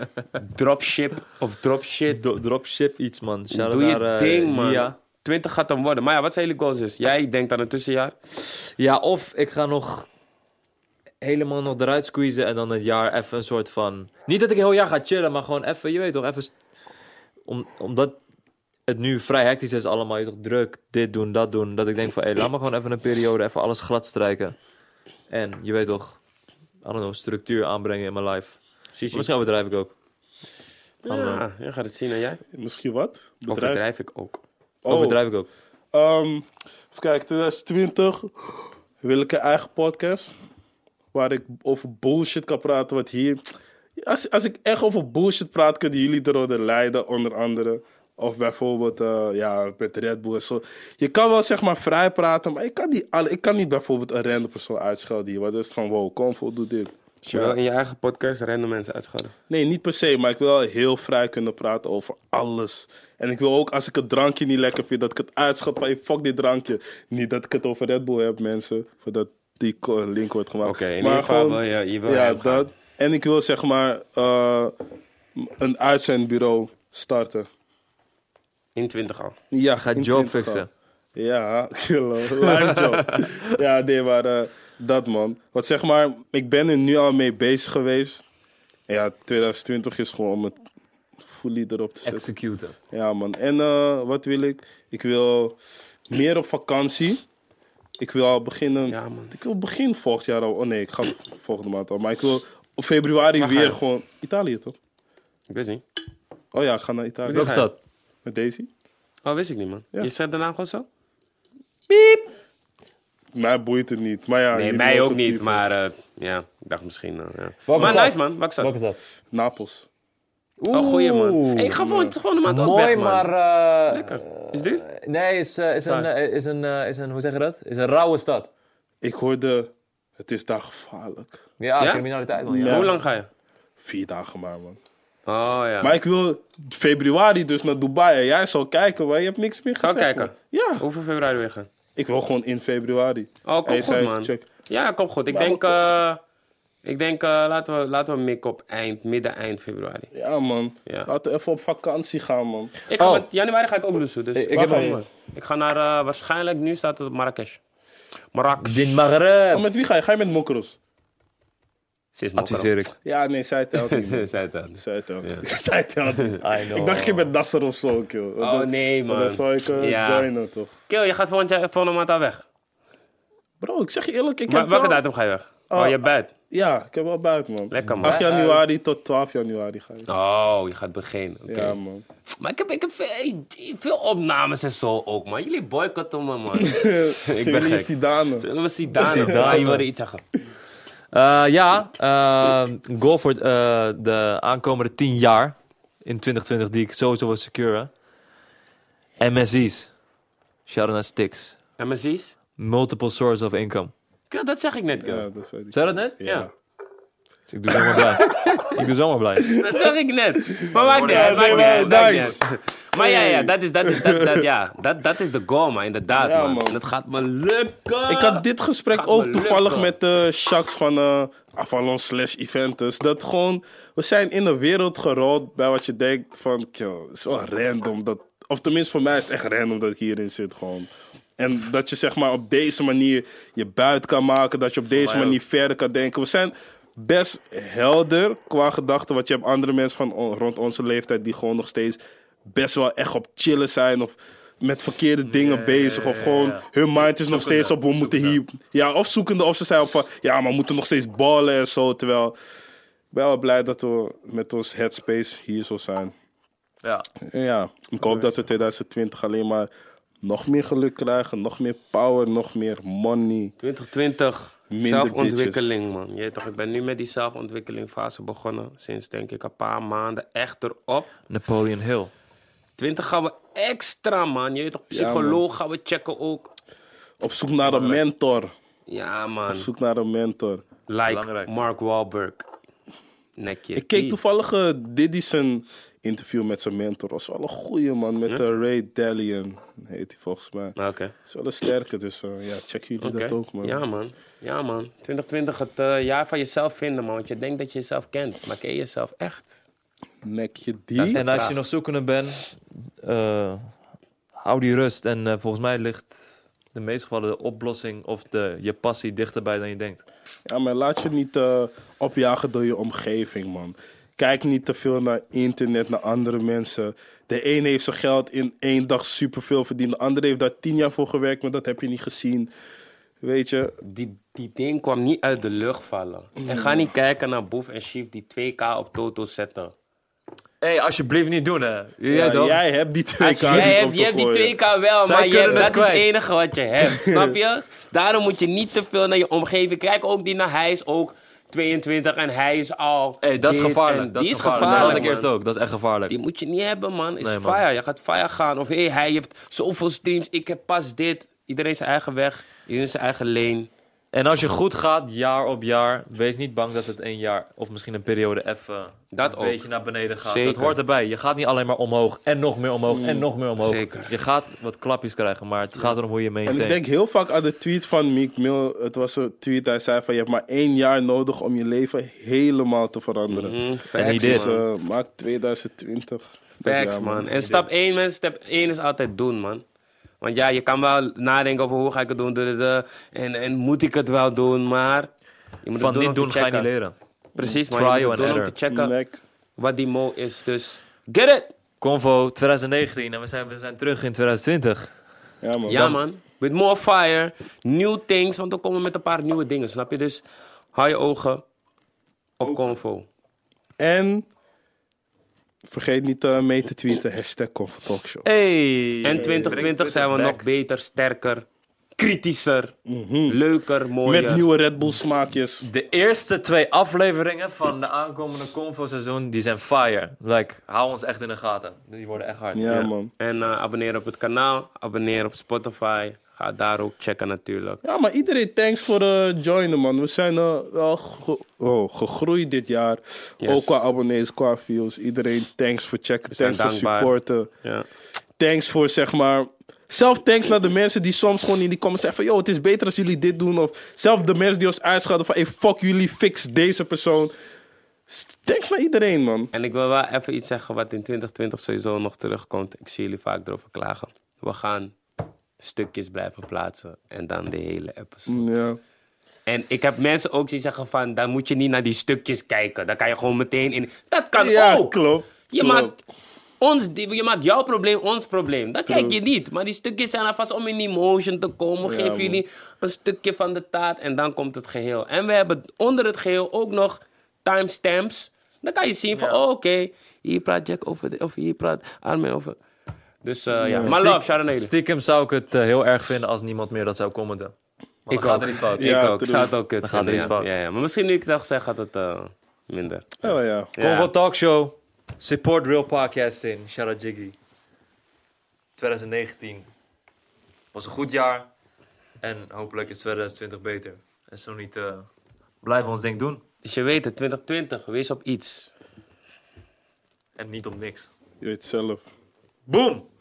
S1: Dropship of dropshit.
S2: Do- dropship iets, man. Shout out
S1: Doe je
S2: naar eh,
S1: ding, man.
S2: Lia.
S1: 20 gaat dan worden. Maar ja, wat zijn jullie goals dus? Jij denkt aan een tussenjaar.
S2: Ja, of ik ga nog helemaal nog eruit squeezen en dan een jaar even een soort van... Niet dat ik een heel jaar ga chillen, maar gewoon even, je weet toch, even... st- Om, omdat het nu vrij hectisch is allemaal, je weet toch, druk, dit doen, dat doen. Dat ik denk van, hé, laat me gewoon even een periode, even alles glad strijken. En je weet toch, I don't know, structuur aanbrengen in mijn life.
S1: Precies.
S2: Misschien bedrijf ik ook.
S1: Ja, Ah, je gaat het zien en jij.
S3: Misschien wat?
S1: Of bedrijf ik ook.
S3: Oh,
S2: Overdrijf ik ook.
S3: ehm, even kijken, 2020 wil ik een eigen podcast. Waar ik over bullshit kan praten, wat hier... Als, als ik echt over bullshit praat, kunnen jullie eronder lijden, onder andere. Of bijvoorbeeld, eh, ja, met Red Bull en zo. Je kan wel zeg maar vrij praten, maar ik kan niet, alle, ik kan niet bijvoorbeeld een random persoon uitschelden hier. Wat is het van, wow, Convo, doe dit.
S1: Dus je wil in je eigen podcast random mensen uitschelden.
S3: Nee, niet per se, maar ik wil wel heel vrij kunnen praten over alles. En ik wil ook, als ik het drankje niet lekker vind, dat ik het uitschat van, hey, fuck dit drankje. Niet dat ik het over Red Bull heb, mensen, voordat die ko- link wordt gemaakt.
S1: Oké, in
S3: Maar
S1: ieder geval
S3: gewoon-
S1: wil je- je wil
S3: Ja,
S1: hem gaan.
S3: dat. En ik wil zeg maar eh, een uitzendbureau starten.
S1: In 20 al.
S3: Ja,
S2: Ga
S3: in
S2: job
S3: 20
S2: fixen.
S3: Ja, kilo. Live job. ja, nee, maar eh, dat man. Want zeg maar, ik ben er nu al mee bezig geweest. Ja, 2020 is gewoon om het fully erop te zetten.
S2: Executen.
S3: Ja man, en eh, wat wil ik? Ik wil meer op vakantie. Ik wil al beginnen...
S1: Ja, man.
S3: Ik wil begin volgend jaar al... Oh nee, ik ga volgende maand al. Maar ik wil op februari
S1: Waar ga
S3: weer
S1: je?
S3: gewoon... Italië toch?
S1: Ik wist niet.
S3: Oh ja, ik ga naar Italië.
S2: Welke stad?
S3: Met Daisy.
S1: Oh, wist ik niet, man.
S3: Ja.
S1: Je zei daarna gewoon zo?
S3: Mij boeit het niet. Maar ja,
S1: Nee,
S3: jullie
S1: mij
S3: weten
S1: ook
S3: het
S1: niet, maar eh, ja, ik dacht misschien. eh, ja.
S2: Welke
S1: Maar
S2: stad?
S1: nice man, wat ik zat.
S2: Welke stad?
S3: Napels.
S1: Oh, goeie man.
S2: Oeh.
S1: Hey, ik ga volgende, volgende maand ook
S2: Mooi,
S1: weg, man.
S2: maar... eh,
S1: Lekker. Is dit?
S2: eh, Nee, is, eh, is, een,
S1: Waar?
S2: eh, is, een, eh, is een... Hoe zeg je dat? Is een rauwe stad.
S3: Ik hoorde, het is daar gevaarlijk.
S2: Ja,
S1: Ja?
S2: criminaliteit, man. Ja.
S3: Ja.
S1: Hoe lang ga je?
S3: Vier dagen maar, man.
S1: Oh ja.
S3: Maar ik wil februari dus naar Dubai. En jij zal kijken, maar je hebt niks meer
S1: Zal
S3: gezegd.
S1: ik kijken?
S3: man. Ja,
S1: Hoeveel februari weer gaan?
S3: ik wil gewoon in februari.
S1: Oh, kom
S3: Hey,
S1: goed,
S3: zij heeft
S1: man.
S3: check.
S1: Ja, kom goed. Ik
S3: Maar
S1: denk,
S3: wat-
S1: eh, ik denk eh, laten we, laten we mikken op eind, midden, eind februari.
S3: Ja, man.
S1: Ja.
S3: Laten we even op vakantie gaan, man.
S1: Ik ga
S2: Oh.
S1: met- januari ga ik ook loesoe, dus
S2: Ik- ik
S1: Waar
S2: heb
S1: ga
S3: een-
S1: je? Ik ga naar, eh, waarschijnlijk, nu staat het op Marrakesh. Marrakesh.
S2: Din Maghreb.
S3: Oh, met wie ga je? Ga je met Mokros?
S1: Ze is
S2: Adviseer ik.
S3: Ja, nee, zij telt niet. man.
S1: Zij dat.
S3: zij telt niet. zij telt niet.
S2: I know.
S3: Ik dacht je bent Nasser of zo, kill.
S1: Oh nee, man.
S3: Dan zou ik eh,
S1: Ja.
S3: joinen, toch?
S1: Kill, je gaat volgend jaar, volgende maand al weg.
S3: Bro, ik zeg je eerlijk, ik
S1: Wa-
S3: heb
S1: welke
S3: wel-
S1: datum ga je weg? Oh,
S3: Oh,
S1: je bed.
S3: Ja, ik heb wel buik, man.
S1: Lekker, man.
S3: 8 januari tot 12 januari ga ik.
S1: Oh, je gaat beginnen. Oké.
S3: Ja, man.
S1: Maar ik heb, ik heb veel, veel opnames en zo ook, man. Jullie boycotten me, man.
S3: ik ben
S1: gek.
S3: Zidane.
S1: Zullen we Zidane?
S2: Zidane.
S1: Ah, je wilde iets zeggen.
S2: Eh, ja, eh, goal voor eh, de aankomende 10 jaar in 2020 die ik sowieso wil securen. MSI's. Shout out naar Sticks.
S1: En precies?
S2: Multiple source of income.
S1: Dat zeg ik net,
S3: Ja,
S1: girl.
S3: dat zei hij.
S2: Zei dat net?
S1: Ja.
S2: Dus ik doe zomaar blij. ik doe zomaar blij.
S1: Dat zeg ik net. Maar maakt niet
S3: Ja,
S1: uit, maakt
S3: nee,
S1: niet uit,
S3: maar
S1: maakt niet
S3: nice.
S1: uit. Maar ja, ja, dat is, dat is, dat, dat, ja, dat, dat is de goal, man. Inderdaad,
S3: Ja,
S1: man.
S3: man.
S1: En het gaat me lukken.
S3: Ik had dit gesprek
S1: Gaat me
S3: ook toevallig
S1: lukken.
S3: met de Shaks van eh Avalon slash Eventus. Dat gewoon, we zijn in een wereld gerold bij wat je denkt van, "Kill, het is wel random. Dat, of tenminste voor mij is het echt random dat ik hierin zit gewoon. En dat je zeg maar op deze manier je buit kan maken. Dat je op deze manier verder kan denken. We zijn best helder qua gedachten. Want je hebt andere mensen van on- rond onze leeftijd die gewoon nog steeds best wel echt op chillen zijn. Of met verkeerde dingen bezig. Of gewoon hun mind is nog steeds op we moeten hier. Ja, of zoekende of ze zijn op van ja, maar we moeten nog steeds ballen en zo. Terwijl ik ben wel blij dat we met ons headspace hier zo zijn.
S2: Ja.
S3: Ja, ik hoop dat we 2020 alleen maar nog meer geluk krijgen, nog meer power, nog meer money.
S1: 2020,
S3: Minder
S1: zelfontwikkeling, man. Je weet toch, ik ben nu met die zelfontwikkelingfase begonnen. Sinds denk ik een paar maanden echt erop.
S2: Napoleon Hill.
S1: 20 gaan we extra, man. Je weet toch, psycholoog gaan we checken ook.
S3: Op zoek naar een mentor.
S1: Ja, man.
S3: Op zoek naar een mentor.
S1: Like
S2: Belangrijk.
S1: Mark Wahlberg. Nekje.
S3: Ik keek
S1: Die.
S3: toevallig eh, Diddy zijn interview met zijn mentor. Dat is wel een goeie man, met eh, Ray Dallion heet hij volgens mij.
S1: Oké.
S3: Dat is wel een sterke, dus eh, ja, check jullie
S1: Oké.
S3: dat ook man.
S1: Ja, man. Ja, man. 2020, het eh, jaar van jezelf vinden, man. Want je denkt dat je jezelf kent, maar ken je jezelf echt?
S3: Nekje die.
S2: En als
S1: vraag.
S2: je nog zoekende bent, eh, hou die rust. En eh, volgens mij ligt de meest gevallen de oplossing of de, je passie dichterbij dan je denkt.
S3: Ja, maar laat je niet eh, opjagen door je omgeving, man. Kijk niet te veel naar internet, naar andere mensen. De een heeft zijn geld in één dag superveel verdiend. De andere heeft daar tien jaar voor gewerkt, maar dat heb je niet gezien. Weet je?
S1: Die, die ding kwam niet uit de lucht vallen. En ga niet kijken naar Boef en Chief die 2K op Toto zetten.
S2: Hé, hey, alsjeblieft niet doen, hè. Jij
S3: Ja,
S2: toch?
S3: jij hebt die twee
S1: Als
S3: kaarten
S1: jij
S3: op
S1: hebt,
S3: te
S1: je hebt die
S3: gooien.
S1: 2K wel,
S2: Zij
S1: maar je hebt-
S2: kunnen
S1: dat
S2: het
S1: is het
S2: kwijt.
S1: enige wat je hebt. snap je? Daarom moet je niet te veel naar je omgeving kijken. Ook die naar hij is ook 22 en hij is al.
S2: Hey, dat is
S1: dit en
S2: gevaarlijk. Dat
S1: die
S2: is gevaarlijk. Dat had ik
S1: man.
S2: eerst ook. Dat is echt gevaarlijk.
S1: Die moet je niet hebben, man. Is
S2: Nee, man.
S1: fire. Je gaat fire gaan. Of hey, hij heeft zoveel streams. Ik heb pas dit. Iedereen zijn eigen weg. Iedereen zijn eigen lane.
S2: En als je goed gaat, jaar op jaar, wees niet bang dat het een jaar of misschien een periode even
S1: Dat
S2: een
S1: ook.
S2: beetje naar beneden gaat.
S1: Zeker. Mm.
S2: Dat hoort erbij. Je gaat niet alleen maar omhoog en nog meer omhoog en nog meer omhoog.
S1: Zeker.
S2: Je gaat wat klapjes krijgen, maar het gaat erom hoe je
S3: En ik
S2: maintaint.
S3: denk heel vaak aan de tweet van Meek Mill. Het was een tweet, hij zei van... je hebt maar één jaar nodig om je leven helemaal te veranderen.
S1: Facts,
S2: niet dit.
S3: Dus
S1: Hm, man.
S3: eh, maak 2020. dat
S1: Facts,
S3: jaar,
S1: man. En stap 1, mensen. Stap 1 is altijd doen, man. Want ja, je kan wel nadenken over hoe ga ik het doen. duh, duh, duh. En, en moet ik het wel doen, maar... Je moet
S2: Van
S1: het doen
S2: niet
S1: om te
S2: doen ga je niet
S1: checken.
S2: leren.
S1: Precies, man.
S2: Trial
S1: je moet
S2: and
S1: het doen om
S2: error.
S1: te checken
S3: Nek.
S1: wat die mo is. Dus get it!
S2: Convo 2019 en we zijn, we zijn terug in 2020.
S3: Ja, man.
S1: Ja, man. With more fire. New things. Want we komen met een paar nieuwe dingen, snap je? Dus hou je ogen op Convo.
S3: En vergeet niet eh, mee te tweeten, hashtag Comfortalkshow.
S2: Hey!
S1: En 2020 zijn we nog beter, sterker, kritischer, leuker, mooier.
S3: Met nieuwe Red Bull smaakjes.
S2: De eerste twee afleveringen van de aankomende Convo-seizoen, die zijn fire. Like, hou ons echt in de gaten. Die worden echt hard.
S3: Ja, man.
S1: En eh, abonneer op het kanaal, abonneer op Spotify. Ga daar ook checken natuurlijk.
S3: Ja, maar iedereen thanks voor eh joinen, man. We zijn eh, wel ge- oh, gegroeid dit jaar. Ook qua abonnees, qua views. Iedereen thanks voor checken,
S1: zijn
S3: thanks voor
S1: dankbaar.
S3: supporten.
S1: Ja.
S3: Thanks voor, zeg maar... Zelf thanks naar de mensen die soms gewoon in die comments zeggen van... ...joh, het is beter als jullie dit doen. Of zelf de mensen die ons uitschelden van... ...hey, fuck jullie, fix deze persoon. Thanks naar iedereen, man.
S1: En ik wil wel even iets zeggen wat in 2020 sowieso nog terugkomt. Ik zie jullie vaak erover klagen. We gaan stukjes blijven plaatsen en dan de hele episode.
S3: Ja.
S1: En ik heb mensen ook zien zeggen van, dan moet je niet naar die stukjes kijken. Dan kan je gewoon meteen in. Dat kan
S3: Ja,
S1: ook.
S3: klopt.
S1: Je
S3: klopt.
S1: maakt, ons, je maakt jouw probleem ons probleem. Dat kijk je niet. Maar die stukjes zijn alvast om in emotion te komen.
S3: Ja,
S1: Geef
S3: man.
S1: jullie een stukje van de taart en dan komt het geheel. En we hebben onder het geheel ook nog timestamps. Dan kan je zien van, oh, oké, hier praat Jack over, dit, of hier praat Armin over. Dus eh, ja. maar love, shout out naar jullie.
S2: Stiekem zou ik het eh, heel erg vinden als niemand meer dat zou commenten. Maar
S1: Ik
S2: dan gaat
S1: ook.
S2: er iets fout.
S3: Ja,
S1: ik ook. Ik
S3: true.
S1: zou het ook kut
S2: Dan gaat er
S1: vinden,
S2: iets
S1: ja.
S2: fout.
S1: Ja, ja. Maar misschien nu ik dat zeg, gaat het eh, minder.
S3: Oh, ja.
S1: Ja.
S2: Convo Talkshow. Support Real Podcasting. Shout out Jiggy. 2019 was een goed jaar. En hopelijk is 2020 beter. En zo niet, eh, blijven we ons ding doen.
S1: Dus je weet het, 2020, wees op iets.
S2: En niet op niks.
S3: Je weet zelf.
S2: Boom!